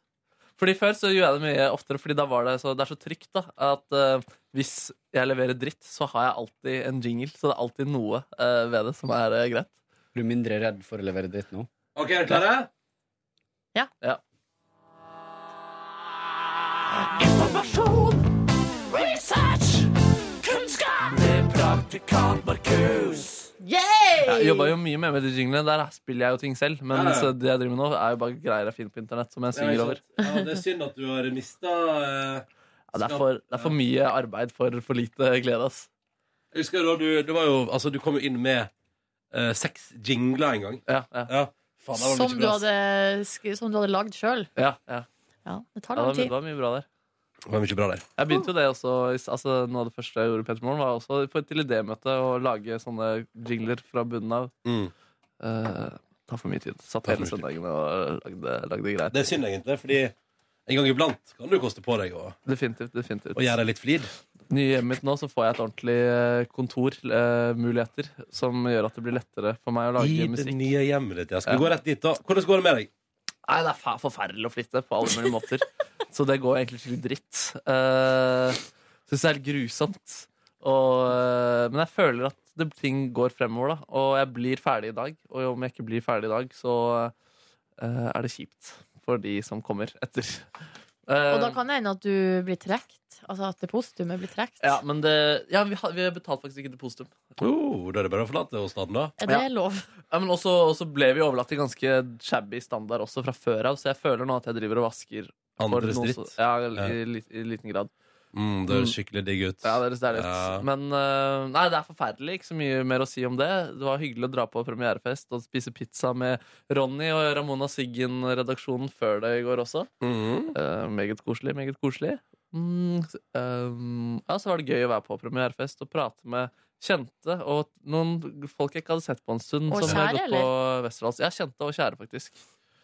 Fordi Før så gjorde jeg det mye oftere, Fordi da var det så, det er så trygt. da At eh, Hvis jeg leverer dritt, så har jeg alltid en jingle. Så det er alltid noe eh, ved det som er eh, greit.
Er du mindre redd for å levere dritt nå?
OK, er dere klare?
Jeg
Yay!
jobber jo mye mer med de jinglene. Der spiller jeg jo ting selv. Men
Ja, ja.
så det jeg driver med nå, er jo bare greier jeg finner på internett. Som
Ja,
jeg
ikke
synger over
sant. Ja, det er synd at du har eh, mista
ja, det, er for, det er for mye arbeid for for lite glede, ass.
Jeg husker da du, du var jo Altså, du kom jo inn med eh, seks jingler en gang.
Ja, ja,
Ja. Faen, det var mye
Som du
bra, ass.
hadde, sk- som du hadde lagd sjøl.
ja, ja.
Ja, det
ja
tar
det,
lang
var, det
tid.
var mye bra der.
Det var mye bra der.
Jeg begynte jo det også i s- altså, Noe av det første jeg gjorde, i Peter Morgen, var også på et idémøte å lage sånne jingler fra bunnen av.
Mm.
Eh, tar for mye tid. Satt
Tar for
hele
mye tid.
søndagen og lagde, lagde greier.
Det er synd, egentlig, fordi en gang iblant kan du koste på deg å,
Definitivt. definitivt
å gjøre deg litt flid.
Nye hjemmet mitt nå, så får jeg et ordentlig eh, kontormuligheter som gjør at det blir lettere for meg å
I
lage
det
musikk.
nye hjemmet ditt. Jeg skal
Ja.
gå rett dit, da. Hvordan går det med deg?
Nei, det er fa- forferdelig å flytte på alle mulige måter. Så det går egentlig skikkelig dritt. Uh, Syns det er helt grusomt. Og, eh, men jeg føler at det, ting går fremover, da. Og jeg blir ferdig i dag. Og om jeg ikke blir ferdig i dag, så eh, er det kjipt. for de som kommer etter. Eh,
Og da kan det hende at du blir trukket. Altså at depositumet blir trukket.
Ja, men det, ja, vi, har, vi har betalt faktisk ikke depositum.
Oh, da er det bare å forlate hos staten, da.
Er det lov?
Ja, men også, også ble vi overlatt til ganske shabby standard også fra før av, så jeg føler nå at jeg driver og vasker. for
Andres
noen
dritt.
som- Ja, i,
Ja.
li- i liten grad.
Mm, det høres skikkelig digg ut.
Ja, det er det er litt.
Ja.
Men eh, nei, det er forferdelig. Ikke så mye mer å si om det. Det var hyggelig å dra på premierefest og spise pizza med Ronny og Ramona Siggen-redaksjonen før det i går også.
Mm.
Eh, meget koselig, meget koselig. Mm, s- eh, ja, så var det gøy å være på premierefest og prate med kjente og noen folk jeg ikke hadde sett på en stund.
Og
som har
kjære,
gått på Westerdals. Ja, kjente og kjære, faktisk.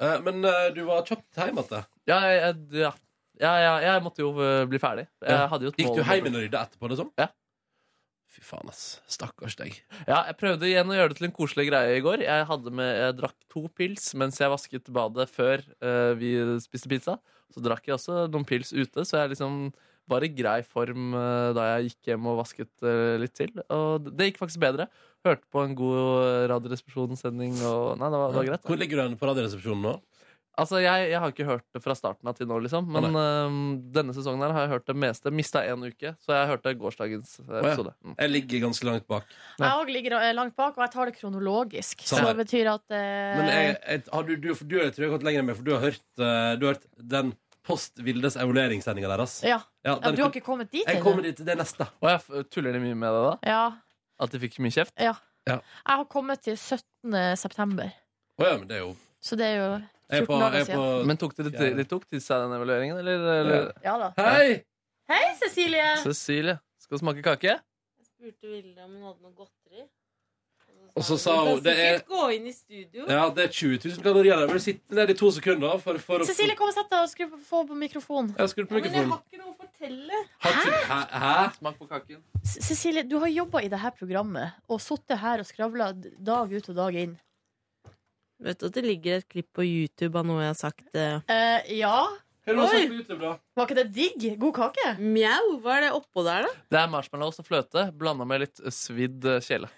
Eh, men eh, du var kjapt hjemme igjen.
Ja, jeg, jeg- ja. Ja, ja, jeg måtte jo eh, bli ferdig. Jeg hadde jo et
Gikk
mål
du
om å
hjem
bli-
igjen og rydda etterpå, liksom?
Ja.
Fy faen, ass. Stakkars deg.
Ja, jeg prøvde igjen å gjøre det til en koselig greie i går. Jeg, hadde med, jeg drakk to pils mens jeg vasket badet før eh, vi spiste pizza. Så drakk jeg også noen pils ute, så jeg liksom var i grei form eh, da jeg gikk hjem og vasket eh, litt til. Og det- det gikk faktisk bedre. Hørte på en god Radioresepsjon-sending og Nei, det var, det var greit.
Hvor ligger du hen på Radioresepsjonen nå?
Altså, jeg, jeg har ikke hørt det fra starten av til nå, liksom. Men eh, denne sesongen her har jeg hørt det meste. Mista én uke, så jeg hørte gårsdagens eh,
Å, ja.
episode. Mm.
Jeg ligger ganske langt bak.
Jeg òg ligger eh, langt bak, og jeg tar det kronologisk.
Samme
Så
her.
det betyr at eh,
Men jeg, jeg, har du, du, for du, jeg tror jeg har gått lenger enn meg, for du har hørt, eh, du har hørt den Post Vildes evalueringssendinga deres.
ja.
Ja,
Ja,
den
Du har
kom-
ikke kommet dit?
Jeg
ennå.
kommer dit til det neste.
Og jeg f- tuller de mye med det da?
Ja.
At de fikk mye kjeft?
ja.
Ja.
Jeg har kommet til 17. september,
Å ja, men det er jo
så det er jo
Jeg er
14
på-
dager
jeg er
siden.
på- Men tok de, de, de tok til seg den evalueringen, eller? eller?
Ja da.
Hei!
Hei, Cecilie!
Cecilie, skal du smake kake?
spurte Vilde om hun hadde noe godteri.
Og så sa hun det er,
sikkert gå inn i studio.
ja, det er 20 000 kalorier der. Men sitt ned i to sekunder. For, for, å-
Cecilie, kom og sett deg og skru på, få på mikrofonen.
Jeg har skrudd på
Men jeg
mikrofonen.
har ikke noe å fortelle.
Har ikke- Hæ? Hæ?
Smak på kaken.
C- Cecilie, du har jobba i det her programmet og sittet her og skravla dag ut og dag inn.
Vet du at det ligger et klipp på YouTube av noe jeg har sagt?
Eh, ja.
Hva
har du sagt
Var ikke det digg? God kake?
Mjau, hva er det oppå der, da?
Det er marshmallows og fløte blanda med litt svidd eh, kjele.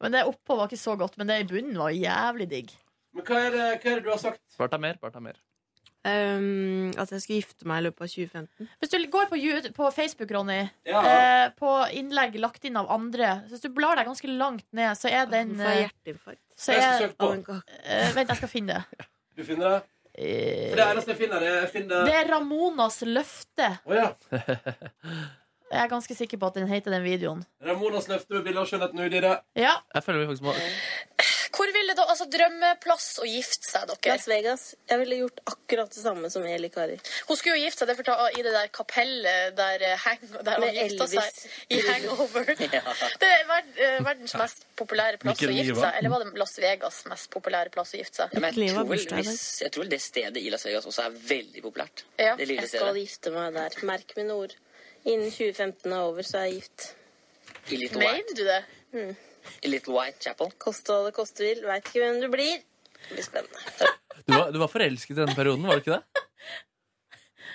Men det oppå var ikke så godt, men det i bunnen var jævlig digg.
Men hva er, det, hva er det du har sagt?
Bare ta mer. bare ta mer
Um, at jeg skulle gifte meg i løpet av 2015.
Hvis du går på, Ju- på Facebook, Ronny,
Ja.
eh, på innlegg lagt inn av andre Så Hvis du blar deg ganske langt ned, så er den
Nå får jeg
eh,
hjerteinfarkt.
så
Jeg
er,
skal søke på.
eh, Vent, jeg skal finne det.
Du finner det? For det eneste jeg finner, er jeg finner
Det er Ramonas løfte.
Å ja.
Jeg er ganske sikker på at den heter den videoen.
Ramonas løfte med bilde av skjønnheten og udyret.
Ja.
Jeg føler vi faktisk må
Hvor ville da, altså Drømmeplass å gifte seg, dere?
Las Vegas. Jeg ville gjort akkurat det samme som Eli Kari.
Hun skulle jo gifte seg det fortalte- i det der kapellet der, eh, hang, der
Med
hun gifta
Elvis.
seg i Hangover. Det er verd, eh, verdens mest populære plass
Hvilken
å gifte
liv,
seg.
hva?
Eller var det Las Vegas' mest populære plass å gifte seg?
Ja, men jeg, tror vel, hvis, jeg tror vel det stedet i Las Vegas også er veldig populært.
Ja,
det
[LAUGHS]
lille
jeg skal
stedet.
gifte meg der. Merk mine ord. Innen 2015 er over, så er jeg gift.
I Little, White,
du det?
Mm.
I Little White Chapel.
Koste hva det koste vil. Veit ikke hvem du blir. Det blir spennende.
Du var, du var forelsket i denne perioden, var du ikke det?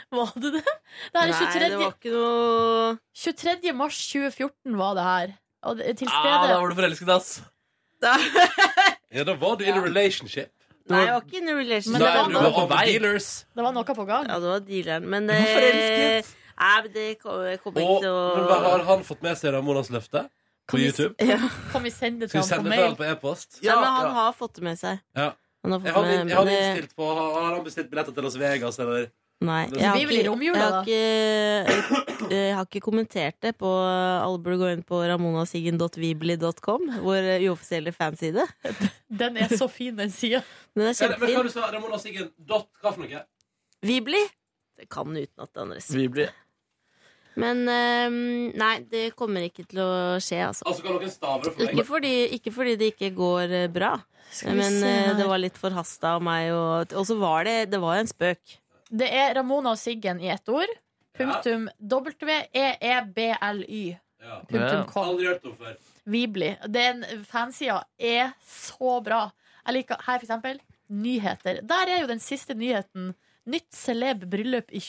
Var det det? Det her er
Nei,
23.
det var ikke noe
23. mars 2014 var det her. Og det, til stede
Ah, da var du forelsket, ass.
Ja, da var du in a relationship.
Nei, jeg var ikke in a relationship.
Men det Nei, var du noe- var på vei. dealers.
Det var noe på gang.
Ja, det var dealeren. Men det,
var forelsket.
Nei, men det kom- jeg kommer ikke
Og,
til
men hva
å
har han fått med seg Ramonas løfte? På YouTube?
Kan vi sende det
Skal
til
vi sende det til
ham på mail?
han på e-post?
Nei, men han har fått det med seg.
Ja.
Han har fått
Jeg har,
med-
jeg har
men det-
innstilt på Har han bestilt billetter til Las Vegas, eller?
Nei,
Det-
jeg har,
Vi vil i
ikke,
romjula,
jeg, har ikke, eh, jeg har ikke kommentert det på Alle burde gå inn på ramonasiggen.vibli.com, vår eh, uoffisielle fanside.
Den er så fin, den sida.
Den
Men
er
hva du
kjempefin.
sa Ramona Siggen dot hva for noe?
Vibli? Det kan utenat, det Andres.
Vi blir
Men ehm, nei, det kommer ikke til å skje, altså.
Altså, kan noen stave det for meg?
Ikke fordi, ikke fordi det ikke går eh, bra,
Skal vi
men
se
eh,
her.
det var litt forhasta av meg. Og, og så var det, det var jo en spøk.
Det er Ramona og Siggen i ett ord. Punktum E W-E-E-B-L-Y. Punktum com.
Aldri hørt om før.
Weebly. Den fansida er så bra. Jeg liker her, for eksempel, nyheter. Der er jo den siste nyheten Nytt celeb bryllup i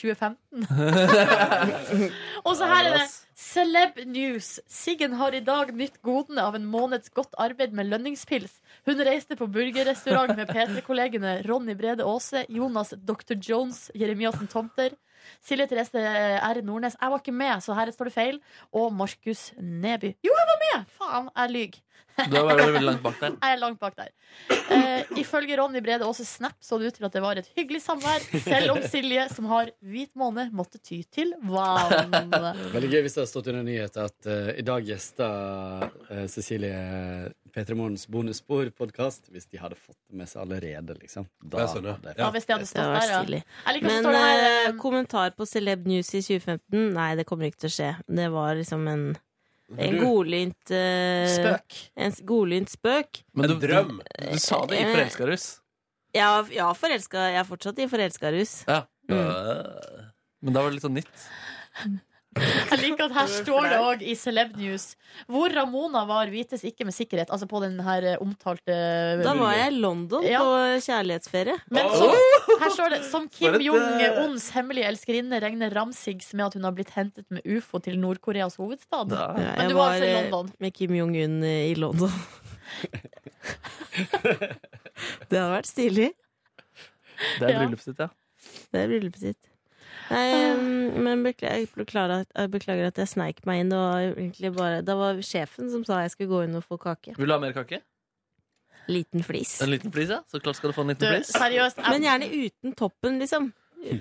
2015. Og så her er det Celeb news. Siggen har i dag nytt godene av en måneds godt arbeid med lønningspils. Hun reiste på burgerrestaurant med P3-kollegene Ronny Brede Aase, Jonas Dr. Jones, Jeremiassen Tomter, Silje Therese R. Nordnes. Jeg var ikke med, så her står det feil. Og Markus Neby. Jo, jeg var med! Faen, jeg lyver.
Da var du veldig langt bak der.
Jeg er langt bak der. Eh, ifølge Ronny Brede Aase Snap så det ut til at det var et hyggelig samvær, selv om Silje, som har hvit måne, måtte ty til vann.
Veldig gøy hvis det hadde stått under nyheter at eh, i dag gjester eh, Cecilie P3 Morgens bonusspor-podkast. Hvis de hadde fått det med seg allerede, liksom. Da
Jeg skjønner.
hadde-
Ja, hvis de hadde stått
Det var
der, ja.
stilig.
Jeg liker at det
Men
står der,
eh, kommentar på Celeb News i 2015 Nei, det kommer ikke til å skje. Det var liksom en en
Du-
godlynt eh,
Spøk.
En s- godlynt spøk.
Men du, du, du sa det i
Eh,
forelskarus.
Ja, ja forelska, jeg er fortsatt i forelskarus.
Ja. Øh. Men da var det litt sånn nytt.
Jeg liker at her står det òg i Celeb News hvor Ramona var, vites ikke med sikkerhet. Altså på den her eh, omtalte
Da var jeg i London
Ja.
på kjærlighetsferie.
Men så, her står det Som Kim
For et, eh,
Jong-uns hemmelige elskerinne regner Ramsigs med at hun har blitt hentet med ufo til Nord-Koreas hovedstad. Men
jeg
du var altså i
eh,
London.
med Kim Jong-un eh, i London. det hadde vært stilig.
Det er bryllupet ditt, ja.
Det er bryllupet sitt. Nei,
Ah.
um, men beklager, jeg beklager, at, jeg beklager at jeg sneik meg inn. Det var egentlig bare Det var sjefen som sa jeg skulle gå inn og få kake.
Vil du ha mer kake?
Liten flis.
En liten flis, ja? Så klart skal du få en liten
Du,
flis.
seriøst, jeg- Men gjerne uten toppen, liksom.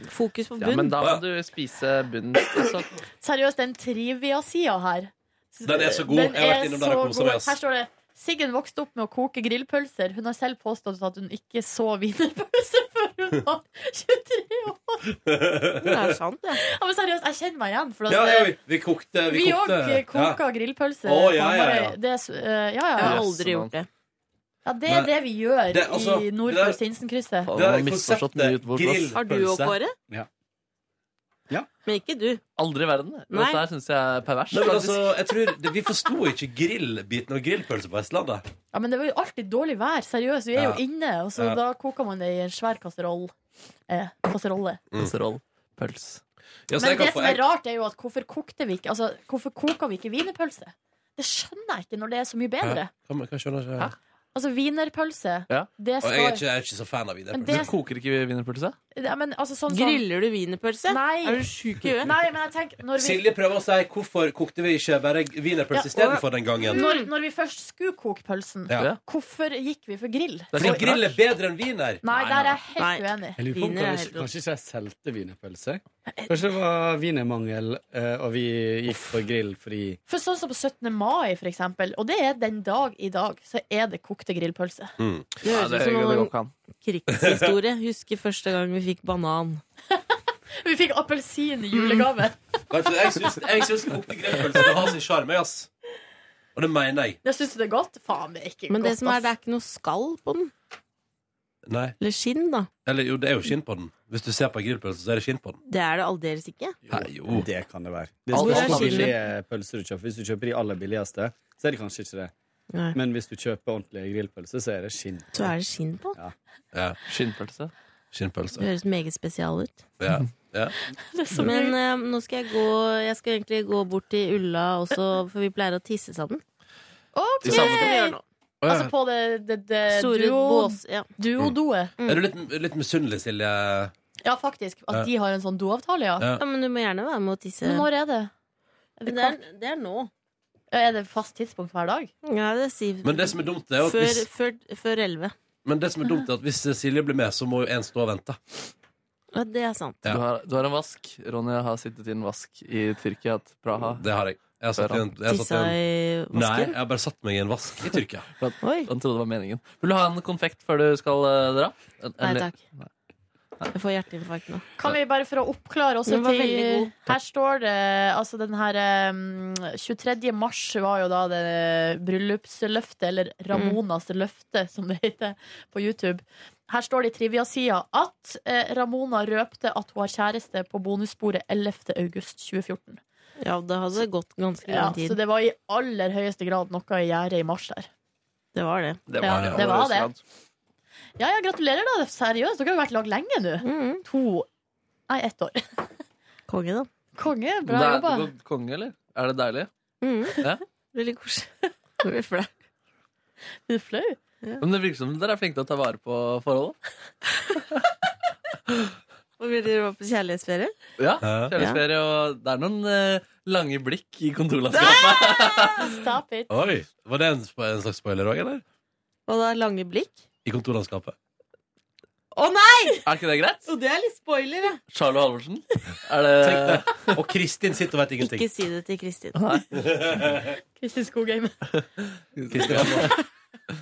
Fokus på bunn.
Ja, men da må du spise bunnen. Altså.
Seriøst, den trivia-sida her
Den er så god.
Den
Jeg har vært
er
innom der
så
og koset
god.
meg, ass.
Her står det Siggen vokste opp med å koke grillpølser. Hun har selv påstått at hun ikke så wienerpølser før hun var 23 år.
Det er sant, det.
Ja, men seriøst, jeg kjenner meg igjen. For at
Ja, ja,
det-
vi, vi kokte. Vi
eh, vi
kokte.
òg koker
Ja.
grillpølser.
Å, ja, ja, ja.
Det, er s- eh, ja, ja.
Jeg har aldri
gjort det.
Ja, det er
Nei.
det vi gjør
Det- altså,
i
det
nord
der-
for Sinsenkrysset.
Det er konseptet grillpølse.
Har du òg, Kåre?
Ja.
Men ikke du.
Aldri i verden.
Nei.
Dette her syns jeg er pervers.
Nei, men altså, jeg tror det, Vi forsto ikke grillbiten og grillpølse på Vestlandet.
Ja, men det var jo alltid dårlig vær. Seriøst, vi er
Ja.
jo inne, og så
Ja.
da koker man det i en svær kasseroll. Eh, kasserolle.
Altså
Kasseroll. Pøls.
Altså,
Men det som er rart, er jo at hvorfor kokte vi ikke Altså, hvorfor koker vi ikke wienerpølse? Det skjønner jeg ikke når det er så mye bedre.
Hva, hva skjønner jeg ikke?
Altså, wienerpølse Det
Og jeg er,
skal
ikke, jeg er ikke så fan av
Men
wienerpølse.
det- Du koker
ikke wienerpølse?
ja, men, altså, sånn, sånn,
Griller du wienerpølse?
Nei.
Er du sjuk i huet?
Nei, men jeg tenker når vi,
Silje prøver å si hvorfor kokte vi ikke bare wienerpølse
Ja,
istedenfor den gangen.
når, når vi først skulle koke pølsen,
Ja.
hvorfor gikk vi for grill?
For grill er bedre enn wiener.
Nei, der er jeg helt uenig.
Jeg lurer på om kanskje, kanskje ikke jeg solgte wienerpølse? Kanskje det var wienermangel, eh, og vi gikk på grill fordi
For sånn som på 17. mai, for eksempel, og det er den dag i dag, så er det kokte grillpølse.
Det høres ut som noen krigshistorie. Husker første gang vi fikk banan.
Vi fikk appelsin i julegave.
Vet du, Jeg syns jeg syns kokte grillpølse det har sin sjarm, jeg, ass. Og det mener jeg.
Jeg syns du det er godt? Faen, det er ikke
Men
godt.
det som er, det
ass.
er ikke noe skall på den.
Nei.
Eller skinn, da.
Eller jo, det er jo skinn på den. Hvis du ser på en grillpølse, så er det skinn på den.
Det er det aldeles ikke.
jo.
Det kan det være. Det
Det skal
er
være skinn.
billige pølser du kjøper. Hvis du kjøper de aller billigste, så er det kanskje ikke det.
Nei.
Men hvis du kjøper ordentlige grillpølser, så er det skinn.
Så er det skinn på.
Ja.
Skinnpølse.
Det høres meget spesial
[LAUGHS]
ut.
Ja. ja.
Men eh, nå skal jeg gå Jeg skal egentlig gå bort til Ulla også, for vi pleier å tisse sammen.
OK!
Det samme skal vi gjøre nå. Å, ja.
Altså på det, det, det
Store
duo-
bås, ja.
duodoet.
Er du litt, litt misunnelig, Silje?
Ja, faktisk. At
Ja.
de har en sånn doavtale, ja.
Ja.
Ja, men du må gjerne være med å tisse.
Men når er det? Er det,
Det er, det er nå.
er det fast tidspunkt hver dag?
Ja, det sier
Men det som er dumt, er jo at
Før,
hvis-
før, før 11.
Men det som er dumt, er at hvis Silje blir med, så må jo en stå og vente.
Ja, det er sant.
Du, har, du har en vask. Ronny har sittet i en vask i Tyrkia, til Praha.
Det har jeg. Jeg har satt i en, jeg har satt
Tissa i
en Nei,
vasken?
jeg har bare satt meg i en vask i Tyrkia.
For at, han trodde det var meningen. Vil du ha en konfekt før du skal eh, dra? En-
Nei
en-
takk. Jeg får hjerteinfarkt nå.
Kan vi bare for å oppklare også
Den var veldig
til
god.
Her står det altså den her um, 23. mars var jo da det bryllupsløftet, eller
Mm.
Ramonas løfte, som det heter på YouTube. Her står det i trivia-sida at eh, Ramona røpte at hun har kjæreste på bonussporet 11. august 2014.
Ja, det hadde gått ganske
Ja,
lang
så
tid.
det var i aller høyeste grad noe i gjerdet i mars der.
Det var det.
Ja, det var det. Ja, ja, gratulerer, da. Seriøst. Dere har jo vært i lag lenge nå. To Nei, ett år.
Mm-hmm.
[LAUGHS]
Konge, da.
Konge.
Det
Bra
er,
jobba.
det går konge, eller? Er det deilig? Ja?
Mm-hmm. Veldig koselig. [LAUGHS] Nå blir jeg flau.
Blir du flau?
Men det virker som dere er flinke til å ta vare på forholdet.
Og vil dere være på kjærlighetsferie?
Ja,
Ja.
Kjærlighetsferie og Det er noen eh, lange blikk i kontorlandskapet.
Stop it.
Oi, Var det en, spo- en slags spoiler òg, eller?
Og da lange blikk?
I kontorlandskapet.
Å nei!
Er ikke det greit?
Og det er litt spoiler, ja.
Charlo Halvorsen? Er det...
Tenk det. Og Kristin sitter og vet ingenting.
Ikke si det til Kristin.
Kristin Skogheim.
Kristin Halvorsen.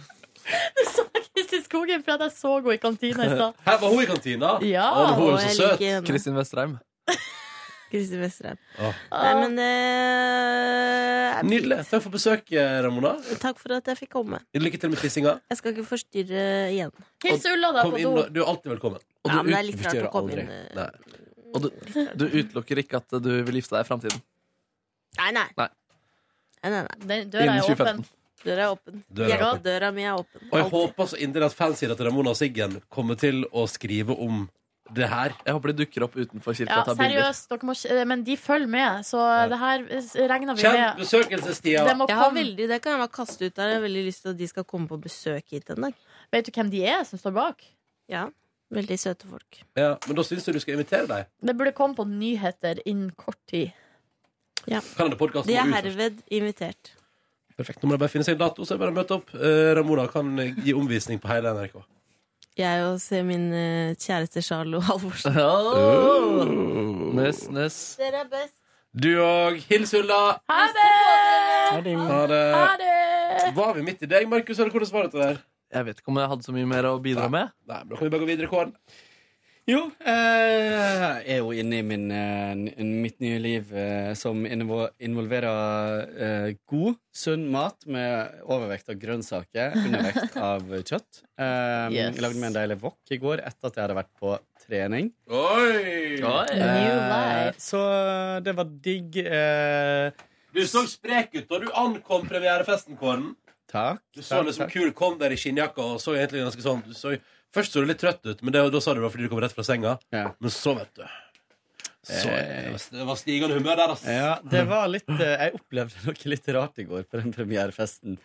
[LAUGHS] Du sa Kristin Skogheim for at jeg så henne i kantina i stad.
Her var hun i kantina!
Ja,
Å, hun
og
er så
jeg
søt!
liker henne.
Kristin Vestreim.
Kristin Vesterheim.
Å.
Ah,
Nei, men eh, er fint.
Nydelig. Takk for besøk, eh, Ramona.
Takk for at jeg fikk komme.
Lykke til med tissinga.
Jeg skal ikke forstyrre igjen.
Hils Ulla,
Kom inn, og- du er alltid velkommen.
Og
Ja,
du
men det er
ut-
litt rart å komme
aldri.
inn, eh,
Nei. Og du, du utelukker ikke at du vil gifte deg i framtiden?
Nei, nei.
Nei.
nei, nei,
nei.
døra er Innen 2015. åpen.
Døra er åpen.
Døra er
ja,
åpen.
døra mi er åpen.
Og jeg håper så inderlig at fansida til Ramona og Siggen kommer til å skrive om det her.
Jeg håper de dukker opp utenfor kirka
Ja,
[LAUGHS]
seriøst. Dere må, ikke- men de følger med, så det her regner vi
Kjenn
med.
besøkelsestida!
Det må
Jeg har
komme.
veldig, det kan jeg bare kaste ut der. Jeg har veldig lyst til at de skal komme på besøk hit en dag.
Vet du hvem de er som står bak?
Ja, veldig søte folk.
Ja, men da syns jeg du skal invitere deg.
Det burde komme på nyheter innen kort tid.
Kan denne podcasten
De
gå
er
ut først?
herved invitert.
Perfekt. Nå må jeg bare finne seg en dato, så er det bare å møte opp. Eh, Ramona kan gi omvisning på hele NRK.
Jeg og se min eh, kjæreste Charlo Halvorsen.
Nøss, nøss.
Dere er best.
Du òg. Hils Ulla.
Ha det!
Ha
Ha
det.
det!
Var vi midt i deg, Markus? Eller hvordan var det til det her?
Jeg vet ikke om jeg hadde så mye mer å bidra med.
Nei, men da kan vi bare gå videre, Kåren.
Jo, eh, jeg er jo inne i min, eh, n- mitt nye liv eh, som innvo- involverer eh, god, sunn mat med overvekt av grønnsaker, undervekt av kjøtt. Eh,
Yes.
Jeg lagde meg en deilig wok i går etter at jeg hadde vært på trening.
Oi!
Eh, så det var digg. Eh,
Du så sprek ut da du ankom premierefesten, Kåren.
takk.
Du så
takk,
liksom
takk.
kul kom der i skinnjakka og så egentlig ganske sånn du så, Først så du litt trøtt ut, men det, da sa du det var fordi du kom rett fra senga. Men så, vet du så,
Eh.
det var- Det var stigende humør der, ass.
Ja, det var litt eh, Jeg opplevde [LAUGHS] noe litt rart i går på den premierefesten.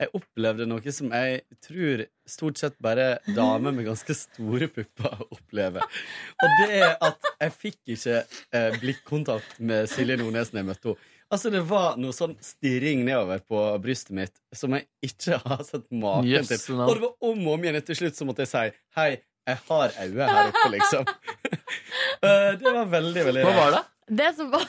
Jeg opplevde noe som jeg tror stort sett bare damer med ganske store pupper [LAUGHS] opplever. Og det er at jeg fikk ikke eh, blikkontakt med Silje Nordnes når jeg møtte henne. Altså Det var noe sånn stirring nedover på brystet mitt som jeg ikke har sett maken
Jøsse
til.
navn.
Og det var om og om igjen. Til slutt så måtte jeg si hei, jeg har øyne her oppe, liksom. [LAUGHS] Eh, det var veldig, veldig
Hva var det?
Det som var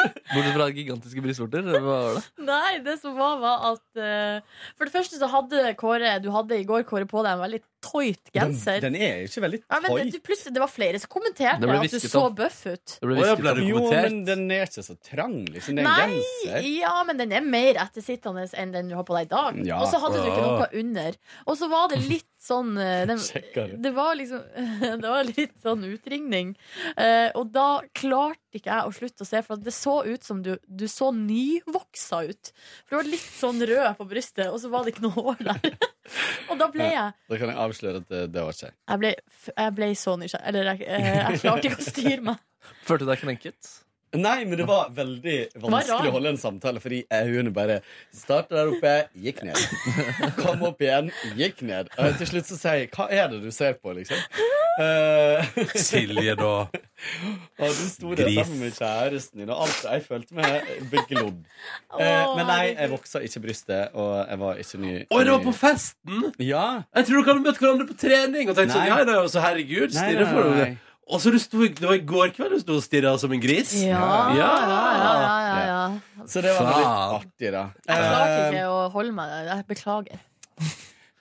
Bortsett fra gigantiske brystvorter. Hva var det?
[LAUGHS] Nei, det som var, var at eh, For det første så hadde Kåre Du hadde i går Kåre på deg en veldig tight genser.
Den, den er jo ikke veldig
ja, men
tight.
du, plutselig, det var flere som kommenterte
Det ble
at du
hvisket
så
om.
bøff ut.
Å, ja,
hvisket
ble det
om.
jo,
kommentert.
men den er ikke så trang, liksom. Det er en
Nei,
genser.
ja, men den er mer ettersittende enn den du har på deg i dag.
Ja.
Og så hadde du ikke
Ja.
noe under. Og så var det litt sånn eh,
[LAUGHS]
den,
Sjekkere.
Det var liksom [LAUGHS] Det var litt sånn utringning. Eh, og da klarte ikke jeg å slutte å se, for det så ut som du, du så nyvoksa ut. For du var litt sånn rød på brystet, og så var det ikke noe hår der. [LAUGHS] og da ble jeg
Da kan jeg avsløre at det, det var ikke jeg.
Jeg ble, f- jeg ble så nysgjerrig. Eller jeg, eh, jeg klarte ikke å styre meg.
Følte du deg krenket?
Nei, men det var veldig
rart.
vanskelig å holde en samtale, fordi øynene bare starta der oppe, gikk [LAUGHS] ned. Kom opp igjen, gikk ned. Og til slutt så sier jeg 'Hva er det du ser på?' liksom. Eh,
[LAUGHS]
[LAUGHS]
Silje, da.
Og du sto der
Gris.
sammen med kjæresten din, og alt jeg følte meg beglodd.
Å,
Eh, men nei, jeg voksa ikke brystet, og jeg var ikke ny.
Oi, det var på
ny-
festen!
Ja.
Jeg tror dere hadde møtt hverandre på trening og tenkt sånn
Nei.
ja, nei, altså, herregud,
Nei,
stirre
nei,
for
nei.
Og så du sto, det var i går kveld du sto og stirra som en gris.
Ja, ja, ja, ja, ja.
Så det var litt
Faen.
artig, da.
Jeg klarte ikke å holde meg der. Jeg beklager.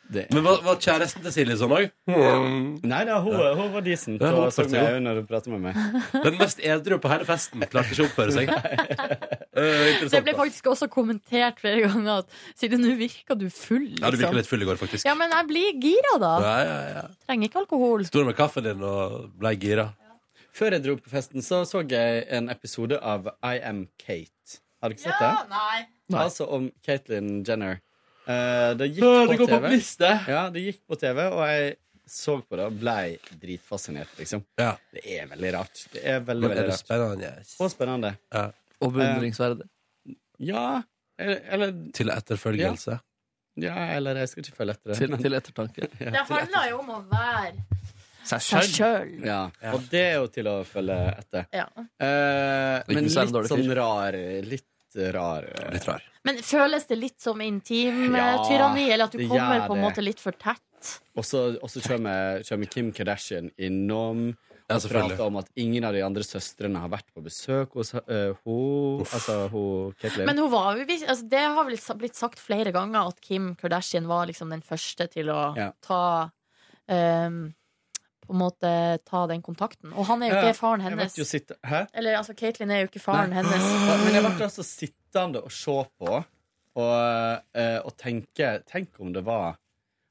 Men var, var kjæresten til Silje sånn òg?
Nei da, hun, hun var decent.
Ja, hun
og så
oppførte
meg
seg
jo når hun pratet med meg.
Den mest edru på hele festen klarte ikke å oppføre [LAUGHS] seg. Eh, interessant,
Det
da.
ble faktisk også kommentert flere ganger at siden nå virka du full,
Ja, du virka
liksom.
litt full i går, faktisk.
Ja, men jeg blir gira, da.
Ja, ja, ja.
Trenger ikke alkohol.
Sto du med kaffen din og ble gira?
Før jeg dro på festen, så så jeg en episode av I Am Kate. Har du ikke sett det?
Nei.
Altså om Caitlyn Jenner. Eh, det gikk
Åh,
på
det går på
TV.
liste.
Ja, det gikk på TV, og jeg så på det og ble dritfascinert, liksom. Det er veldig rart. Det er veldig,
Men er
veldig
det
rart. Og spennende.
Og beundringsverdig.
ja. Eller, eller
Til etterfølgelse.
Ja, eller jeg skal ikke følge etter det.
Til- til
ettertanke.
Det handler jo om å være
Seg
selv. selv.
Ja. Og det er jo til å følge etter.
ja.
Eh,
Ikke
men
så er det
litt
dårlig
sånn
fyr.
rar Litt rar. Litt
rar.
Men føles det litt som
Ja,
intimtyranni, eller at du
det
kommer
gjør
på en
det.
måte litt for tett?
Og så og så kommer, kommer Kim Kardashian innom og
selvfølgelig.
prater om at ingen av de andre søstrene har vært på besøk hos henne. altså hun Caitlyn.
Men hun var jo vis- altså, Det har vel sa- blitt sagt flere ganger at Kim Kardashian var liksom den første til å
Ja.
ta ehm, På en måte ta den kontakten. Og han er jo
Ja,
ikke faren
jeg
hennes.
vet jo sitte- Hæ?
Eller altså, Caitlyn er jo ikke faren
Nei. [LAUGHS]
hennes.
Men jeg ble altså sittende og se på og, eh, og tenke Tenk om det var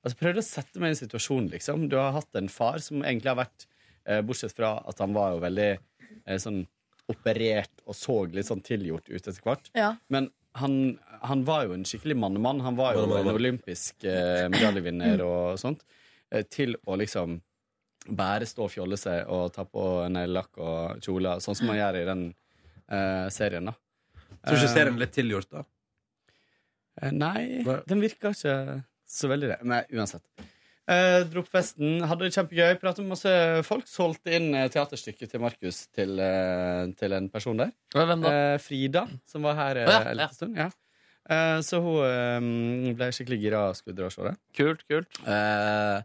Altså Prøvde å sette meg i en situasjon, liksom. Du har hatt en far som egentlig har vært eh, Bortsett fra at han var jo veldig eh, sånn operert og så litt sånn tilgjort ut etter hvert.
Ja.
Men han, han var jo en skikkelig mannemann. Han var jo
Mannemann,
en
ja.
olympisk eh, medaljevinner og sånt. Eh, til å liksom bare stå og fjolle seg og ta på neglelakk og kjoler, sånn som man gjør i den eh, serien, da.
Tror du ikke
Eh,
serien er litt tilgjort, da?
eh, Nei, den virker ikke så veldig det. Men uansett. Eh, dro på festen, hadde det kjempegøy, pratet med masse folk. Solgte inn eh, teaterstykket til Markus til, eh, til en person der.
Hvem da?
Eh, Frida, som var her eh,
Å, ja,
en
ja.
liten stund. Ja. Eh, så hun eh, ble skikkelig gira og skulle dra og se det.
Kult, kult.
Eh,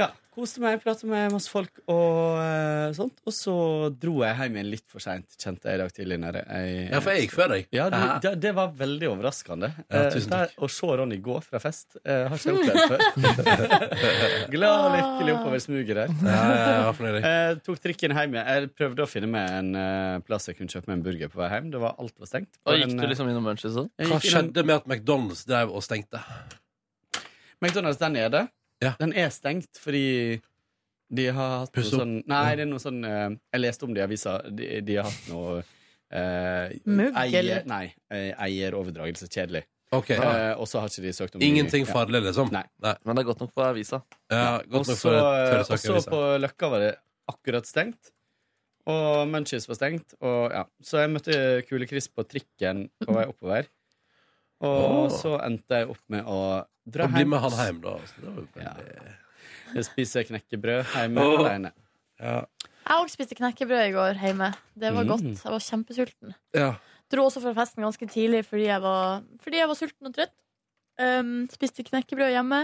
ja. Koste meg, pratet med masse folk og eh, sånt. Og så dro jeg hjem igjen litt for seint, kjente jeg i dag tidlig. Når jeg,
Ja, for jeg gikk før deg.
Ja, du,
Hæ?
det, det var veldig overraskende.
Ja,
Eh,
tusen
der, å se Ronny gå fra fest eh, har ikke jeg opplevd
[LAUGHS]
før. Glad og lykkelig oppover smuget der.
Ja, ja, ja, fornøyd jeg.
Eh, tok trikken hjem igjen. Jeg prøvde å finne meg en eh, plass jeg kunne kjøpe meg en burger på vei hjem. Det var alt var stengt.
Og gikk
Men,
du
eh,
liksom innom Munchies og sånn?
jeg
Hva
gikk innom-
skjedde med at McDonald's drev og stengte?
McDonald's, den er det. Den er stengt fordi de har hatt noe
Puss opp.
sånn Nei, det er noe sånn eh, Jeg leste om det i avisa. De, de har hatt noe eh,
Mugg, eller?
eier, Nei. eh, Eieroverdragelse. Kjedelig.
Ok.
Eh, og så har ikke de søkt om ny-
Ingenting
ja.
farlig, liksom?
Nei.
Men det er godt nok for avisa.
Ja,
Og
godt nok
så eh,
for tørre
og
saker. liksom.
så
Lisa.
på Løkka var det akkurat stengt. Og Munchies var stengt. Og, ja. Så jeg møtte Kule Chris på trikken på vei oppover. Og
Åh.
så endte jeg opp med å dra
Og bli med han hjem, da. Så det var jo
Ja. [LAUGHS] Jeg spiser knekkebrød hjemme
Åh.
alene.
Jeg òg spiste knekkebrød i går hjemme. Det var
Mm.
godt. Jeg var kjempesulten.
Ja.
Dro også fra festen ganske tidlig fordi jeg var, fordi jeg var sulten og trøtt. Um, spiste knekkebrød hjemme.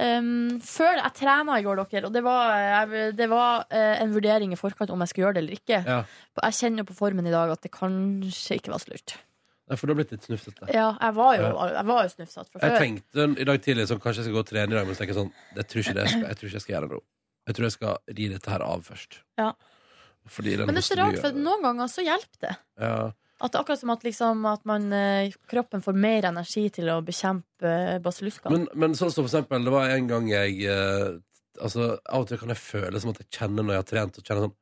Um, før jeg trena i går, dere, og det var, jeg, det var eh, en vurdering i forkant om jeg skulle gjøre det eller ikke.
Ja.
Jeg kjenner på formen i dag at det kanskje ikke var så lurt.
Nei, For du har blitt litt snufsete.
Ja, jeg var jo,
Ja.
jeg var jo snufsete fra
Jeg
før.
tenkte i dag tidlig sånn, kanskje jeg skal gå og trene i dag, men så tenker jeg sånn Jeg tror ikke det jeg skal, jeg tror ikke jeg skal gjøre det nå. Jeg tror jeg skal ri dette her av først.
Ja.
Fordi den
Men det er så rart, for
hosten-
noen ganger så hjelper det.
ja.
At det er akkurat som at, liksom, at man, eh, kroppen får mer energi til å bekjempe eh, basilluskaen.
men, men sånn som for eksempel, det var en gang jeg eh, Altså, Av og til kan jeg føle som at jeg kjenner når jeg har trent, og kjenner sånn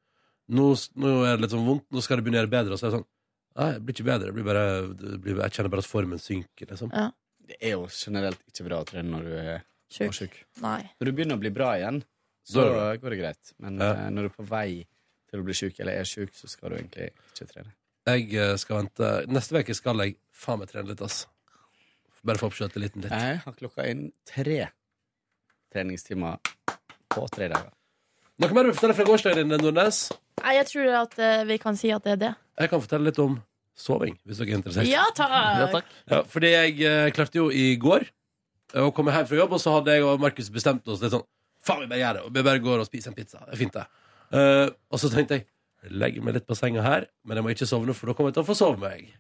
Nå, nå er det litt sånn vondt, nå skal det begynne å gjøre bedre. Og så er det sånn Nei, det blir ikke bedre. Det blir bare, det blir, jeg kjenner bare at formen synker, liksom.
Ja.
Det er jo generelt ikke bra å trene når du er
Sjuk.
er sjuk.
Nei.
Når du begynner å bli bra igjen, så
Da er
går det greit. Men eh, når du er på vei til å bli sjuk, eller er sjuk, så skal du egentlig ikke trene.
Jeg eh, skal vente Neste uke skal jeg faen meg trene litt, ass. Bare for å oppskjøte litt. litt.
Jeg har klokka inn tre treningstimer på tre dager.
Noe mer du vil fortelle fra gårsdagen din, Nordnes?
Nei, jeg tror at eh, vi kan si at det er det.
Jeg kan fortelle litt om soving, hvis dere er interessert.
Ja takk!
Ja, fordi jeg eh, klarte jo i går eh, å komme hjem fra jobb, og så hadde jeg og Markus bestemt oss litt sånn Faen, vi bare gjør det. Vi bare går og spiser en pizza. Det er fint, det. Eh, og så tenkte jeg legg meg litt på senga her, men jeg må ikke sovne, for da kommer jeg til å forsove meg.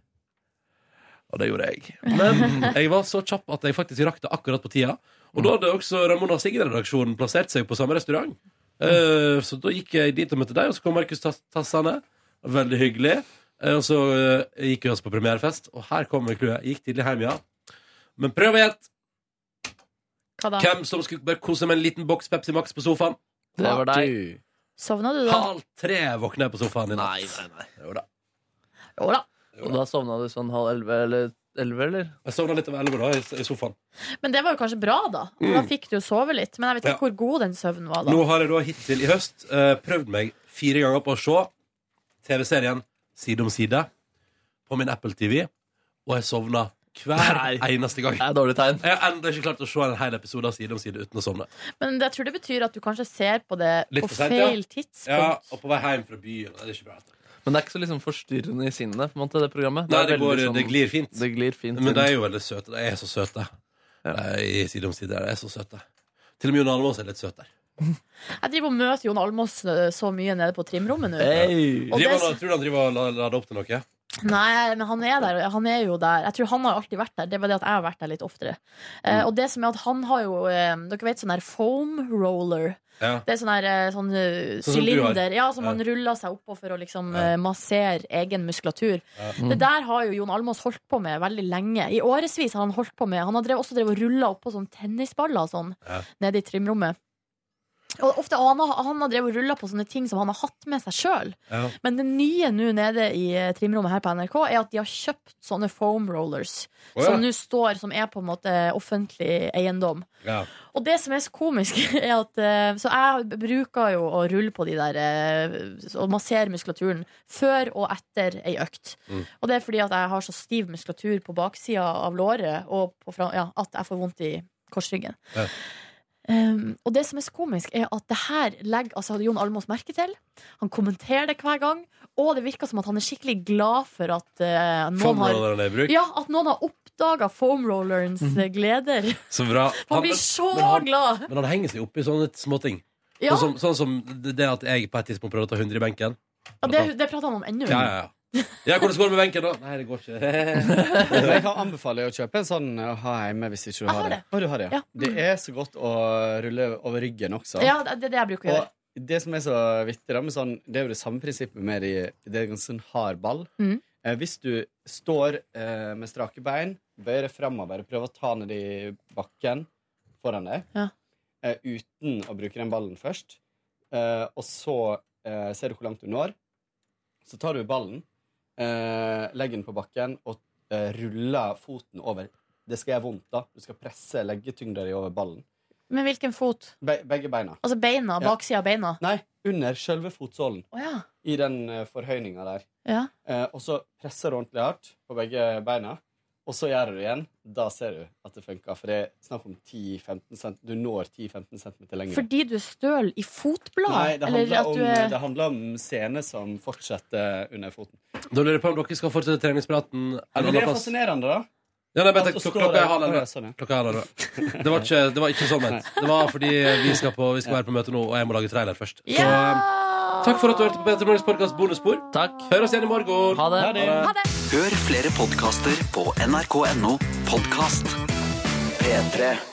Og det gjorde jeg. Men jeg var så kjapp at jeg faktisk rakk det akkurat på tida. Og da hadde også Ramona Sigrid-redaksjonen plassert seg på samme restaurant. Eh, så da gikk jeg dit og møtte deg, og så kom Markus Tas- Tassane. Veldig hyggelig. Eh, og så eh, gikk vi også på premierefest, og her kommer clouet. Gikk tidlig hjem, ja. Men prøv å gjette
Hva da?
hvem som skulle bare kose med en liten boks Pepsi Max på sofaen.
Det var deg. Sovna du da?
Halv tre våkner jeg på sofaen i natt. Nei, nei, nei. Jo da.
Jo da.
Og da sovna du sånn halv elleve eller elleve, eller?
Jeg sovna litt over elleve da, i- i sofaen.
Men det var jo kanskje bra, da.
Mm.
Da fikk du jo sove litt. Men jeg vet ikke
Ja.
hvor god den søvnen var, da.
Nå har jeg da hittil i høst eh, prøvd meg fire ganger på å se TV-serien Side om side på min Apple TV, og jeg sovna hver eneste gang. Det
er dårlig tegn.
Jeg har ennå ikke klart å se en hel episode av Side om side uten å sovne.
Men jeg tror det betyr at du kanskje ser på det
Litt
på
for sent, ja.
feil tidspunkt.
Ja,
Sånn.
og på vei hjem fra byen. Det er ikke bra.
Men det er ikke så liksom forstyrrende i sinnet, på en måte, det programmet.
Nei,
er
det, går,
veldig sånn-
det glir fint.
Det glir fint
Men
inn.
de er jo veldig søte. De er så søte. Eh, I Side om side. De er så søte. Til og med Jon Almaas er litt søt der.
Jeg driver og møter Jon Almaas eh, så mye nede på trimrommet nå. Og
Driver
det,
han- Tror du han driver og la- lader opp til noe?
Nei, men han er der. og Han er jo der. Jeg tror han har alltid vært der. Det er bare det at jeg har vært der litt oftere. Eh,
Mm.
og det som er at han har jo eh, Dere vet sånn her foam roller.
Ja.
Det er sånn her eh, sånn eh,
Sånn som du har.
sylinder ja, som
Ja.
man ruller seg oppå for å liksom eh, massere egen muskulatur.
Ja.
Det der har jo Jon Almaas holdt på med veldig lenge. I årevis har han holdt på med Han har drevet, også drevet og rulla oppå sånn tennisballer og sånn
Ja.
nede i trimrommet. Og ofte, og han, har, han har drevet og rulla på sånne ting som han har hatt med seg sjøl.
Ja.
Men det nye nå nede i eh, trimrommet her på NRK er at de har kjøpt sånne foam rollers.
Å, ja.
Som nå står, som er på en måte offentlig eiendom.
Ja.
Og det som er så komisk, [LAUGHS] er at eh, Så jeg bruker jo å rulle på de der eh, og massere muskulaturen før og etter ei økt.
Mm.
Og det er fordi at jeg har så stiv muskulatur på baksida av låret og på, fra- ja, at jeg får vondt i korsryggen.
Ja.
Um, og det som er så komisk, er at det her legger altså, Jon Almaas merke til. Han kommenterer det hver gang, og det virker som at han er skikkelig glad for at eh, noen
Foamrolleren er i bruk?
har Ja, at noen har oppdaga foamrollerens eh, gleder.
Så bra.
Man blir så
Mhm. han,
glad.
Men han henger seg opp i sånne småting.
Ja.
Sånn, som- sånn som det det at jeg på et tidspunkt prøvde å ta 100 i benken.
Ja, det, det prater han om
Mm.
ennå.
Ja, ja, ja. ja, hvordan går det med benken, da? Nei, det går
[LAUGHS]
ikke.
Jeg kan anbefale å kjøpe en sånn å ha hjemme hvis ikke du har det. Å, du har det, ja. det er så godt å rulle over ryggen også.
Ja, det det er det jeg bruker å gjøre.
Og det som er så vittig, da, med sånn, det er jo det samme prinsippet med de, det er en ganske sånn hard ball.
Mm.
Eh, hvis du står eh, med strake bein, bøyer deg framover og prøver å ta ned i bakken foran deg,
Ja.
eh, uten å bruke den ballen først, eh, og så eh, ser du hvor langt du når, så tar du ballen, eh, legger den på bakken og eh, ruller foten over. Det skal gjøre vondt, da. Du skal presse, legge tyngda di over ballen.
Men hvilken fot?
Be begge beina.
Altså beina?
Ja.
Baksida av beina?
Nei, under sjølve fotsålen.
Å ja.
I den eh, forhøyninga der.
Ja.
Eh, og så presser du ordentlig hardt på begge beina, og så gjør du det igjen. Da ser du at det funker, for det er snakk om 10-15 cm. Du når 10-15 cm lenger.
Fordi du er støl i fotbladet?
Nei, det
Eller
handler,
at
om,
du er-
det handler om sene som fortsetter under foten.
Da lurer jeg på om dere skal fortsette treningspraten.
Men
en
det
annen
er
plass.
fascinerende, da.
Ja, nei, bare
At å
tenk, klok-
stå
klokka
der-
er halv
Å, ja,
elleve.
sånn, ja.
Klokka er halv
[LAUGHS]
elleve. Det var ikke, det var ikke sånn ment. Det var fordi vi skal, på, vi skal være på møte nå, og jeg må lage trailer først. Så eh, takk for at du hørte på Peter Morgens podkast Bonusspor. Hør oss igjen i morgen.
Ha det. Hør flere podkaster på nrk.no podkast. P3.